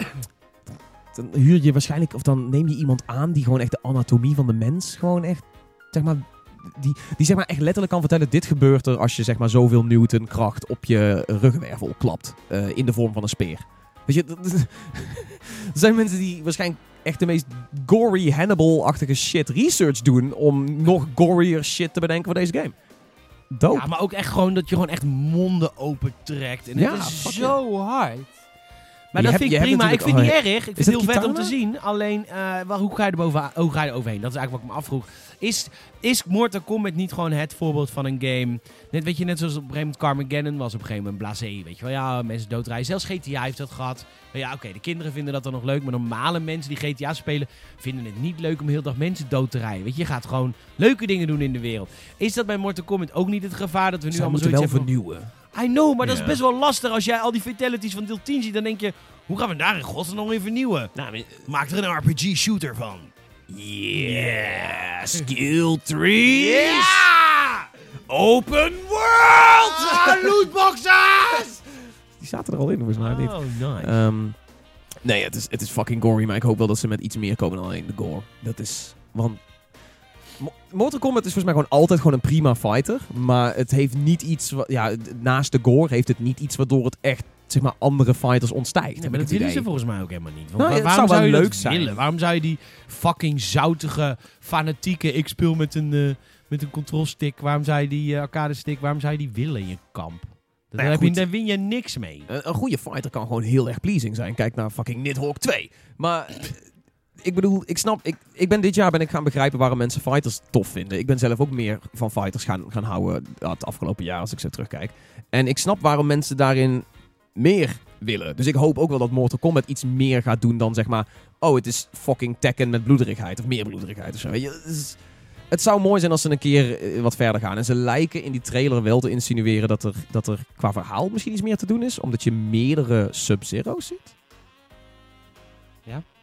Dan huur je waarschijnlijk. Of dan neem je iemand aan die gewoon echt de anatomie van de mens. Gewoon echt. Zeg maar. Die, die zeg maar echt letterlijk kan vertellen: dit gebeurt er als je zeg maar zoveel Newton kracht op je ruggenwervel klapt. eh, in de vorm van een speer. Weet je, dat, dat- er zijn mensen die waarschijnlijk echt de meest gory Hannibal-achtige shit research doen. om nog gorier shit te bedenken voor deze game. Dope. Ja, maar ook echt gewoon dat je gewoon echt monden open trekt. En Ja, het fuck is zo hard. Maar Je dat hebt- vind ik je hebt prima. Ik natuurlijk- vind het niet erg. Ik vind het dat heel vet om te Kitana? zien. Alleen, eh, waar, hoe, ga je er bovenaan- hoe ga je er overheen? Dat is eigenlijk wat ik me afvroeg. Is, is Mortal Kombat niet gewoon het voorbeeld van een game... Net, weet je, net zoals op een gegeven moment Carmageddon was op een gegeven moment blasé. Weet je wel, ja, mensen doodrijden. Zelfs GTA heeft dat gehad. Maar ja, oké, de kinderen vinden dat dan nog leuk. Maar normale mensen die GTA spelen, vinden het niet leuk om heel dag mensen dood te rijden. Weet je, je gaat gewoon leuke dingen doen in de wereld. Is dat bij Mortal Kombat ook niet het gevaar dat we nu Zij allemaal moeten zoiets wel hebben van- vernieuwen. I know, maar dat is Ja. best wel lastig als jij al die fatalities van deel 10 ziet. Dan denk je, hoe gaan we daar in godsnaam weer vernieuwen? Nou, maar- Maak er een RPG-shooter van. Yeah, skill trees. Open world! Ah, lootboxes! Die zaten er al in, volgens mij niet. Oh, nice. Ehm, nee, het is, het is fucking gory, maar ik hoop wel dat ze met iets meer komen dan alleen de gore. Dat is... Want... Mo- Mortal Kombat is volgens mij gewoon altijd gewoon een prima fighter. Maar het heeft niet iets... Wat, ja, d- naast de gore heeft het niet iets waardoor het echt, zeg maar, andere fighters ontstijgt. Nee, heb maar ik dat het willen ze idee. volgens mij ook helemaal niet. Want Nou, wa- ja, het waarom zou wel je dat leuk zijn. willen? Waarom zou je die fucking zoutige, fanatieke... Ik speel met een, eh met een controlstick. Waarom zou je die eh, arcade-stick... Waarom zou je die willen in je kamp? Daar, Nou ja, heb je, goed. daar win je niks mee. Een, een goede fighter kan gewoon heel erg pleasing zijn. Kijk naar fucking Nidhogg 2. Maar eh, ik bedoel, ik snap, ik, ik ben dit jaar ben ik gaan begrijpen waarom mensen fighters tof vinden. Ik ben zelf ook meer van fighters gaan, gaan houden ja, het afgelopen jaar als ik zo terugkijk. En ik snap waarom mensen daarin meer willen. Dus ik hoop ook wel dat Mortal Kombat iets meer gaat doen dan zeg maar, oh het is fucking Tekken met bloederigheid of meer bloederigheid of zo. Weet je, het is- het zou mooi zijn als ze een keer eh, wat verder gaan. En ze lijken in die trailer wel te insinueren dat er, dat er qua verhaal misschien iets meer te doen is. Omdat je meerdere Sub-Zero's ziet.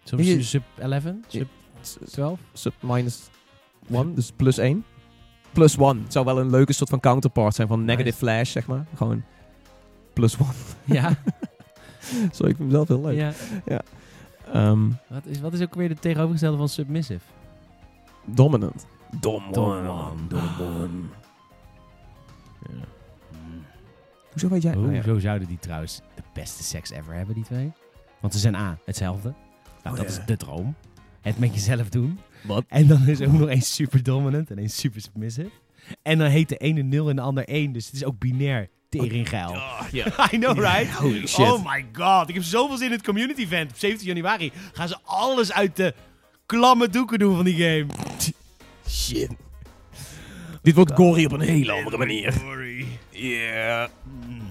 Zoals Je- sub-11, sub-12. Sub-minus 1, dus plus 1. Plus 1 zou wel een leuke soort van counterpart zijn van Negative Nice. Flash, zeg maar. Gewoon plus 1. Ja, [LAUGHS] Zo, ik vind hem zelf heel leuk. ja. Ehm, Wat is, wat is ook weer de tegenovergestelde van submissive? dominant. Dominant. Hoezo weet jij? Oh, Oh, ja. Zo zouden die trouwens de beste seks ever hebben, die twee. Want ze zijn A, hetzelfde. Nou, Oh, dat is ja. de droom. Het met jezelf doen. Wat? En dan is er ook nog één super dominant en één super submissive. En dan heet de ene 0 en de ander 1. Dus het is ook binair. Teringgeil. Ah, [LAUGHS] I know, right? Oh, [LAUGHS] holy shit. Oh my god. Ik heb zoveel zin in het community event. Op 17 januari gaan ze alles uit de klamme doeken doen van die game. Shit. Dit wordt gory op een hele andere manier. Sorry. Yeah. Hmm.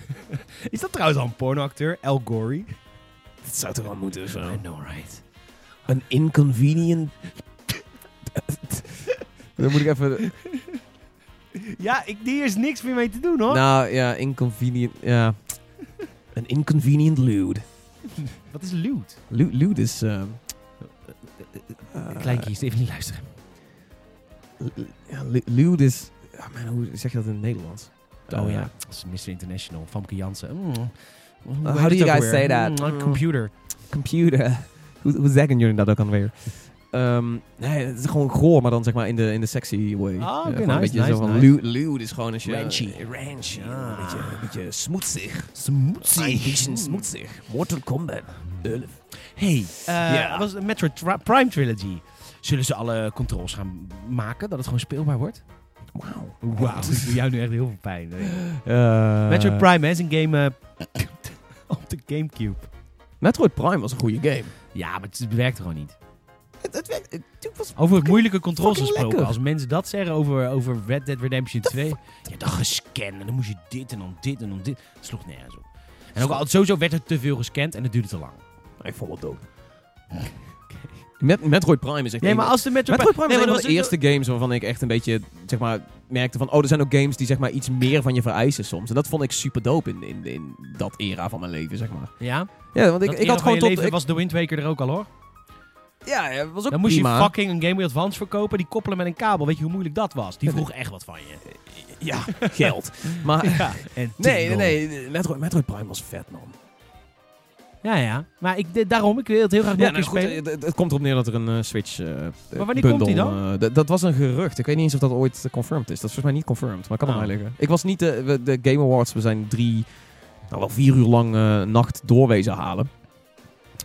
[LAUGHS] Is dat trouwens al een pornoacteur? El Gory? Dat zou toch wel moeten, zo. I know, right? Een inconvenient. [LAUGHS] Dan moet ik even. Ja, ik, hier is niks meer mee te doen, hoor. Nou ja, inconvenient. Ja. Een inconvenient lewd. Wat is lewd? Lewd, lewd is. ehm, eh, Kleintje, is even niet luisteren. l- ja, le- lewd is. Ja, man, hoe zeg je dat in het Nederlands? Oh Eh, ja, dat is Mr. International, Famke Jansen. Mm. Hoe how heet do het you ook guys weer? say that? Mm, on computer. Computer. [LAUGHS] Hoe, hoe zeggen jullie dat ook alweer? Ehm nee, het is gewoon goor, maar dan zeg maar in de, in de sexy way. Ah, Ja, oké, gewoon nice, een beetje nice, zo van nice. lewd- lewd is gewoon als je... Ranchy. Ranchy. Ah. Een, beetje, een beetje smoetsig. Een Smootsie. beetje smoetsig. Mortal Kombat 11. Mm. Hey, eh, Ja. was het Metroid Tri- Prime Trilogy. Zullen ze alle controls gaan maken, dat het gewoon speelbaar wordt? Wauw. Wauw, [LAUGHS] dat doet jou nu echt heel veel pijn. Eh, Metroid Prime hè, is een game eh, [LAUGHS] op de Gamecube. Metroid Prime was een goede game. Ja, maar het, het werkt gewoon niet. Het, het, werkt- het, het was Over het moeilijke controls fucking gesproken. lekker. Als mensen dat zeggen over, over Red Dead Redemption 2. Ja, dan gescand. En dan moest je dit en dan dit en dan dit. Het sloeg nergens op. En ook al, sowieso werd er te veel gescand en het duurde te lang. Oh, Ik vond het dope. [LAUGHS] Met, Metroid Prime is echt... Nee, een- maar als de Metroid, Metroid Prime nee, was maar een dat van de eerste games waarvan ik echt een beetje zeg maar, merkte van... Oh, er zijn ook games die zeg maar, iets meer van je vereisen soms. En dat vond ik super dope in, in, in dat era van mijn leven, zeg maar. Ja, Ja, want ik, dat ik had gewoon tot... Leven ik- was The Wind Waker er ook al hoor. ja, ja, was ook Dan moest prima. je fucking een Game Boy Advance verkopen, die koppelen met een kabel. Weet je hoe moeilijk dat was? Die [LAUGHS] vroeg echt wat van je. [LAUGHS] Ja, geld. [LAUGHS] maar Ja, en nee, nee, tingle. nee. Metroid, Metroid Prime was vet, man. Ja, ja. Maar ik, dit- daarom, ik wil het heel graag nog een Ja, keer nou, goed, spelen. eh, het, het komt erop neer dat er een eh, Switch eh Maar wanneer bundle, komt die dan? eh, d- dat was een gerucht. Ik weet niet eens of dat ooit eh, confirmed is. Dat is volgens mij niet confirmed, maar kan er Oh. mij liggen. Ik was niet de, we- de Game Awards. We zijn drie, nou wel vier uur lang eh, nacht doorwezen halen.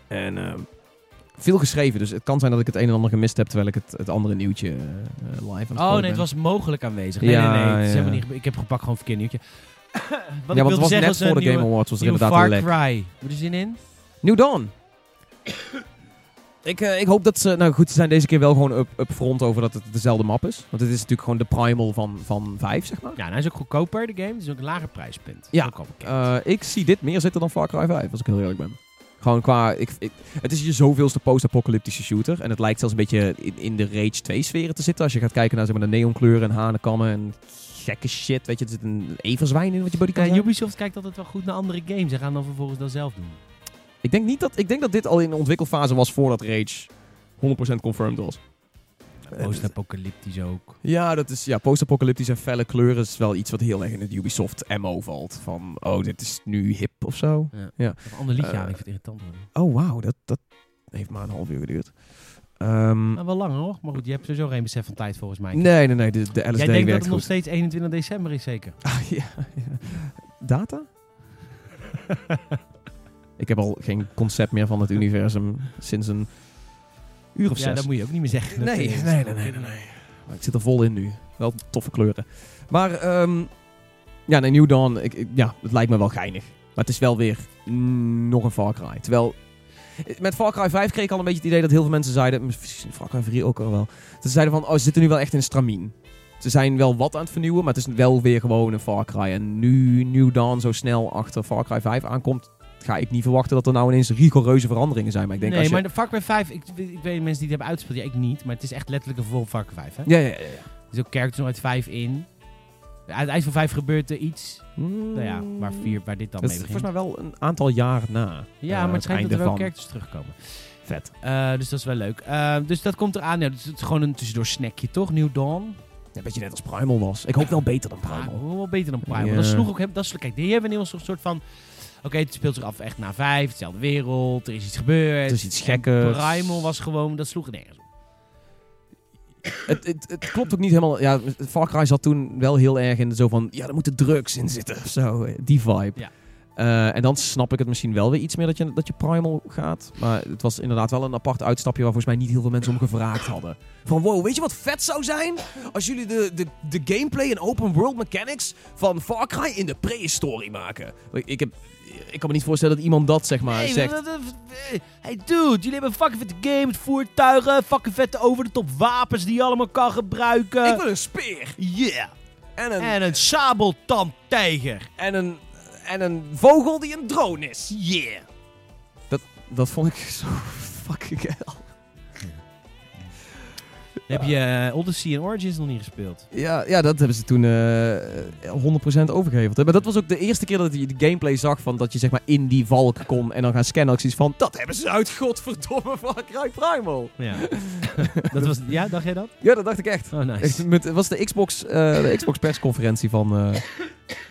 En ehm, veel geschreven, dus het kan zijn dat ik het een en ander gemist heb terwijl ik het, het andere nieuwtje eh, eh, live aan het Oh gooien nee, het ben. was mogelijk aanwezig. Nee, Ja, nee, nee. Het is ja. helemaal niet, gebe- ik heb gepakt gewoon verkeerd [COUGHS] nieuwtje. Wat ja, ik want wilde het was zeggen was net voor de een Game nieuwe, Awards was er nieuwe inderdaad Far een lek. Cry. Moet je zin in? New Dawn. ik, eh, ik hoop dat ze... Nou goed, ze zijn deze keer wel gewoon up, upfront over dat het dezelfde map is. Want het is natuurlijk gewoon de primal van, van 5, zeg maar. Ja, en hij is ook goedkoper, de game. Het is ook een lager prijspunt. Ja. Ook al bekend. Eh, ik zie dit meer zitten dan Far Cry 5, als ik heel eerlijk ben. Gewoon qua... Ik, ik- het is je zoveelste post-apocalyptische shooter. En het lijkt zelfs een beetje in, in de Rage 2-sferen te zitten. Als je gaat kijken naar zeg maar, de neonkleuren en hanenkammen en gekke shit. Weet je, er zit een everzwijn in wat je body kan Kijk, zijn. Ubisoft kijkt altijd wel goed naar andere games. Ze gaan dan vervolgens dat zelf doen. Ik denk, niet dat, ik denk dat dit al in de ontwikkelfase was voordat Rage 100% confirmed was. Eh, Post-apocalyptisch ook. Ja, dat is ja, post-apocalyptisch en felle kleuren is wel iets wat heel erg in het Ubisoft MO valt. Van, oh, dit is nu hip of zo. Of een ander liedje Eh, aan, ik vind het irritant worden. Oh, wauw, dat, dat heeft maar een half uur geduurd. Ehm, Maar wel langer hoor. Maar goed, je hebt sowieso geen besef van tijd volgens mij. nee, nee, nee, de, de LSD Jij denkt dat werkt het nog goed. steeds 21 december is zeker? Ah, [LAUGHS] ja, ja. [LAUGHS] Data? Ik heb al geen concept meer van het universum sinds een uur of ja, zes. dat moet je ook niet meer zeggen. Dat Nee, is- nee, nee, nee, nee, nee. Maar ik zit er vol in nu. Wel toffe kleuren. Maar, ehm, ja, nee, New Dawn, ik, ik- ja, het lijkt me wel geinig. Maar het is wel weer mm, nog een Far Cry. Terwijl, eh, met Far Cry 5 kreeg ik al een beetje het idee dat heel veel mensen zeiden, misschien Far Cry 3 ook al wel, dat ze zeiden van, oh, ze zitten nu wel echt in stramien. Ze zijn wel wat aan het vernieuwen, maar het is wel weer gewoon een Far Cry. En nu New Dawn zo snel achter Far Cry 5 aankomt, ga ik niet verwachten dat er nou ineens rigoureuze veranderingen zijn. Maar ik denk nee, als je... maar de Far Cry 5, ik, ik weet mensen die het hebben uitgespeeld, ja, ik niet. Maar het is echt letterlijk een vervolg van Far Cry 5. Hè? Ja, ja, ja. ja. Er zit ook characters nog uit 5 in. Uit het eind van 5 gebeurt er iets. Nou ja, Mm. waar, vier, waar dit dan Dat mee is begint. volgens mij wel een aantal jaar na. Ja, eh, maar het schijnt dat einde er wel van. characters terugkomen. Vet. Eh, dus dat is wel leuk. Eh, dus dat komt eraan. Ja, dus het is gewoon een tussendoor snackje, toch? New Dawn. Een beetje net als Primal was. Ik hoop wel beter dan Ah, Primal. wel beter dan Primal. Ja. Dat sloeg ook... hem- Dat sloeg, kijk, die hebben een heel soort soort van... Oké, het speelt zich af echt na vijf. Hetzelfde wereld. Er is iets gebeurd. Het is Dus iets En gekkers. Primal was gewoon... Dat sloeg nergens op. Het, het, het klopt ook niet helemaal. Ja, Far Cry zat toen wel heel erg in zo van... Ja, er moeten drugs in zitten of zo. eh, Die vibe. Ja. Eh, en dan snap ik het misschien wel weer iets meer dat je, dat je Primal gaat. Maar het was inderdaad wel een apart uitstapje waar volgens mij niet heel veel mensen om gevraagd hadden. Van wow, weet je wat vet zou zijn? Als jullie de, de, de gameplay en open world mechanics van Far Cry in de prehistorie maken. Ik, heb, ik kan me niet voorstellen dat iemand dat zeg maar Nee, zegt. wat- wat- wat- hey dude, jullie hebben fucking vette games, voertuigen, fucking vette over de top wapens die je allemaal kan gebruiken. wil een speer. Yeah. En een, En een sabeltandtijger. en, een, en een vogel die een drone is. Yeah. Dat vond ik [LAUGHS] zo fucking hell. Heb je eh, Odyssey en Origins nog niet gespeeld? Ja, ja, dat hebben ze toen eh 100% overgeheveld. hè. Maar dat was ook de eerste keer dat je de gameplay zag van dat je zeg maar in die valk kon en dan gaan scannen. Ik zoiets van, dat hebben ze uit godverdomme [LAUGHS] Far Cry Primal. Oh, Ja. [LAUGHS] dat was, ja, dacht jij dat? Ja, dat dacht ik echt. Oh, Echt, nice. met- Het was de Xbox, eh, de Xbox persconferentie van eh,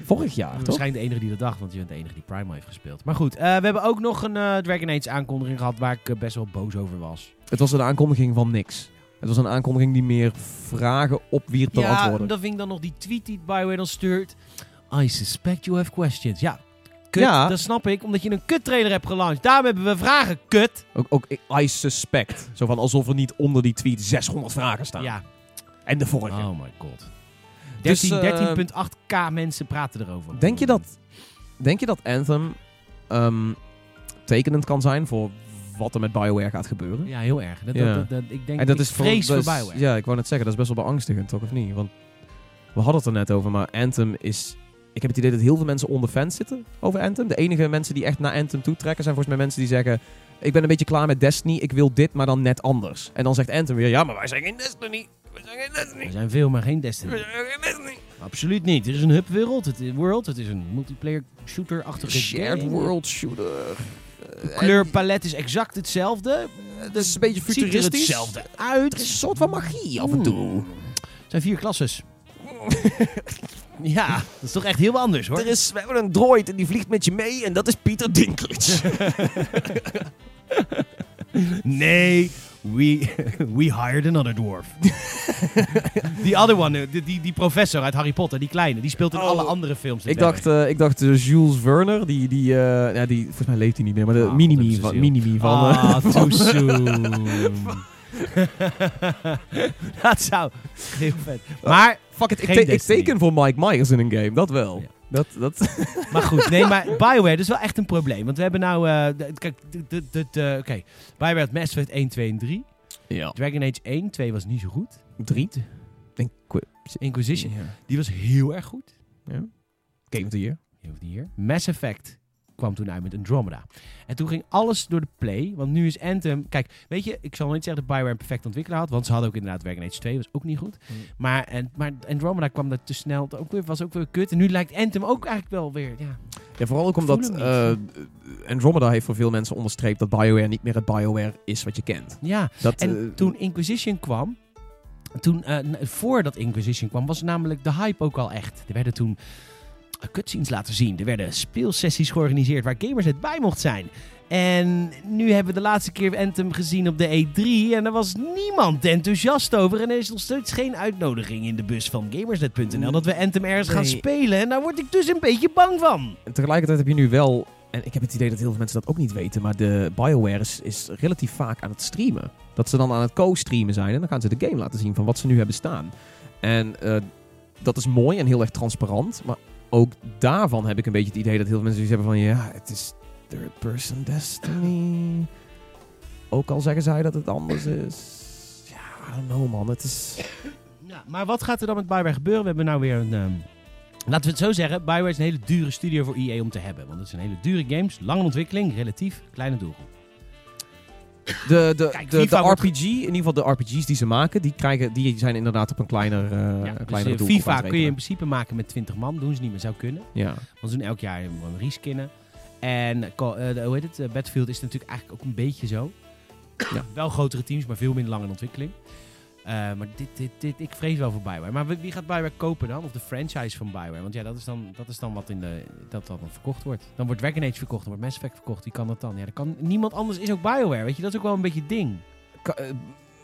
vorig jaar, toch? Waarschijnlijk de enige die dat dacht, want je bent de enige die Primal heeft gespeeld. Maar goed, eh, we hebben ook nog een eh, Dragon Age aankondiging gehad waar ik eh, best wel boos over was. Het was een aankondiging van niks. Het was een aankondiging die meer vragen opwierp dan Ja, antwoorden. dat vind ik dan nog die tweet die Bioware dan stuurt. I suspect you have questions. Ja, kut. Ja. Dat snap ik, omdat je een kut trailer hebt gelanceerd. Daarom hebben we vragen, kut. Ook, ook eh, I suspect. Zo van alsof er niet onder die tweet 600 vragen staan. Ja. En de vorige. Oh my god. 13 Dus, eh, 13.8k mensen praten erover. Denk je dat, denk je dat Anthem ehm, tekenend kan zijn voor wat er met BioWare gaat gebeuren? Ja, heel erg. Dat, Ja. dat, dat- ik denk, en dat ik is voor- vrees dat voor is- Bioware. Ja, ik wou net zeggen, dat is best wel beangstigend, toch of niet? Want we hadden het er net over, maar Anthem is... Ik heb het idee dat heel veel mensen onder fans zitten over Anthem. De enige mensen die echt naar Anthem toe trekken zijn volgens mij mensen die zeggen... Ik ben een beetje klaar met Destiny, ik wil dit, maar dan net anders. En dan zegt Anthem weer, ja, maar wij zijn geen Destiny. Wij zijn geen Destiny. Er zijn veel, maar geen Destiny. Wij zijn geen Destiny. Absoluut niet. Het is een hub wereld. Het is, world. Het is een multiplayer shooter-achtige Shared game. world shooter. De kleurpalet is exact hetzelfde. Het eh, is een beetje Ziet er futuristisch. hetzelfde Mm, uit. Er is een soort van magie af en toe. Het zijn vier [LAUGHS] klasses. ja, dat is toch echt heel wat anders hoor. Er is, we hebben een droid en die vliegt met je mee en dat is [LAUGHS] Pieter Dinklage. Nee, we, we hired another [LAUGHS] dwarf. die other one, eh, die, die, die professor uit Harry Potter, die kleine, die speelt in Oh. alle andere films. dit ik dacht, eh, ik dacht eh, Jules Werner, die, die, eh, ja, die, volgens mij leeft hij niet meer, maar de Ah, God, dat minimi is van, heel- minimi van, werk. eh, Ah, too [LAUGHS] soon. [LAUGHS] dat zou heel vet. Maar, Oh. fuck it, ik, geen te- ik Destiny. teken voor Mike Myers in een game, dat wel. Ja. Dat, dat, maar goed, nee, [LAUGHS] maar Bioware, dat is wel echt een probleem. Want we hebben nou, eh, de- kijk, de- de- de- de- eh, oké, Bioware had Mass Effect 1, 2 en 3. ja. Dragon Age 1, 2 was niet zo goed. Drie? Denk ik. Inquisition, Ja. die was heel erg goed. Game of the Year. Heel goed hier. Mass Effect kwam toen uit met Andromeda. En toen ging alles door de play, want nu is Anthem... Kijk, weet je, ik zal niet zeggen dat Bioware een perfect ontwikkelaar had, want ze hadden ook inderdaad Dragon 2, was ook niet goed. Hmm. Maar, en, maar Andromeda kwam daar te snel, ook weer, was ook weer kut. En nu lijkt Anthem ook eigenlijk wel weer, ja... Ja, vooral ook omdat Voelen eh, Andromeda heeft voor veel mensen onderstreept dat BioWare niet meer het BioWare is wat je kent. ja. Dat, En eh, toen Inquisition kwam. Toen, eh, n- voordat Inquisition kwam, was namelijk de hype ook al echt. Er werden toen eh, cutscenes laten zien. Er werden speelsessies georganiseerd waar gamers het bij mocht zijn. En nu hebben we de laatste keer Anthem gezien op de E3. En daar was niemand enthousiast over. En er is nog steeds geen uitnodiging in de bus van gamersnet.nl. Dat we Anthem ergens gaan Nee. spelen. En daar word ik dus een beetje bang van. En tegelijkertijd heb je nu wel, en ik heb het idee dat heel veel mensen dat ook niet weten, maar de BioWare is, is relatief vaak aan het streamen. Dat ze dan aan het co-streamen zijn en dan gaan ze de game laten zien van wat ze nu hebben staan. En eh, dat is mooi en heel erg transparant, maar ook daarvan heb ik een beetje het idee dat heel veel mensen zoiets hebben van ja, het is third person Destiny. Ook al zeggen zij dat het anders is. Ja, I don't know man, het is... Ja, maar wat gaat er dan met Bioware gebeuren? We hebben nou weer een... ehm, laten we het zo zeggen. Bioware is een hele dure studio voor EA om te hebben. Want het zijn hele dure games. Lange ontwikkeling. Relatief kleine doelgroep. De, de, Kijk, de, FIFA de wordt- RPG, in ieder geval de RPG's die ze maken, die, krijgen, die zijn inderdaad op een kleiner, eh Ja, dus, kleinere eh, doelgroep aan FIFA het kun je in rekenen. principe maken met 20 man. Doen ze niet meer. Zou kunnen. Ja. Want ze doen elk jaar een reskinnen. En Call- eh, de- hoe heet het? Eh, Battlefield is natuurlijk eigenlijk ook een beetje zo. Ja. wel grotere teams, maar veel minder lang in ontwikkeling. Eh, maar dit, dit, dit, ik vrees wel voor Bioware. Maar wie- wie gaat Bioware kopen dan? Of de franchise van Bioware? Want ja, dat is dan, dat is dan wat in de, dat dan verkocht wordt. Dan wordt Dragon Age verkocht, dan wordt Mass Effect verkocht. Wie kan dat dan? Ja, dat kan, niemand anders is ook Bioware. Weet je, dat is ook wel een beetje het ding. Ka- eh,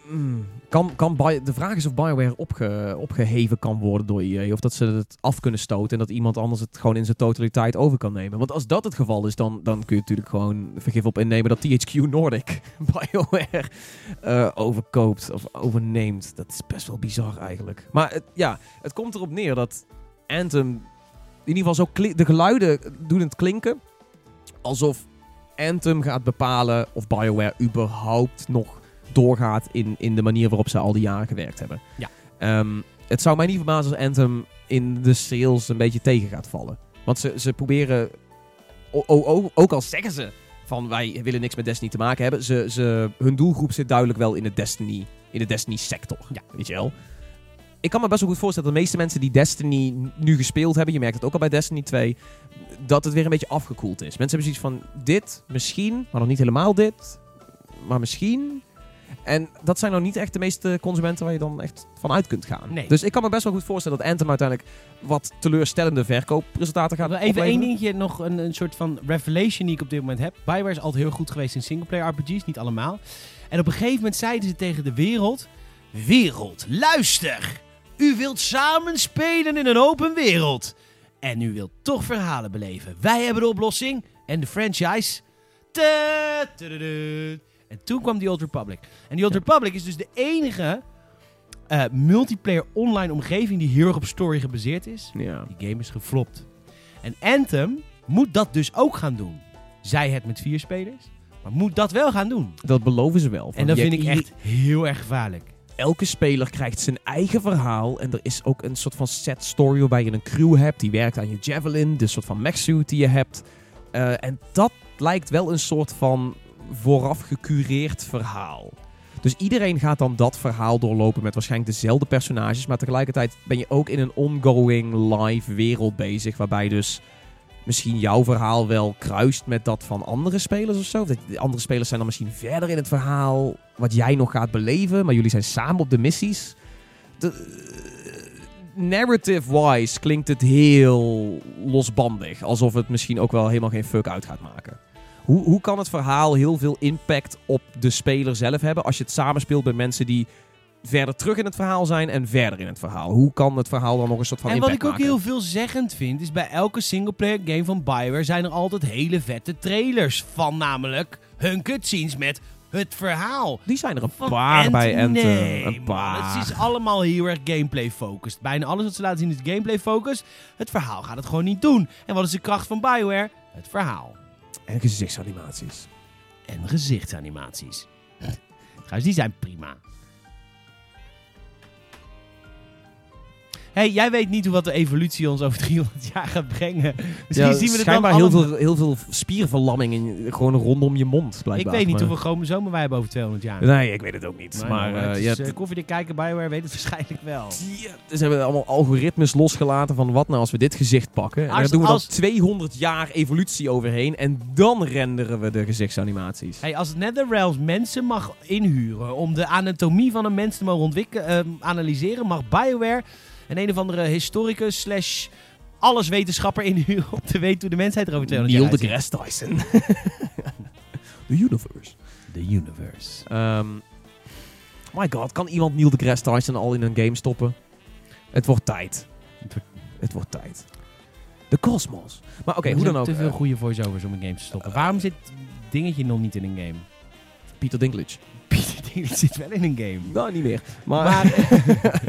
mm, Kan, kan Bio- de vraag is of BioWare opge, opgeheven kan worden door EA. Of dat ze het af kunnen stoten en dat iemand anders het gewoon in zijn totaliteit over kan nemen. Want als dat het geval is, dan, dan kun je natuurlijk gewoon vergif op innemen dat THQ Nordic [LAUGHS] BioWare eh, overkoopt of overneemt. Dat is best wel bizar eigenlijk. Maar het, ja, het komt erop neer dat Anthem in ieder geval zo kli- de geluiden doen het klinken alsof Anthem gaat bepalen of BioWare überhaupt nog doorgaat in, in de manier waarop ze al die jaren gewerkt hebben. Ja. Ehm, het zou mij niet verbazen als Anthem in de sales een beetje tegen gaat vallen. Want ze, ze proberen, o- o- o- ook al zeggen ze van wij willen niks met Destiny te maken hebben, ze, ze, hun doelgroep zit duidelijk wel in de Destiny, in de Destiny sector. Ja. Weet je wel? Ik kan me best wel goed voorstellen dat de meeste mensen die Destiny nu gespeeld hebben, je merkt het ook al bij Destiny 2, dat het weer een beetje afgekoeld is. Mensen hebben zoiets van dit, misschien, maar nog niet helemaal dit, maar misschien. En dat zijn nou niet echt de meeste consumenten waar je dan echt van uit kunt gaan. Nee. Dus ik kan me best wel goed voorstellen dat Anthem uiteindelijk wat teleurstellende verkoopresultaten gaat Even opleveren. één dingetje, nog een, een soort van revelation die ik op dit moment heb. Bioware is altijd heel goed geweest in singleplayer RPG's, niet allemaal. En op een gegeven moment zeiden ze tegen de wereld... Wereld, luister! U wilt samen spelen in een open wereld. En u wilt toch verhalen beleven. Wij hebben de oplossing en de franchise. Ta- tududu. En toen kwam The Old Republic. En The Old Ja. Republic is dus de enige eh, multiplayer online omgeving die heel erg op story gebaseerd is. Ja. Die game is geflopt. En Anthem moet dat dus ook gaan doen. Zij het met vier spelers, maar moet dat wel gaan doen. Dat beloven ze wel. Van, En dat je- vind ik je- echt heel erg gevaarlijk. Elke speler krijgt zijn eigen verhaal. En er is ook een soort van set story waarbij je een crew hebt. Die werkt aan je javelin. De soort van mechsuit die je hebt. Eh, en dat lijkt wel een soort van vooraf gecureerd verhaal. Dus iedereen gaat dan dat verhaal doorlopen met waarschijnlijk dezelfde personages. Maar tegelijkertijd ben je ook in een ongoing live wereld bezig. Waarbij dus misschien jouw verhaal wel kruist met dat van andere spelers of zo. Dat de andere spelers zijn dan misschien verder in het verhaal wat jij nog gaat beleven, maar jullie zijn samen op de missies. De- eh, Narrative-wise klinkt het heel losbandig. Alsof het misschien ook wel helemaal geen fuck uit gaat maken. Hoe, hoe kan het verhaal heel veel impact op de speler zelf hebben als je het samenspeelt met mensen die verder terug in het verhaal zijn en verder in het verhaal? Hoe kan het verhaal dan nog een soort van en wat impact ik ook maken? heel veelzeggend vind, is bij elke singleplayer game van Bioware zijn er altijd hele vette trailers van namelijk hun cutscenes met het verhaal. Die zijn er een Van paar Ant- bij Anthem. Nee, een man, paar. het is allemaal heel erg gameplay-focused. Bijna alles wat ze laten zien is gameplay-focused. Het verhaal gaat het gewoon niet doen. En wat is de kracht van Bioware? Het verhaal. En gezichtsanimaties. en gezichtsanimaties. Trouwens, die zijn prima. hey, jij weet niet hoe wat de evolutie ons over 300 jaar gaat brengen. Misschien zien we het dan schijnbaar heel allemaal- veel, heel veel spierverlamming in, gewoon rondom je mond, Ik blijkbaar. weet niet maar- hoeveel chromosomen wij hebben over 200 jaar. Nee, ik weet het ook niet. Nee, maar het eh, is, je eh, hebt- koffiedik kijken, Bioware weet het [LAUGHS] waarschijnlijk wel. ze hebben allemaal algoritmes losgelaten van wat nou als we dit gezicht pakken. En Als- daar doen we als- dan 200 jaar evolutie overheen en dan renderen we de gezichtsanimaties. Hey, als NetherRealms mensen mag inhuren om de anatomie van een mens te mogen ontwikkelen, eh, analyseren, mag BioWare een een of andere historicus slash alleswetenschapper inhuren om te weten hoe de mensheid er over 200 Neil jaar uitziet. deGrasse Tyson. [LAUGHS] The universe. The universe. Ehm, my god, kan iemand Neil deGrasse Tyson al in een game stoppen? Het wordt tijd. Het wordt- Het wordt tijd. De kosmos. Maar oké, Er hoe zijn dan ook. te veel eh, goede voiceovers om een game te stoppen. Waarom zit dingetje nog niet in een game? Pieter Dinklage. Pieter Dinklage zit wel in een game. Nou, niet meer. Maar, [LAUGHS]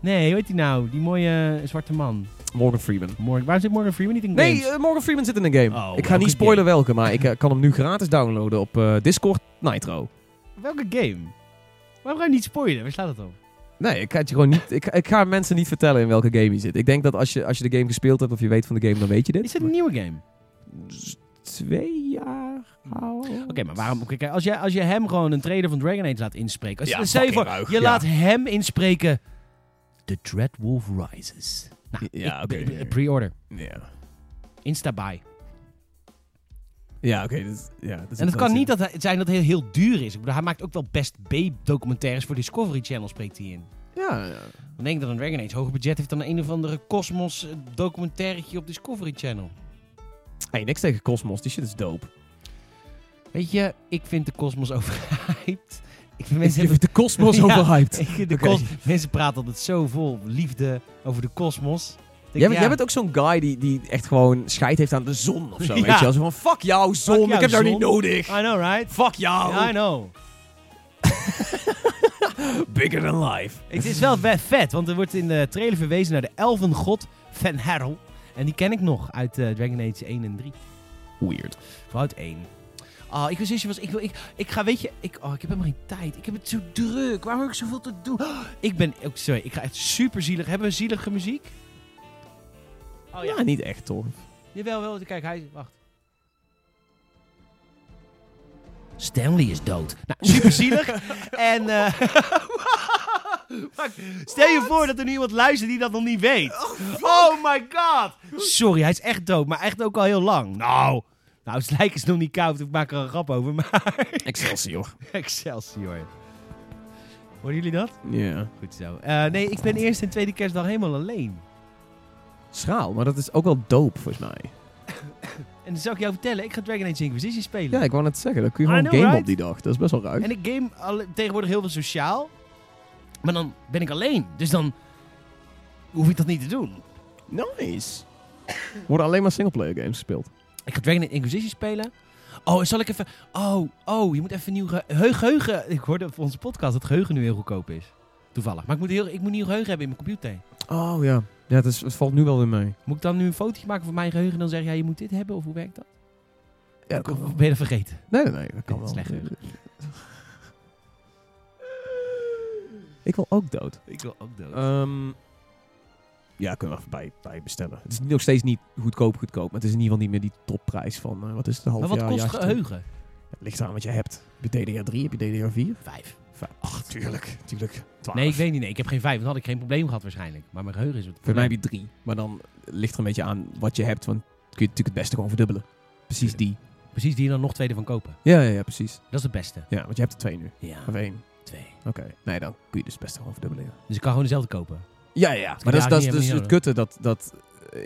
Nee, hoe heet die nou? Die mooie eh, zwarte man. Morgan Freeman. Morgan, waarom zit Morgan Freeman niet in Nee, games? eh, Morgan Freeman zit in een game. Oh, ik ga niet welke spoilen welke, maar ik eh, kan hem nu gratis downloaden op eh, Discord Nitro. Welke game? Waarom ga je niet spoilen? Waar slaat het op? Nee, ik ga, het je gewoon niet, ik, ik ga mensen niet vertellen in welke game je zit. Ik denk dat als je, als je de game gespeeld hebt of je weet van de game, dan weet je dit. Is dit een nieuwe game? twee jaar oud. Oké, Oké, maar waarom? Kijk, als je, als je hem gewoon een trailer van Dragon Age laat inspreken. Als je, Ja, stel je fucking voor, ruig, je ja. laat hem inspreken. The Dreadwolf Rises. Nou, Ja, ik- oké. b- b- Pre-order. Ja, Insta-buy. ja oké. dit- ja, dit is En het kan een- niet dat hij, zijn dat hij heel duur is. Ik bedoel, hij maakt ook wel best B-documentaires voor Discovery Channel, spreekt hij in. Ja, ja. Dan denk ik dat een Dragon Age hoger budget heeft dan een of andere Cosmos eh, documentairetje op Discovery Channel. Hey, niks tegen Cosmos, die shit is dope. Weet je, ik vind de Cosmos [LAUGHS] overhyped. Ik vind [LAUGHS] Ik mensen vind de [LAUGHS] Cosmos Ja. overhyped. Ik- de Oké. kos- mensen praten altijd zo vol liefde over de kosmos. Ik denk, Jij, bent- ja, jij bent ook zo'n guy die, die echt gewoon scheid heeft aan de zon of [LAUGHS] zo. Ja. Weet je wel? Zo van, fuck jou zon, jou, ik heb jou niet zon. nodig. I know, right? Fuck jou, I know. bigger than life. Het is wel we- vet, want er wordt in de trailer verwezen naar de elfengod Van Harrel. En die ken ik nog uit eh, Dragon Age 1 en 3. Weird. Vooral uit 1. Ah, ik wist je was. Ik, wil- ik, ik ga, weet je, ik, oh, ik heb helemaal geen tijd. Ik heb het zo druk. Waarom heb ik zoveel te doen? [GASPS] Oh, ik ben, ook sorry, ik ga echt super zielig. Hebben we zielige muziek? Oh ja, Ja, niet [LAUGHS] echt toch. Jawel, wel. Kijk, hij... Wacht. Stanley is dood. Nou, [LAUGHS] super zielig. en... eh, [LAUGHS] Fuck. Stel je voor dat er nu iemand luistert die dat nog niet weet. Oh, my god. Sorry, hij is echt dood. Maar echt ook al heel lang. Nou... Nou, het lijk is nog niet koud. Ik maak er een grap over. Maar [LAUGHS] Excelsior. Excelsior. Hoorden jullie dat? Ja. Goed zo. Eh, nee, ik ben eerst en tweede kerstdag helemaal alleen. Schraal, maar dat is ook wel dope volgens mij. En dan zou ik jou vertellen, ik ga Dragon Age Inquisition spelen. Ja, ik wou net zeggen, dan kun je I gewoon know, game op right? die dag. Dat is best wel ruik. En ik game alle- tegenwoordig heel veel sociaal. Maar dan ben ik alleen. Dus dan hoef ik dat niet te doen. Nice. Worden alleen maar singleplayer games gespeeld. Ik ga Dragon Age Inquisition spelen. Oh, en zal ik even... Oh, oh, je moet even nieuw ge- heu- geheugen... Ik hoorde op onze podcast dat geheugen nu heel goedkoop is. Toevallig. Maar ik moet, heel, ik moet nieuw geheugen hebben in mijn computer. Oh ja. Ja, het, is, het valt nu wel weer mee. Moet ik dan nu een fotootje maken van mijn geheugen en dan zeggen... Ja, je moet dit hebben of hoe werkt dat? Ja, dat Of ben je dat vergeten? Nee, nee, nee, dat kan wel. [LAUGHS] Slecht. Ik wil ook dood. Ik wil ook dood. Ehm, ja, kunnen we even bij, bij bestellen. Het is nog steeds niet goedkoop goedkoop, maar het is in ieder geval niet meer die topprijs van, eh, wat is het, een half maar wat jaar, kost jaartje terug. geheugen? Het ligt aan wat je hebt. Heb je DDR3, heb je DDR4? Vijf. Ach, tuurlijk, tuurlijk. Twaalf. Nee, ik weet niet. Nee, ik heb geen vijf. Dan had ik geen probleem gehad waarschijnlijk. Maar mijn geheugen is het Voor mij heb je drie, maar dan ligt er een beetje aan wat je hebt, want kun je het natuurlijk het beste gewoon verdubbelen. Precies die. Precies, die er dan nog tweede van kopen. Ja, ja, ja, precies. Dat is het beste. Ja, want je hebt er twee nu. Ja, Of één. twee. Oké. Nee, dan kun je dus het beste gewoon verdubbelen. ja. Dus ik kan gewoon dezelfde kopen. Ja, ja, ja. kun Maar je dat is, dat eigenlijk is niet dus hebben, het kutte dat... dat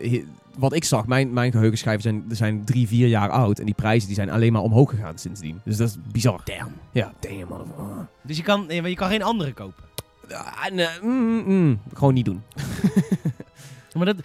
eh, he- wat ik zag, mijn, mijn geheugenschijven zijn, zijn drie, vier jaar oud. En die prijzen die zijn alleen maar omhoog gegaan sindsdien. Dus dat is bizar. Damn. Ja, damn, man. Dus je kan, je kan geen andere kopen. Ah, nee, mm, mm. gewoon niet doen. Maar dat,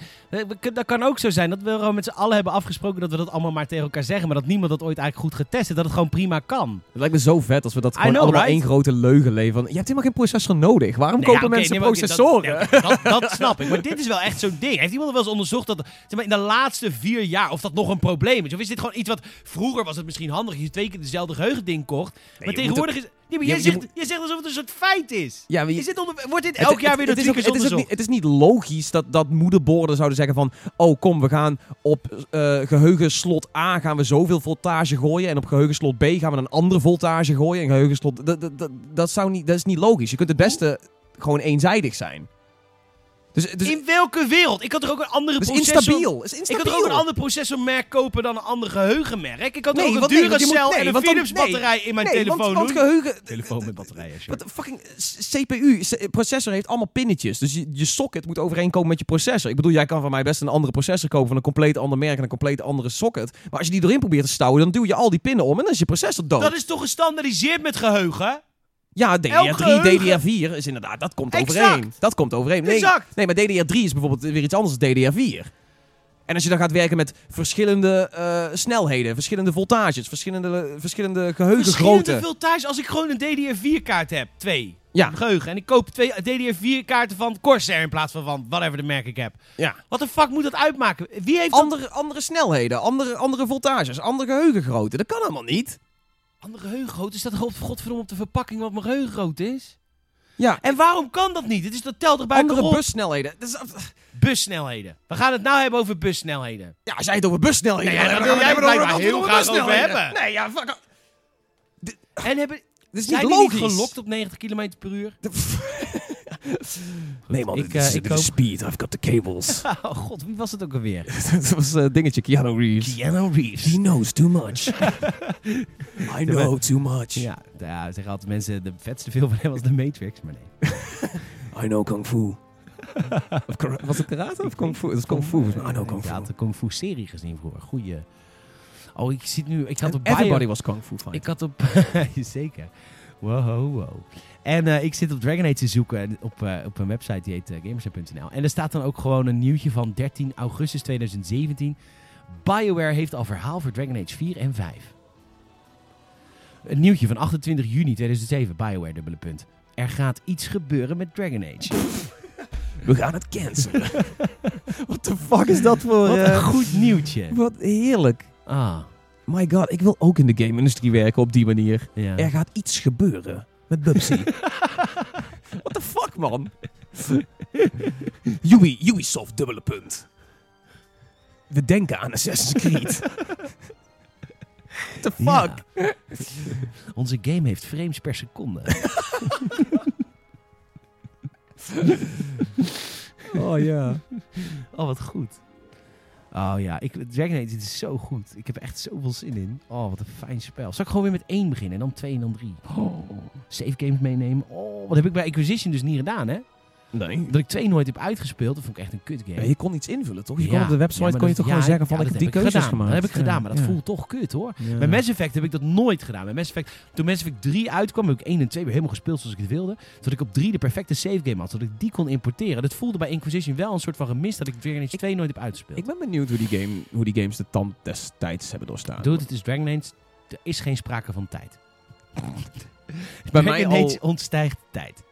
dat kan ook zo zijn dat we gewoon met z'n allen hebben afgesproken dat we dat allemaal maar tegen elkaar zeggen. Maar dat niemand dat ooit eigenlijk goed getest heeft. Dat het gewoon prima kan. Het lijkt me zo vet als we dat I gewoon know, allemaal right? één grote leugen leveren. Je hebt helemaal geen processor nodig. Waarom kopen mensen processoren? Dat, dat, dat snap ik. Maar dit is wel echt zo'n ding. Heeft iemand wel eens onderzocht dat zeg maar, in de laatste vier jaar of dat nog een probleem is? Of is dit gewoon iets wat vroeger was het misschien handig. als Je twee keer dezelfde geheugending kocht. maar je tegenwoordig is... Ja, maar Je- jij je zegt, moet- jij zegt alsof het een soort feit is. Ja, maar je- Is dit onder, wordt dit Het- elk het- jaar weer door het, is ook- tweakers het, is ook onderzocht? niet, het is niet logisch dat, dat moederborden zouden zeggen van... Oh, kom, we gaan op eh geheugenslot A gaan we zoveel voltage gooien... en op geheugenslot B gaan we een andere voltage gooien. En geheugenslot... Dat, dat, dat, dat zou niet, dat is niet logisch. Je kunt het beste gewoon eenzijdig zijn. Dus, dus, In welke wereld? Ik had er ook een andere dus processor... instabiel. Is Ik instabiel. had er ook een ander processormerk kopen dan een ander geheugenmerk. Ik had er Nee, ook een want nee, want je Duracell moet- nee, en een want dan- Philips nee. batterij in mijn Nee, telefoon want, want doen. geheugen... Telefoon met batterijen, sure. Wat de fucking eh, s- CPU, s- eh, processor heeft allemaal pinnetjes. Dus je, je socket moet overeenkomen met je processor. Ik bedoel, jij kan van mij best een andere processor kopen van een compleet ander merk en een compleet andere socket. Maar als je die erin probeert te stouwen, dan duw je al die pinnen om en dan is je processor dood. Oh. Dat is toch gestandaardiseerd met geheugen? Ja, elk DDR3, geheugen- DDR4 is inderdaad, dat komt Exact. overeen. Dat komt overeen. Nee, Exact. nee, maar DDR3 is bijvoorbeeld weer iets anders dan DDR4. En als je dan gaat werken met verschillende eh, snelheden, verschillende voltages, verschillende, eh, verschillende Verschillende geheugengrootte. veel thuis als ik gewoon een DDR4-kaart heb. Twee. Ja. Geheugen. En ik koop twee DDR4-kaarten van Corsair in plaats van van whatever de merk ik heb. Ja. Wat de fuck moet dat uitmaken? Wie heeft dat- andere, andere snelheden, andere, andere voltages, andere geheugengrootte. Dat kan allemaal niet. Andere geheugengrootte? Is dat god- godverdomme op de verpakking wat mijn geheugengrootte is? Ja, En waarom kan dat niet? Het is dat telt er bij andere elkaar op. bussnelheden. Dat is- bussnelheden. We gaan het nou hebben over bussnelheden. ja, als jij het over bussnelheden Nee, ja, hebt, daar wil dan hebben jij we het het blijkbaar heel graag over bussnelheden. hebben. Nee, ja, fuck. En hebben Dat is niet zijn die niet logisch. gelokt op 90 km per uur? [LAUGHS] Nee man, Ik, dit is- eh, dit ik is hoop- speed. I've got the cables. [LAUGHS] Oh god, wie was het ook alweer? [LAUGHS] dat was een dingetje, [LAUGHS] Keanu Reeves. Keanu Reeves. He knows too [LAUGHS] much. I know too much. Ja, nou ja, zeggen altijd mensen, de vetste film van hem was The Matrix, maar nee. I know kung fu. Of kara- was het karate of kung fu? Dat is kung fu. volgens mij. I know kung Ik fu. had de Kung Fu serie gezien vroeger, goeie. Oh, ik zit nu, ik had op Bio- Everybody was kung fu fine. Ik had op... [LAUGHS] Zeker. Wow, wow, wow. En eh, ik zit op Dragon Age te zoeken en op, eh, op een website die heet eh, gamers.nl. En er staat dan ook gewoon een nieuwtje van 13 augustus 2017. BioWare heeft al verhaal voor Dragon Age 4 en 5. Een nieuwtje van 28 juni 2007. BioWare, dubbele punt. Er gaat iets gebeuren met Dragon Age. We gaan het [LAUGHS] cancelen. What the fuck is dat voor... Wat een eh, goed nieuwtje. wat heerlijk. Ah, My god, ik wil ook in de game-industrie werken op die manier. ja. Er gaat iets gebeuren met [LAUGHS] Bubsy. What the fuck, man? [LAUGHS] Ubi, Ubisoft, dubbele punt. We denken aan Assassin's Creed. What the fuck? Ja. [LAUGHS] Onze game heeft frames per seconde. Oh ja. Oh, wat goed. Oh ja, ik, Dragon Age dit is zo goed. Ik heb er echt zoveel zin in. Oh, wat een fijn spel. Zal ik gewoon weer met één beginnen en dan twee en dan drie? Oh, save games meenemen. Oh, wat heb ik bij Acquisition dus niet gedaan, hè? Nee. Dat ik twee nooit heb uitgespeeld, dat vond ik echt een kut game. je kon iets invullen, toch? Je Ja. kon op de Ja, website maar kon je dat- toch ja, gewoon zeggen van ja, ik heb dat die ik keuzes gedaan. gemaakt. Dat heb ik Ja, gedaan, maar dat ja. voelt toch kut, hoor. Ja. Bij Mass Effect heb ik dat nooit gedaan. Bij Mass Effect, toen Mass Effect 3 uitkwam, heb ik 1 en 2 weer helemaal gespeeld zoals ik het wilde. Zodat ik op 3 de perfecte save game had, zodat ik die kon importeren. Dat voelde bij Inquisition wel een soort van gemis dat ik Dragon Age 2 nooit heb uitgespeeld. Ik ben benieuwd hoe die, game, hoe die games de tand destijds hebben doorstaan. Dude, het is Dragon Age. Er is geen sprake van tijd. Bij mij Dragon al... Age ontstijgt tijd.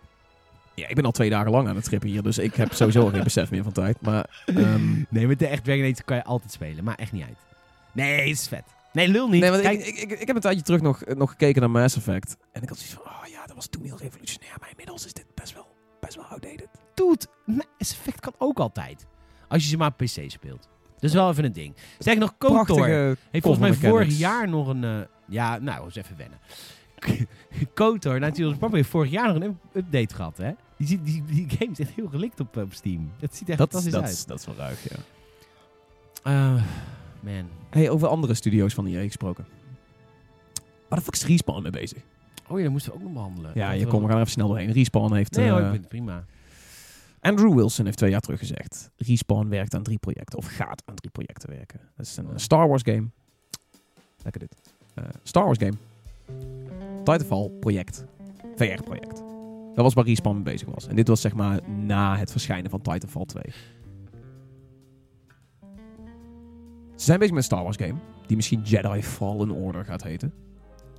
Ja, ik ben al twee dagen lang aan het trippen hier, dus ik heb sowieso al geen besef meer van tijd. Maar ehm, Nee, met de echt Dragon Age kan je altijd spelen, maar echt niet uit. Nee, het is vet. [LAUGHS] Nee, lul niet. nee, want Kijk, ik, ik, ik, ik heb een tijdje terug nog, nog gekeken naar Mass Effect. En ik had zoiets van, oh ja, dat was toen heel revolutionair, maar inmiddels is dit best wel, best wel outdated. dude, Mass Effect kan ook altijd. Als je ze maar op PC speelt. Dat is wel even een ding. Sterker nog, KOTOR Prachtige heeft volgens mij cover vorig mechanics. jaar nog een... eh, ja, nou, eens even wennen. [LAUGHS] KOTOR, natuurlijk, papa heeft vorig jaar nog een up- update gehad, hè? Die, ziet- die, die game is echt heel gelikt op, eh, op Steam. Dat ziet er echt Dat, dat, fantastisch dat, uit. is, dat is wel ruig, ja. Eh, man. Hey, over andere studio's van EA gesproken. Waar de fuck is Respawn mee bezig? Oh ja, dat moesten we ook nog behandelen. Ja, Dat je wel- komt, we gaan er even snel doorheen. Respawn heeft... Nee hoor, eh, ik vind het prima. Andrew Wilson heeft twee jaar terug gezegd. Respawn werkt aan drie projecten. Of gaat aan drie projecten werken. Dat is een eh, Star Wars game. Lekker dit. Eh, Star Wars game. Titanfall project. VR project. Dat was waar Respawn mee bezig was. En dit was zeg maar na het verschijnen van Titanfall 2. Ze zijn bezig met een Star Wars game. Die misschien Jedi Fallen Order gaat heten.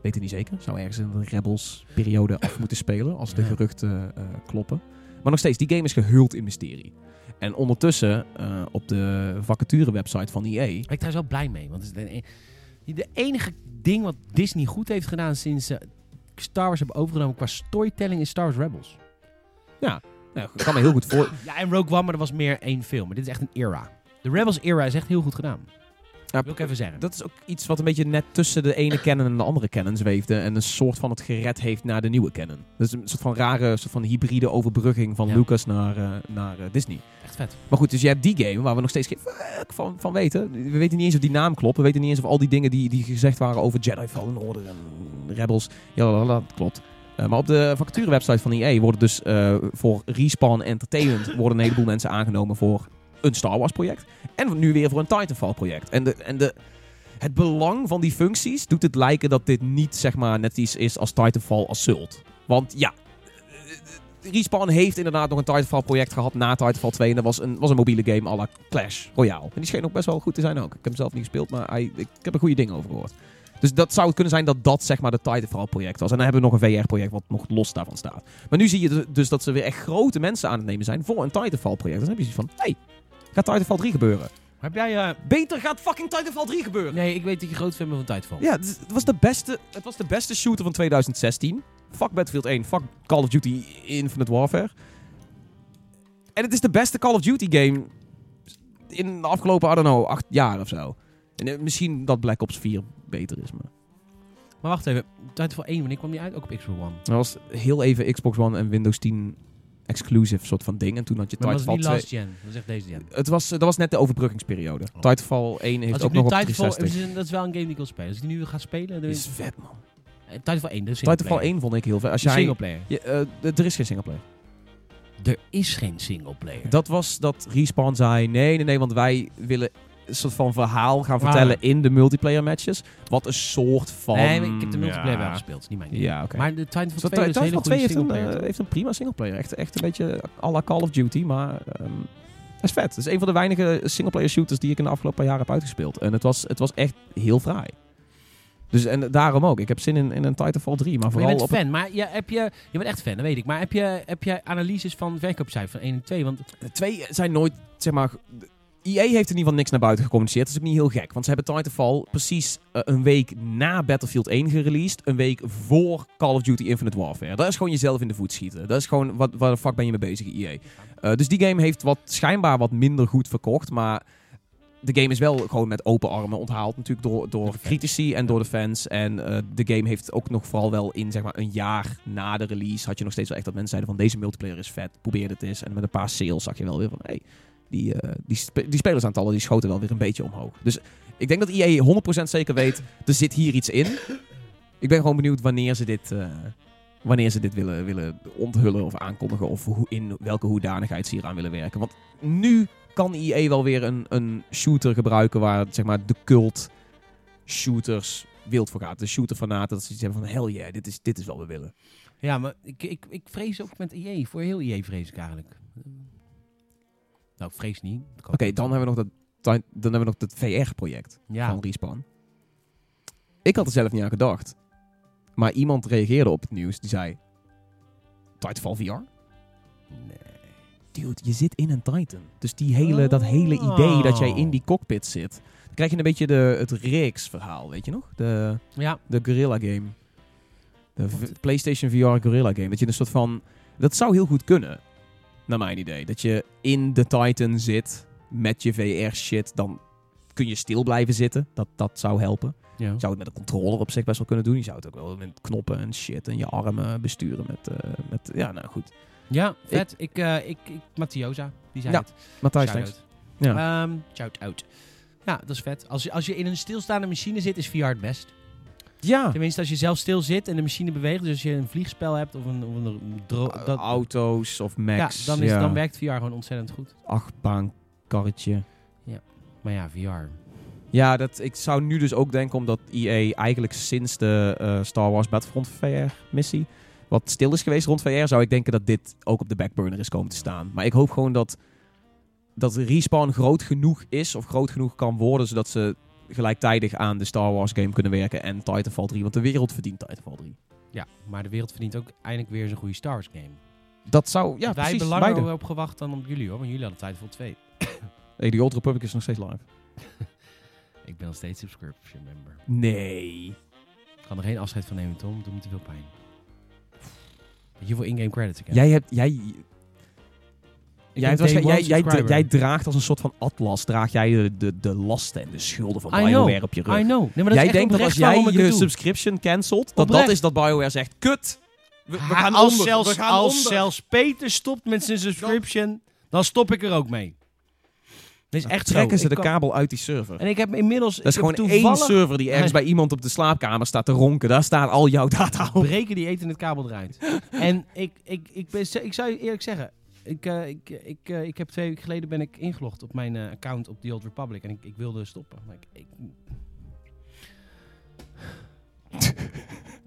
Weet het niet zeker. Zou ergens in de Rebels periode af moeten spelen. Als de Ja. geruchten eh, kloppen. Maar nog steeds, die game is gehuld in mysterie. En ondertussen eh, op de vacature website van E EA. Ben ik trouwens e- wel blij mee. Want het is de, de enige ding wat Disney goed heeft gedaan sinds eh, Star Wars hebben overgenomen qua storytelling in Star Wars Rebels. Nou, ik kan me heel goed [COUGHS] voor. Ja, en Rogue One, maar dat was meer één film. Maar dit is echt een era. De Rebels era is echt heel goed gedaan. Ja, Wil ik even zeggen. Dat is ook iets wat een beetje net tussen de ene canon en de andere canon zweefde. En een soort van het gered heeft naar de nieuwe canon. Dat is een soort van rare, soort van hybride overbrugging van Ja. Lucas naar, eh, naar eh, Disney. Echt vet. Maar goed, dus je hebt die game waar we nog steeds geen fuck van, van weten. We weten niet eens of die naam klopt. We weten niet eens of al die dingen die, die gezegd waren over Jedi Fallen Order en Rebels. Ja, dat klopt. Eh, maar op de vacaturewebsite van EA worden dus eh, voor Respawn Entertainment worden een heleboel mensen aangenomen voor een Star Wars project. En nu weer voor een Titanfall project. En, de, en de, het belang van die functies doet het lijken dat dit niet zeg maar, net iets is als Titanfall Assault. Want ja, Respawn heeft inderdaad nog een Titanfall project gehad na Titanfall 2. En dat was een, was een mobiele game à la Clash Royale. En die scheen ook best wel goed te zijn ook. Ik heb hem zelf niet gespeeld, maar hij- ik heb er goede dingen over gehoord. Dus dat zou het kunnen zijn dat dat zeg maar de Titanfall project was. En dan hebben we nog een VR project wat nog los daarvan staat. Maar nu zie je dus- dus dat ze weer echt grote mensen aan het nemen zijn voor een Titanfall project. Dan heb je zoiets van, hey, gaat Titanfall 3 gebeuren? Maar heb jij... eh, Beter gaat fucking Titanfall 3 gebeuren! Nee, ik weet dat je groot fan bent van Titanfall. Ja, het, is- het was de beste, het was de beste shooter van 2016. Fuck Battlefield 1, fuck Call of Duty Infinite Warfare. En het is de beste Call of Duty game in de afgelopen, I don't know, acht jaar of zo. En eh, misschien dat Black Ops 4 beter is, maar... Maar wacht even. Titanfall 1, wanneer kwam die uit? Ook op Xbox One. Dat was heel even Xbox One en Windows 10 exclusive soort van ding. En toen had je Maar dat was Titanfall niet last 2. gen. Dat was echt deze gen. Het was, eh, dat was net de overbruggingsperiode. Oh. Titanfall 1 heeft Als ik ook nu nog op Titanfall... 360. Dat is wel een game die ik wil spelen. Als ik die nu ga spelen... Dan... Dit is vet, man. Eh, Titanfall 1, de singleplayer. Titanfall 1 vond ik heel vet. Als De jij... singleplayer. Je, eh, d- er is geen singleplayer. Er is geen singleplayer. Dat was dat Respawn zei: nee, nee, nee, want wij willen een soort van verhaal gaan vertellen in de multiplayer matches. Wat een soort van. nee, maar ik heb de multiplayer wel ja. gespeeld. is niet mijn game. Ja, oké. Maar de Titanfall 2 Dus was een dat- hele Titanfall 2 goede heeft een, singleplayer. eh, heeft een prima singleplayer. Echt, echt een beetje à la Call of Duty, maar ehm, dat is vet. Het is een van de weinige singleplayer shooters die ik in de afgelopen paar jaar heb uitgespeeld. En het was, het was echt heel fraai. Dus en daarom ook. Ik heb zin in, in een Titanfall 3, maar Maar je vooral bent op... fan, maar je, heb je, je bent echt fan, dat weet ik. Maar heb je, heb je analyses van verkoopcijfers van 1 en 2? Want De twee zijn nooit, zeg maar... EA heeft in ieder geval niks naar buiten gecommuniceerd. Dat is ook niet heel gek. Want ze hebben Titanfall precies eh, een week na Battlefield 1 gereleased. Een week voor Call of Duty Infinite Warfare. Dat is gewoon jezelf in de voet schieten. Dat is gewoon, wat, waar de fuck ben je mee bezig, EA? Eh, dus die game heeft wat, schijnbaar wat minder goed verkocht. Maar de game is wel gewoon met open armen onthaald. Natuurlijk door, Door door de fans. critici en door de fans. En eh, de game heeft ook nog vooral wel in zeg maar, een jaar na de release... had je nog steeds wel echt dat mensen zeiden van... deze multiplayer is vet, probeer het eens. En met een paar sales zag je wel weer van... Hey, die, eh, die, spe- die spelersaantallen die schoten wel weer een beetje omhoog. Dus ik denk dat EA 100% zeker weet... er zit hier iets in. Ik ben gewoon benieuwd wanneer ze dit... eh, Wanneer ze dit willen, willen onthullen of aankondigen, of hoe, in welke hoedanigheid ze hier aan willen werken. Want nu kan EA wel weer een, een shooter gebruiken waar zeg maar, de cult shooters wild voor gaat. De shooterfanaten, dat ze iets hebben van hell yeah, dit is, dit is wat we willen. ja, maar ik, ik, ik vrees ook met IE. Voor heel IE vrees ik eigenlijk. Nou, ik vrees niet. Dat kan Oké, dan hebben we nog dat, dan hebben we nog dat VR-project Ja, van Respawn. Ik had er zelf niet aan gedacht. Maar iemand reageerde op het nieuws, die zei... Titanfall VR? nee. Dude, je zit in een Titan. Dus die hele, dat hele Oh. idee dat jij in die cockpit zit... Dan krijg je een beetje de, het Rex-verhaal, weet je nog? De... ja. De Gorilla Game. De v- PlayStation VR Gorilla Game. Dat je een soort van... Dat zou heel goed kunnen. Naar mijn idee. Dat je in de Titan zit met je VR-shit. Dan kun je stil blijven zitten. Dat, dat zou helpen. ja. Je zou het met een controller op zich best wel kunnen doen. Je zou het ook wel met knoppen en shit en je armen besturen met... eh, met ja, nou goed. Ja, vet. Ik, ik, ik, ik Mattiosa, die zei Ja, het. Matthijs, Shout thanks. out. Ja. Ehm, shout out. Ja, dat is vet. Als je, als je in een stilstaande machine zit, is VR het best. Ja. Tenminste, als je zelf stil zit en de machine beweegt. Dus als je een vliegspel hebt of een... Of een dro- Oh, dat- Auto's of ja, Macs. dan, is, dan werkt VR gewoon ontzettend goed. Achtbaankarretje. Maar ja, VR... Ja, dat, ik zou nu dus ook denken, omdat EA eigenlijk sinds de eh, Star Wars Battlefront VR-missie wat stil is geweest rond VR, zou ik denken dat dit ook op de backburner is komen te staan. Maar ik hoop gewoon dat, dat Respawn groot genoeg is, of groot genoeg kan worden, zodat ze gelijktijdig aan de Star Wars game kunnen werken en Titanfall 3. Want de wereld verdient Titanfall 3. Ja, maar de wereld verdient ook eindelijk weer zo'n goede Star Wars game. Dat zou, ja, Wij precies. hebben langer beide. op gewacht dan op jullie hoor, want jullie hadden tijd voor twee. Hey, die Old Republic is nog steeds live. Ik ben nog steeds subscription member. Nee. Ik kan er geen afscheid van nemen Tom, doet me te veel pijn. Weet je hoeveel in-game credits ik heb? Jij hebt... Jij, jij, hebt ben day waarschijnlijk- jij, one jij, subscriber. jij draagt als een soort van atlas, draag jij de, de, de lasten en de schulden van I know, BioWare op je rug. I know. Nee, maar dat jij is echt denkt dat als oprecht jij waarom ik je het doe. subscription cancelt, dat dat Oprecht. is dat BioWare zegt, kut! We, we Ha, gaan als onder, zelfs, we gaan als onder. zelfs Peter stopt met zijn subscription, dan stop ik er ook mee. Dat is echt zo. trekken ze Ik de kan- kabel uit die server. En ik heb inmiddels... Dat is gewoon één server die ergens bij iemand op de slaapkamer staat te ronken. Daar staat al jouw data op. Breken die eten het kabel eruit. [LAUGHS] en ik, ik, ik, ben, ik zou je eerlijk zeggen... Ik, eh, ik, ik, eh, ik heb twee weken geleden ben ik ingelogd op mijn eh, account op The Old Republic. En ik, ik wilde stoppen. Maar ik, ik,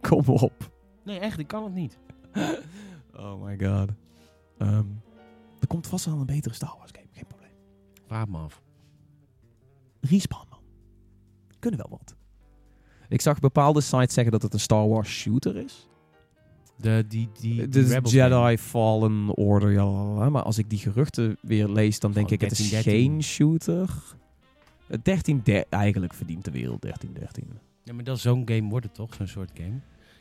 Kom op. nee, echt, ik kan het niet. Oh my god. Ehm, er komt vast wel een betere Star Wars game, geen probleem. Vraag me af. Respawn, man. Kunnen wel wat. Ik zag bepaalde sites zeggen dat het een Star Wars shooter is. De, die, die, Het Eh, is Jedi Fallen Order, ja, la, la, la. maar als ik die geruchten weer lees, dan denk Gewoon ik het is 13. geen shooter. Het 13, der- eigenlijk verdient de wereld 13, 13. Ja, maar dat zo'n game wordt het toch, zo'n soort game?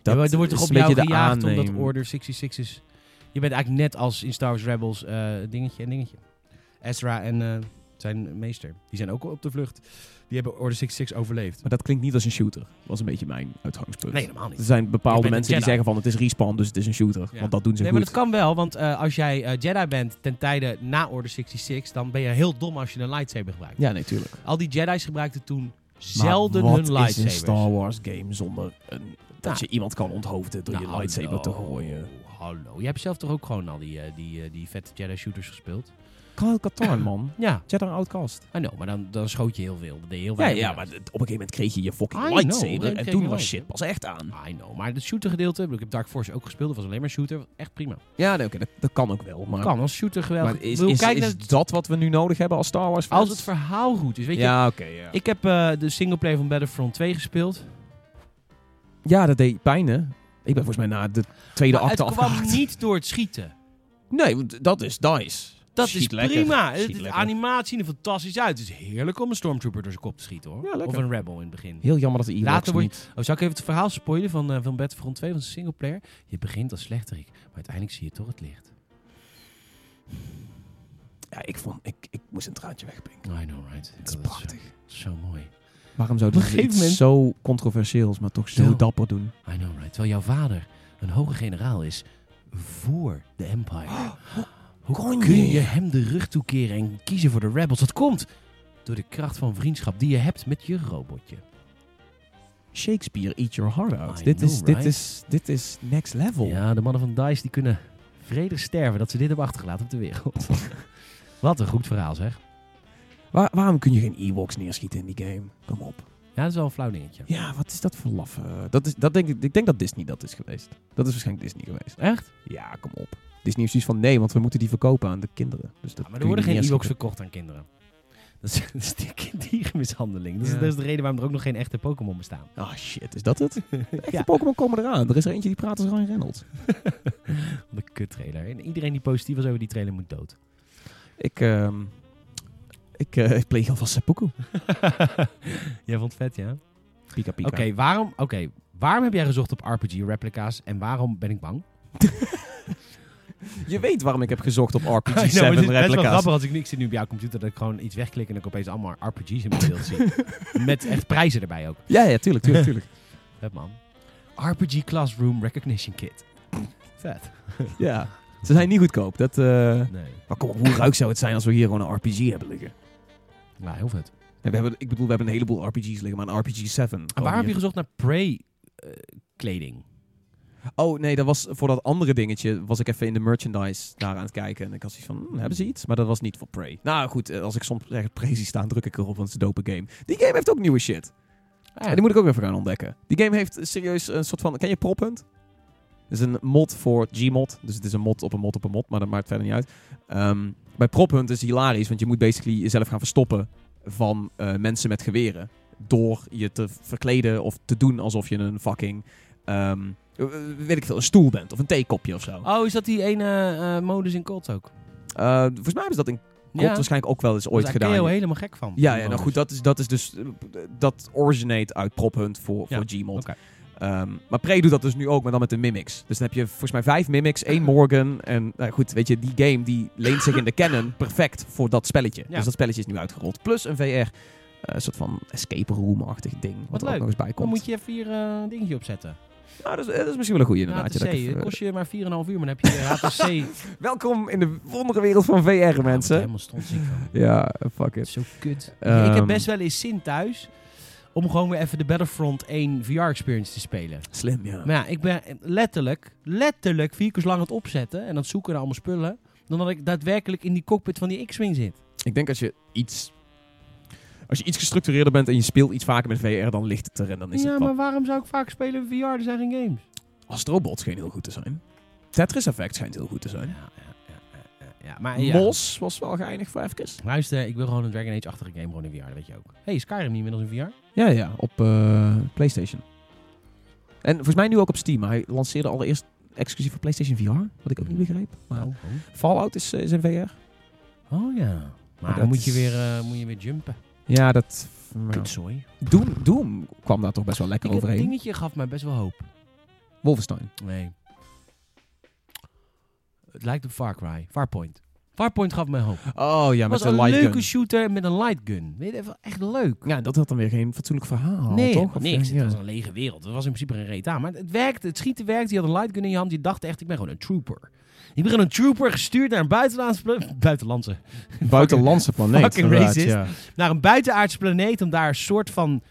Dat ja, maar er wordt is toch op een beetje jou de gejaagd omdat aannemer. Order 66 is... Je bent eigenlijk net als in Star Wars Rebels eh, dingetje en dingetje. Ezra en eh, zijn meester, die zijn ook op de vlucht. Die hebben Order 66 overleefd. Maar dat klinkt niet als een shooter. was een beetje mijn uitgangspunt. Nee, helemaal Er niet. zijn Je bepaalde bent mensen een die Jedi. zeggen van het is respawn, dus het is een shooter. Ja. Want dat doen ze Nee, maar goed. dat kan wel, want eh, als jij eh, Jedi bent ten tijde na Order 66, dan ben je heel dom als je een lightsaber gebruikt. Ja, natuurlijk. Al die Jedi's gebruikten toen zelden maar hun wat is een lightsabers. Star Wars game zonder een, dat Nou. je iemand kan onthoofden door je Nou, lightsaber te hallo, gooien? Hallo, jij hebt zelf toch ook gewoon al die, eh, die, eh, die vette Jedi shooters gespeeld? Kyle Katarn, man. Ja, Jedi Outcast. I know, maar dan, dan schoot je heel veel. Dat deed je heel Ja, weinig ja, met. maar d- op een gegeven moment kreeg je je fucking I know, lightsaber. dan kreeg en je toen een was shit lightsaber. pas echt aan. I know, maar het shooter gedeelte, ik bedoel, ik heb Dark Force ook gespeeld, dat was alleen maar shooter, was echt prima. Ja, nee, oké, dat, dat kan ook wel. Maar, Kan als shooter geweldig. maar is, Ik bedoel, is, kijk is naar het- dat wat we nu nodig hebben als Star Wars fans? als het verhaal goed is, weet je. Ja, oké, ja. Ik heb eh de singleplayer van Battlefront 2 gespeeld. Ja, dat deed pijn, hè? Ik ben volgens mij na de tweede Maar acte het kwam afgehaakt. niet door het schieten. Nee, want dat is DICE. Dat Schiet is lekker. prima. Schiet Het- De lekker. animatie ziet er fantastisch uit. Het is heerlijk om een stormtrooper door zijn kop te schieten hoor. Ja, lekker. of een rebel in het begin. Heel jammer dat de Ewoks Later word je- niet... Oh, zou ik even het verhaal spoilen van, eh, van Battlefront 2, van de singleplayer? Je begint als slechterik, maar uiteindelijk zie je toch het licht. Ja, ik, vond, ik, ik moest een traantje wegpinken. I know, right. Het Dat is zo- prachtig. zo mooi. Waarom zouden Op ze een gegeven iets zo controversieels, maar toch zo Ja. dapper doen? I know, right. Terwijl jouw vader een hoge generaal is voor de Empire. Oh, hoe kon kun je? je hem de rug toekeren en kiezen voor de Rebels? Dat komt door de kracht van vriendschap die je hebt met je robotje. Shakespeare, eat your heart out. I Dit know, is, dit, right? is, dit is next level. Ja, de mannen van DICE die kunnen vredig sterven dat ze dit hebben achtergelaten op de wereld. [LAUGHS] Wat een goed verhaal zeg. Waar- waarom kun je geen Ewoks neerschieten in die game? Kom op. Ja, dat is wel een flauw dingetje. Ja, wat is dat voor laf? eh, dat is, dat denk ik, ik denk dat Disney dat is geweest. Dat is waarschijnlijk Disney geweest. Echt? Ja, kom op. Disney heeft zoiets van nee, want we moeten die verkopen aan de kinderen. Dus dat Ja, maar kun er je worden niet geen Ewoks neerschieten. verkocht aan kinderen. Dat is, dat is die dierenmishandeling. Dat is, Ja. dat is de reden waarom er ook nog geen echte Pokémon bestaan. Ah shit, is [LAUGHS] dat het? Echte Ja. Pokémon komen eraan. Er is er eentje die praat als Ryan Reynolds. De kut trailer. En iedereen die positief was over die trailer moet dood. [LAUGHS] Ik, ehm ik, eh, ik pleeg alvast seppuku. jij vond het vet, ja? Oké, Pika pika. waarom, oké, waarom heb jij gezocht op RPG-replica's en waarom ben ik [LAUGHS] bang? Je weet waarom ik heb gezocht [LAUGHS] op [LAUGHS] I know, maar RPG Nou, het is 7 best wel replica's. grappig als ik niks zit nu op jouw computer dat ik gewoon iets wegklik en dat ik opeens allemaal RPG's in mijn beeld zie. [LAUGHS] Met echt prijzen erbij ook. Ja, ja, tuurlijk, tuurlijk, tuurlijk. Vet man. RPG Classroom Recognition Kit. Vet. ja. Ze zijn niet goedkoop. Dat, eh, Nee. Maar kom op, hoe ruik zou het zijn als we hier gewoon een RPG hebben liggen? Ja, heel vet. Ja, we hebben, ik bedoel, we hebben een heleboel RPG's liggen, maar een RPG 7. En waarom heb je gezocht naar eh, Prey-kleding? Oh nee, dat was voor dat andere dingetje. Was ik even in de merchandise daar aan het kijken. En ik had zoiets van, hm, hebben ze iets? Maar dat was niet voor Prey. Nou goed, eh, als ik soms ergens Prey zie staan, druk ik erop, want het is een dope game. Die game heeft ook nieuwe shit. En die moet ik ook even gaan ontdekken. Die game heeft serieus een soort van... Ken je Prop Hunt? Het is een mod voor Gmod. Dus het is een mod op een mod op een mod, maar dat maakt verder niet uit. Ehm, bij Prop Hunt is het hilarisch, want je moet basically jezelf gaan verstoppen van eh, mensen met geweren. Door je te verkleden of te doen alsof je een fucking... ehm, eh, weet ik veel, een stoel bent of een theekopje of zo. Oh, is dat die ene eh, modus in Colt ook? Eh, volgens mij hebben ze dat in COD waarschijnlijk ook wel eens ooit Daar gedaan. ben je helemaal gek van. nou Ja, ja, nou goed, dat is, dat is dus... eh, Dat originate uit Prop Hunt voor, Ja, voor Gmod. oké. Ehm, maar Prey doet dat dus nu ook, maar dan met de mimics. Dus dan heb je volgens mij vijf mimics, één Morgan. En nou goed, weet je, die game die leent zich in de [LAUGHS] canon perfect voor dat spelletje. Ja. Dus dat spelletje is nu uitgerold. Plus een VR, eh, soort van escape room-achtig ding. Wat, Wat er ook leuk. nog eens bij Dan komt. moet je even hier eh, een dingetje opzetten. Nou, dat, is, dat is misschien wel een goede inderdaad. HTC, ja, dat ik eh, even- kost je maar 4,5 uur, maar dan heb je de [LAUGHS] HTC. Welkom in de wondere wereld van VR, Ik word er mensen. Oh, helemaal stondziek van. Ja, fuck Het it. is zo kut. Ehm. ik heb best wel eens zin thuis om gewoon weer even de Battlefront 1 VR-experience te spelen. Slim, ja. Maar ja, ik ben letterlijk, letterlijk vier keer zo lang aan het opzetten en aan het zoeken naar allemaal spullen, dan dat ik daadwerkelijk in die cockpit van die X-Wing zit. Ik denk als je iets... Als je iets gestructureerder bent en je speelt iets vaker met VR, dan ligt het er en dan is Ja, het wat. maar waarom zou ik vaak spelen in VR? Er zijn geen games. Astrobots scheen heel goed te zijn. Tetris Effect schijnt heel goed te zijn. Ja, ja, ja, ja, ja. Maar, Ah, ja. Mos was wel geinig voor even. Luister, ik wil gewoon een Dragon Age-achtige game gewoon in VR, dat weet je ook. hey, Skyrim niet inmiddels in VR? Ja, ja, op eh, PlayStation. En volgens mij nu ook op Steam. maar Hij lanceerde allereerst exclusief voor PlayStation VR, wat ik ook niet begreep. Maar Fallout is, eh, is in VR. Nou. Oh ja. Maar dat dan moet je, is- weer, eh, moet je weer jumpen. Ja, dat... Kutzooi. Doom, Doom kwam daar toch best wel lekker Ik- Dat overheen. dingetje gaf mij best wel hoop. Wolfenstein. Nee. Het lijkt op Far Cry. Farpoint. Farpoint gaf mij hoop. Oh ja, Het was een leuke shooter met een light gun. Weet je, wel, echt leuk. Ja, dat had dan weer geen fatsoenlijk verhaal, nee, toch? Of, eh, niks. ja. Het was een lege wereld. Het was in principe een reet aan. Maar het werkte. Het schieten werkte. Je had een light gun in je hand. Je dacht echt, ik ben gewoon een trooper. Je bent gewoon een trooper gestuurd naar een buitenlandse... pla- [LAUGHS] Buitenlandse. Buitenlandse planeet. fucking inderdaad, racist. Ja. Naar een buitenaardse planeet om daar een soort van...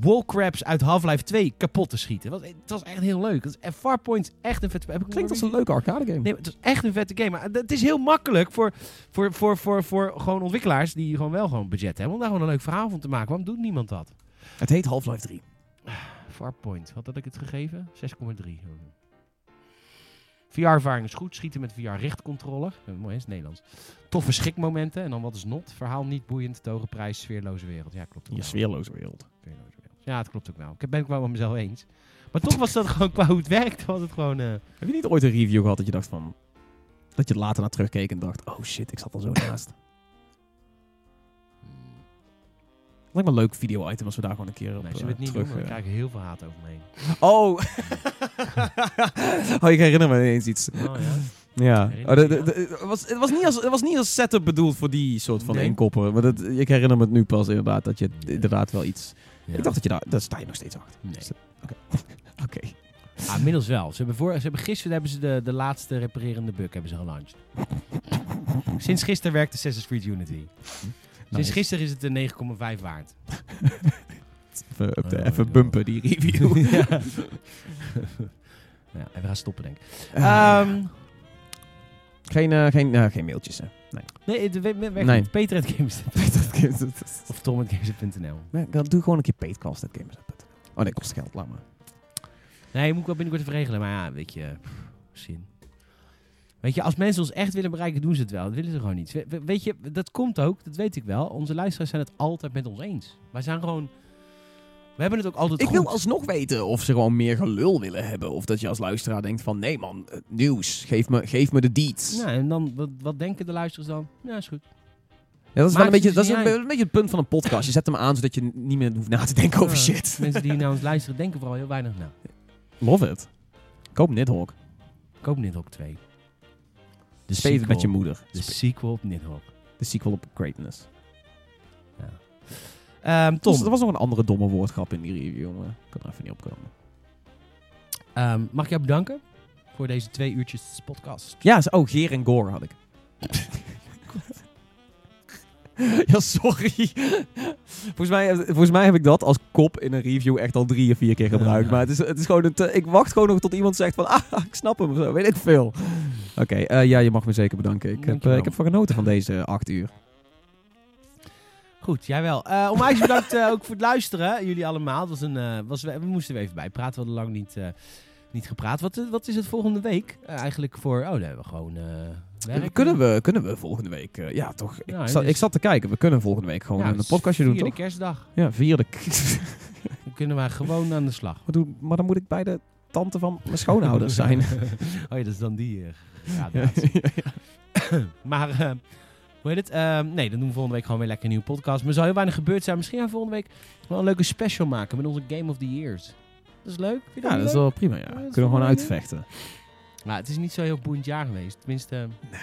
Wallcraps uit Half-Life 2 kapot te schieten. Het was, het was echt heel leuk. Het is- En Farpoint is echt een vet... Heb ik Klinkt als een leuke arcade game. Nee, maar het is echt een vette game. Maar het is heel makkelijk voor, voor, voor, voor, voor gewoon ontwikkelaars die gewoon wel gewoon budget hebben. Om daar gewoon een leuk verhaal van te maken. Waarom doet niemand dat? Het heet Half-Life 3. Farpoint, wat had ik het gegeven? 6,3. VR-ervaring is goed. Schieten met VR-richtcontroller. Eh, Mooi, hè, is Nederlands. Toffe schikmomenten. En dan wat is not? Verhaal niet boeiend, toge prijs, sfeerloze wereld. Ja, klopt. ook wel. sfeerloze wereld. Sfeerloze wereld. Ja, het klopt ook wel. Ik ben het wel met mezelf eens. Maar toch was dat gewoon, qua hoe het werkt, was het gewoon... eh, Heb je niet ooit een review gehad dat je dacht van... Dat je later naar terugkeek en dacht... Oh shit, ik zat al [COUGHS] zo naast. Lijkt me een leuk video-item als we daar gewoon een keer op nee, zullen we het eh, niet terug... doen? want We eh, krijgen heel veel haat over me heen. [LAUGHS] Oh! oh, ik herinner me ineens iets. [LAUGHS] Oh, ja. Ja, Herinner oh, de- je de- dat? de- het, was, het, was niet als, het was niet als setup bedoeld voor die soort van Nee. inkopper. Maar dat, ik herinner me het nu pas inderdaad, dat je d- Nee. inderdaad wel iets... Ja. Ik dacht dat je daar... Daar sta je nog steeds achter. Nee. Oké. Ah, inmiddels wel. Ze hebben, voor, ze hebben gisteren hebben ze de, de laatste reparerende bug hebben ze gelanceerd. Sinds gisteren werkt Assassin's Creed Unity. Sinds Nice. gisteren is het een 9,5 [LAUGHS] waard. Even, up de- Oh, even joh. bumpen, die [LAUGHS] [LAUGHS] review. ja. ja, en we gaan stoppen denk ik. Eh, Ehm, geen, eh, geen, eh, geen mailtjes, hè. [LAUGHS] nee, het we- we- werkt Nee. niet. Peter at Games. Of Tom at Games.nl. Nee, dan doe gewoon een keer paidcast at gamers.nl. Oh nee, kost geld, laat maar. Nee, je moet ik wel binnenkort even regelen. Maar ja, weet je, pff, zin. Weet je, als mensen ons echt willen bereiken, doen ze het wel. Dat willen ze gewoon niet. We- we- weet je, dat komt ook, dat weet ik wel. Onze luisteraars zijn het altijd met ons eens. Wij zijn gewoon... We hebben het ook altijd Ik goed. wil alsnog weten of ze gewoon meer gelul willen hebben. Of dat je als luisteraar denkt van... Nee man, eh, nieuws. Geef me, geef me de deeds. Nou, en dan, wat, wat denken de luisteraars dan? Ja, is goed. Ja, dat is, Maakt wel een beetje, het dat is niet een, uit. be- een beetje het punt van een podcast. Je zet hem aan zodat je n- niet meer hoeft na te denken over Ja. shit. Mensen die naar ons luisteren, denken vooral heel weinig na. Love it. Koop Nidhogg. Koop Nidhogg 2. De Speel het sequel. met je moeder. De sequel op Nidhogg. De sequel op Greatness. Ja. Ehm, Tom. Tom, Er was nog een andere domme woordgrap in die review, maar ik kan er even niet opkomen. ehm, mag ik jou bedanken voor deze twee uurtjes podcast? Ja, ze- oh, Geer en Gore had ik. ja, sorry. volgens, mij, volgens mij heb ik dat als kop in een review echt al drie of vier keer gebruikt. Ja. Maar het is, het is gewoon... een te- ik wacht gewoon nog tot iemand zegt van... Ah, ik snap hem of zo. Weet ik veel. Oké, eh, ja, je mag me zeker bedanken. Ik heb, eh, Dankjewel. ik heb van genoten van deze acht uur. Goed, jij wel. Eh onwijs bedankt eh, ook voor het luisteren, jullie allemaal. Het was een, eh, was, we, we moesten er even bij praten, we hadden lang niet, eh, niet gepraat. Wat, eh, wat is het volgende week Eh, eigenlijk voor... Oh, daar hebben we gewoon eh werk. Kunnen we, kunnen we volgende week... eh, ja, toch. Ik, Ja, zat, dus- ik zat te kijken. We kunnen volgende week gewoon Ja, het een is podcastje doen, vierde toch? kerstdag. Ja, vierde. [LAUGHS] Dan kunnen wij gewoon aan de slag. maar, doe- maar dan moet ik bij de tante van mijn schoonouders zijn. [LAUGHS] oh ja, dat is dan die eh gradatie. Maar, eh, hoe heet het? Eh, nee, dan doen we volgende week gewoon weer lekker een nieuwe podcast. Maar er zal heel weinig gebeurd zijn. Misschien gaan we volgende week wel een leuke special maken met onze Game of the Years. Dat is leuk. Vind je Ja, dat niet is leuk? wel prima. Ja. dat Kunnen is we gewoon wel leuk. uitvechten. Maar het is niet zo heel boeiend jaar geweest. Tenminste, eh,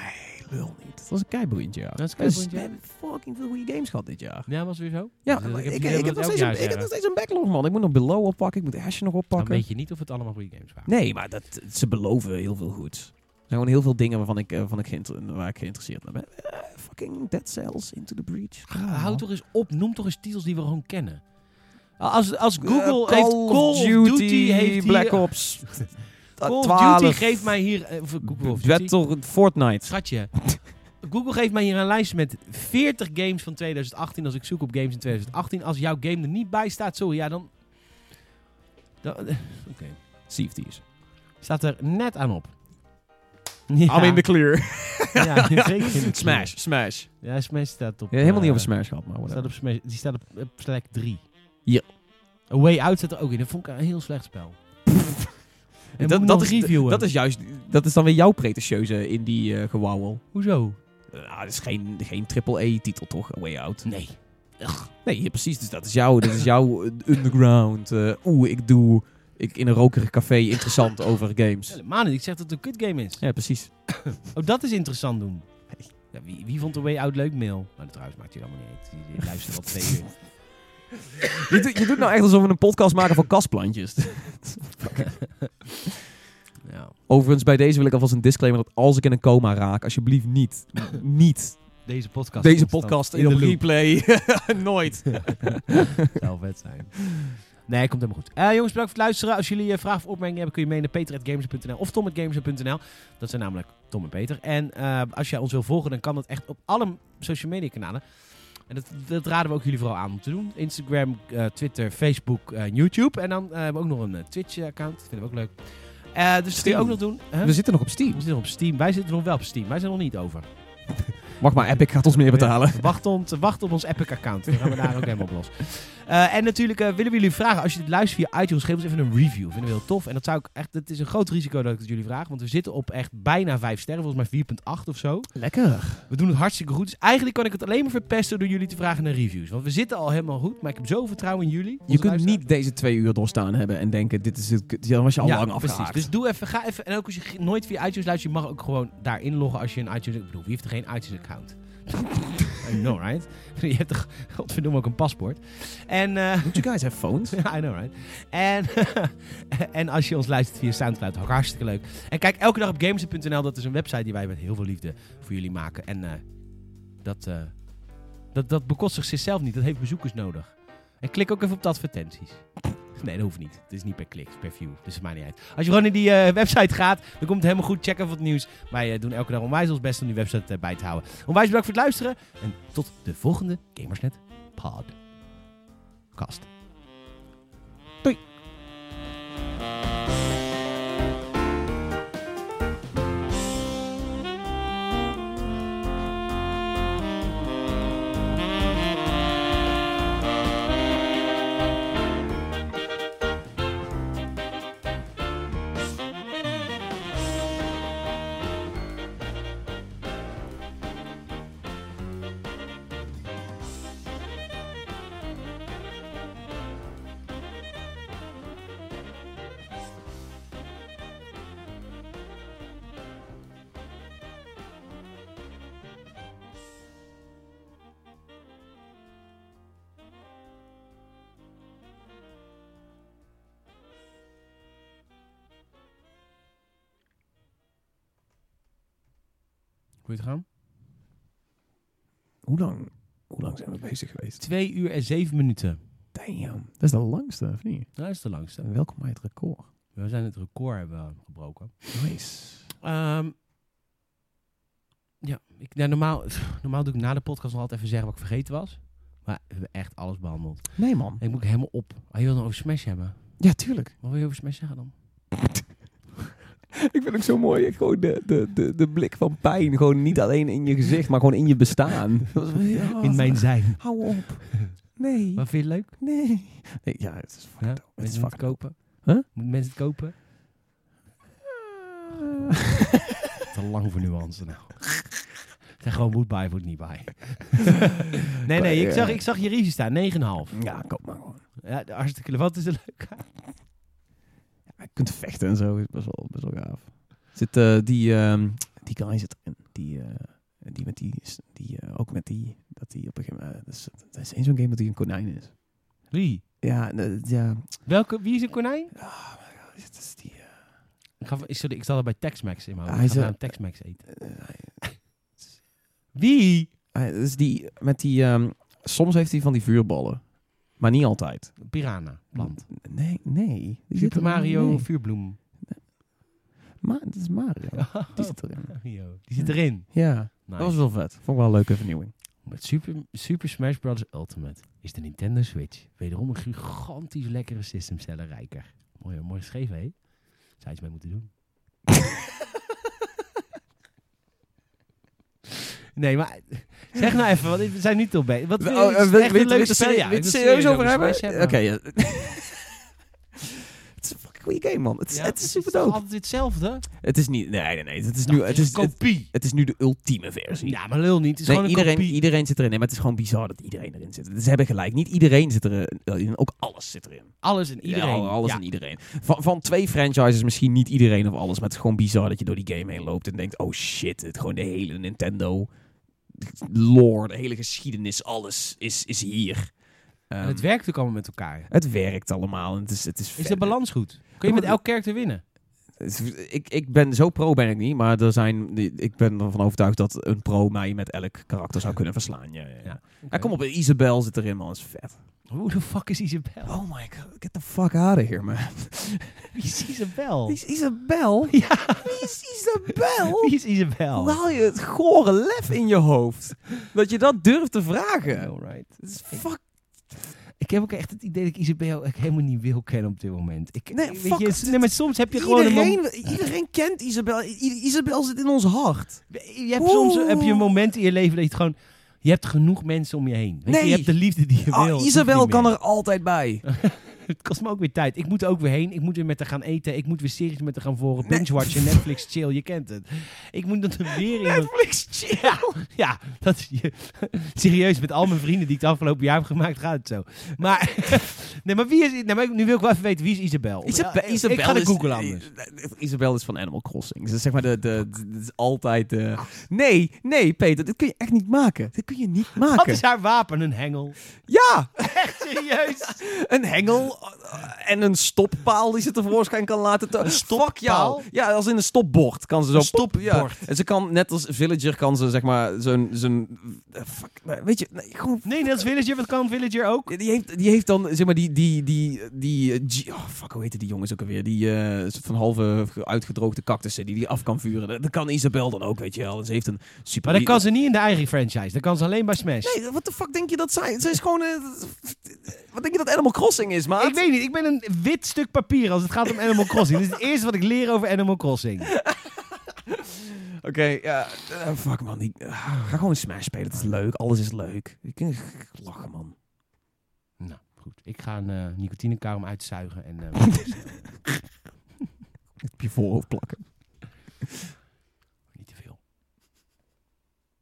Lul niet. Dat was een keiboeiend jaar. dat is We kei boeiend jaar. hebben fucking veel goede games gehad dit jaar. Ja, was weer zo? Ja, Dus, eh, maar ik, het ik, idee ik, dat heb elk nog steeds jaar een, ik heb zeggen. nog steeds een backlog, man. Ik moet nog Below oppakken. Ik moet Ashen nog Dan oppakken. weet je niet of het allemaal goede games waren. Nee, maar dat, ze beloven heel veel goeds. Er zijn gewoon heel veel dingen waarvan ik, eh, waarvan ik geïnter- waar ik geïnteresseerd naar ben. Eh, fucking Dead Cells, Into the Breach. Ah, Houd toch eens op, noem toch eens titels die we gewoon kennen. Als, als Google Eh, heeft Call of Duty, heeft hier- Black [LAUGHS] Ops. Call of 12. Duty geeft mij hier... eh, of Google of Duty. Battle- Fortnite. Schatje, [LAUGHS] Google geeft mij hier een lijst met 40 games van 2018. Als ik zoek op games in 2018. Als jouw game er niet bij staat, sorry, ja dan... dan Oké. Sea of Thieves. Staat er net aan op. Ja, I'm in the clear. [LAUGHS] ja, zeker. Smash, Smash. Ja, Smash staat op... Ja, helemaal niet eh, over Smash gehad, maar whatever. Staat op Smash, die staat op, op plek 3. Ja. A Way Out staat er ook in. Dat vond ik een heel slecht [LAUGHS] spel. En dat, moet dat, nog is, reviewen. dat is juist, dat is dan weer jouw pretentieuze in die eh gewauwel. Hoezo? Eh, Nou, dat is geen, geen triple-E-titel toch, A Way Out? Nee. Nee, ja, precies. Dus dat is jouw, dat is jouw eh, underground. eh, Oeh, ik doe ik in een rokerig café interessant over games. Helemaal niet. Ik zeg dat het een kut game is. Ja, precies. Oh, dat is interessant doen. Ja, wie, wie vond The Way Out leuk, Mail? Nou, dat trouwens maakt hij allemaal niet uit. Die, die luistert al twee [LAUGHS] uur. Je, doet- je doet nou echt alsof we een podcast maken van kastplantjes. Ja. Overigens, bij deze wil ik alvast een disclaimer dat als ik in een coma raak, alsjeblieft niet, niet Deze podcast. deze komt dan podcast in de loop. replay. [LAUGHS] Nooit. zou vet zijn. Nee, komt helemaal goed. Eh, jongens, bedankt voor het luisteren. Als jullie eh, vragen of opmerkingen hebben, kun je mee naar peter.gamers.nl of tom.gamers.nl. Dat zijn namelijk Tom en Peter. En eh, als jij ons wil volgen, dan kan dat echt op alle social media kanalen. En dat, dat raden we ook jullie vooral aan om te doen. Instagram, eh, Twitter, Facebook, eh, YouTube. En dan eh, hebben we ook nog een eh, Twitch-account. Dat vinden we ook leuk. Eh, dus dat kun je Steam. ook nog doen. Huh? We zitten nog op Steam. We zitten nog op Steam. Wij zitten nog wel op Steam. Wij zijn nog niet over. Wacht maar, Epic gaat ons meer betalen. Wacht, om, wacht op ons Epic-account. Dan gaan we daar ook helemaal op los. [LAUGHS] Eh, en natuurlijk eh, willen we jullie vragen, als je dit luistert via iTunes, geef ons even een review. Vinden we heel tof. En dat zou ik echt, het is een groot risico dat ik het jullie vraag, want we zitten op echt bijna 5 sterren, volgens mij 4,8 of zo. Lekker. We doen het hartstikke goed. Dus eigenlijk kan ik het alleen maar verpesten door jullie te vragen naar reviews. Want we zitten al helemaal goed, maar ik heb zo vertrouwen in jullie. Je onze kunt luisteraars. niet deze twee uur doorstaan hebben en denken, dit is het, kut- dan was je al lang precies. afgehaakt. Dus doe even, ga even. En ook als je g- nooit via iTunes luistert, je mag ook gewoon daar inloggen als je een iTunes. Ik bedoel, wie heeft er geen iTunes-account? [LAUGHS] I know, right? [LAUGHS] Je hebt toch, godverdomme, ook een paspoort. En, eh, Don't you guys have [LAUGHS] phones? I know, right? En, [LAUGHS] en als je ons luistert via Soundcloud, ook hartstikke leuk. En kijk elke dag op gamers.nl. Dat is een website die wij met heel veel liefde voor jullie maken. En eh, dat, eh, dat, dat bekostigt zichzelf niet. Dat heeft bezoekers nodig. En klik ook even op de advertenties. [LAUGHS] Nee, dat hoeft niet. Het is niet per klik, het is per view. Dus het maakt niet uit. Als je gewoon naar die eh, website gaat, dan komt het helemaal goed. Check even wat nieuws. Wij eh, doen elke dag onwijs ons best om die website eh, bij te houden. Onwijs bedankt voor het luisteren. En tot de volgende Gamersnet podcast. Hoe je het gaan? Hoe lang, hoe lang zijn we bezig geweest? Twee uur en zeven minuten. Damn. Dat is de langste, of niet? Dat is de langste. Welkom bij het record. We zijn het record hebben gebroken. Nice. Ehm, ja, ik, nou, normaal, [LAUGHS] normaal doe ik na de podcast nog altijd even zeggen wat ik vergeten was. Maar we hebben echt alles behandeld. Nee, man. Ik moet helemaal op. Ah, je wil nog over Smash hebben. Ja, tuurlijk. Wat wil je over Smash zeggen dan? Ik vind ook zo mooi. Gewoon de, de, de, de blik van pijn. Gewoon niet alleen in je gezicht, maar gewoon in je [LAUGHS] bestaan. Ja, In mijn zijn. Hou op. [LAUGHS] Nee. Wat vind je het leuk? Nee. Nee, Ja, het is fucking Ja? dope. Het is Mensen het fucking kopen? Huh? Moeten mensen het kopen? Ah. [LAUGHS] Te lang voor nuance [LAUGHS] nou. Het zijn gewoon moet bij, moet niet [LAUGHS] bij. nee, nee, ik zag, ik zag je review staan. 9,5. Ja, koop maar gewoon. Ja, hartstikke leuk. Wat is er leuk aan? kunt vechten en zo. Is best wel, best wel gaaf. Zit eh, die, ehm, die guy zit erin. Die, eh, die met die, die eh, ook met die, dat die op een gegeven moment, dat is, dat is één zo'n game dat hij een konijn is. Wie? Ja, eh, ja. Welke, wie is een konijn? Het is die, eh, Ik, ga, ik, sorry, ik zat al bij Tex-Mex in mijn Hij hoofd. Ik is ga een- een Tex-Mex eten. eh, hij- Wie? hij- eh, dat is die, met die, ehm, soms heeft hij van die vuurballen. Maar niet altijd. Piranha. Plant. Nee, nee. Die zit Super er- Mario nee. Vuurbloem. Maar het is Mario. Die zit erin. Mario. Die zit erin. Ja, Nice. Oh. dat was wel vet. Vond ik wel een leuke vernieuwing. Met Super, Super Smash Bros. Ultimate is de Nintendo Switch wederom een gigantisch lekkere systemcellen rijker. Mooi, hoor, mooi geschreven, hè? Zou iets mee moeten [LAUGHS] doen. nee, maar zeg nou even, want we zijn niet op bij. Wat Oh, eh, is wil- echt wil- een leuk wil- spel, wil- ja. wil je Ik het wil serieus over over hebben? Smash Oké. ja. [LAUGHS] Het is een fucking goede game, man. Het is, Ja, het is het super toch dope. Altijd hetzelfde. Het is niet... Nee, nee, nee. Het is nu, Dat het is, een het, kopie. het is nu de ultieme versie. Ja, maar lul niet. Het is Nee, gewoon een iedereen, kopie. iedereen zit erin. Nee, maar het is gewoon bizar dat iedereen erin zit. Ze hebben gelijk. Niet iedereen zit erin. Ook alles zit erin. Alles en iedereen. Ja, alles Ja. en iedereen. Van, van twee franchises misschien niet iedereen of alles. Maar het is gewoon bizar dat je door die game heen loopt en denkt... Oh shit, het, gewoon de hele Nintendo lore, de hele geschiedenis, alles is, is hier. Ehm, En het werkt ook allemaal met elkaar. het werkt allemaal. en Het is, het is, Is vet. de balans goed? Kun je maar- met elk karakter winnen? Het is- Ik, ik ben zo pro ben ik niet, maar er zijn, ik ben ervan overtuigd dat een pro mij met elk karakter zou kunnen verslaan. Ja, ja, ja. Ja. Ja, kom op, Isabel zit erin, man. Dat is vet. Hoe de fuck is Isabel? Oh my god, get the fuck out of here, man. Wie is Isabel? Wie is Isabel? Ja. Wie is [LAUGHS] Isabel? Wie is Isabel? Hoe haal je het gore lef in je hoofd? Dat je dat durft te vragen. Alright. Het is fuck, Ik heb ook echt het idee dat ik Isabel echt helemaal niet wil kennen op dit moment. Ik, Nee, ik- fuck weet je, het. nee, maar soms heb je gewoon een iedereen, iedereen kent Isabel. I- Isabel zit in ons hart. moment. Je hebt soms Oeh. heb je een moment in je leven dat je het gewoon. Je hebt genoeg mensen om je heen. Weet je, Nee. je hebt de liefde die je Ah, wil. Het Isabel hoeft niet kan meer. er altijd bij. Het kost me ook weer tijd. Ik moet er ook weer heen. Ik moet weer met haar gaan eten. Ik moet weer series met haar gaan volgen. Nee. Binge-watchen, Netflix, chill. Je kent het. Ik moet dat er weer in. Netflix chill. Ja, dat is je. [LAUGHS] Serieus, met al mijn vrienden die ik het afgelopen jaar heb gemaakt, gaat het zo. Maar, [LAUGHS] nee, maar wie is. Nee, maar nu wil ik wel even weten wie is Isabel. Isabel, Oh, Ja, Isabel ik ga de is- googlen anders. Isabel is van Animal Crossing. Dus zeg maar, de, de, het is altijd... de- Nee, nee, Peter, dit kun je echt niet maken. Dit kun je niet Wat maken. is haar wapen? Een [LAUGHS] hengel. Ja, Serieus? een hengel eh, en een stoppaal die ze tevoorschijn kan laten. Te... Fuck jou. Ja, als in een stopbord kan ze zo... Een pop, stopbord. Ja. En ze kan, net als Villager, kan ze zeg maar zo'n... zo'n eh, fuck, eh, weet je, nee, gewoon... Nee, net als Villager. Wat kan Villager ook? Die heeft, die heeft dan, zeg maar, die, die, die, die, eh, G- oh, fuck, hoe heette die jongens ook alweer? Die eh, soort van halve uitgedroogde cactussen die die af kan vuren. Dat, dat kan Isabel dan ook, weet je wel. En Ze heeft een super... Maar dat kan ze niet in de eigen franchise. Dat kan ze alleen bij Smash. Nee, wat de fuck denk je dat zij... Ze is gewoon... eh, wat denk je dat Animal Crossing is, maat? Ik weet niet, ik ben een wit stuk papier als het gaat om Animal Crossing. Dit is het eerste wat ik leer over Animal Crossing. Oké, ja. eh, fuck man, die, ah, ga gewoon Smash spelen. Het is leuk, alles is leuk. Je kunt lachen man. Nou, goed. Ik ga een eh nicotinekarum uitzuigen en... eh, Op je voorhoofd plakken. [LAUGHS]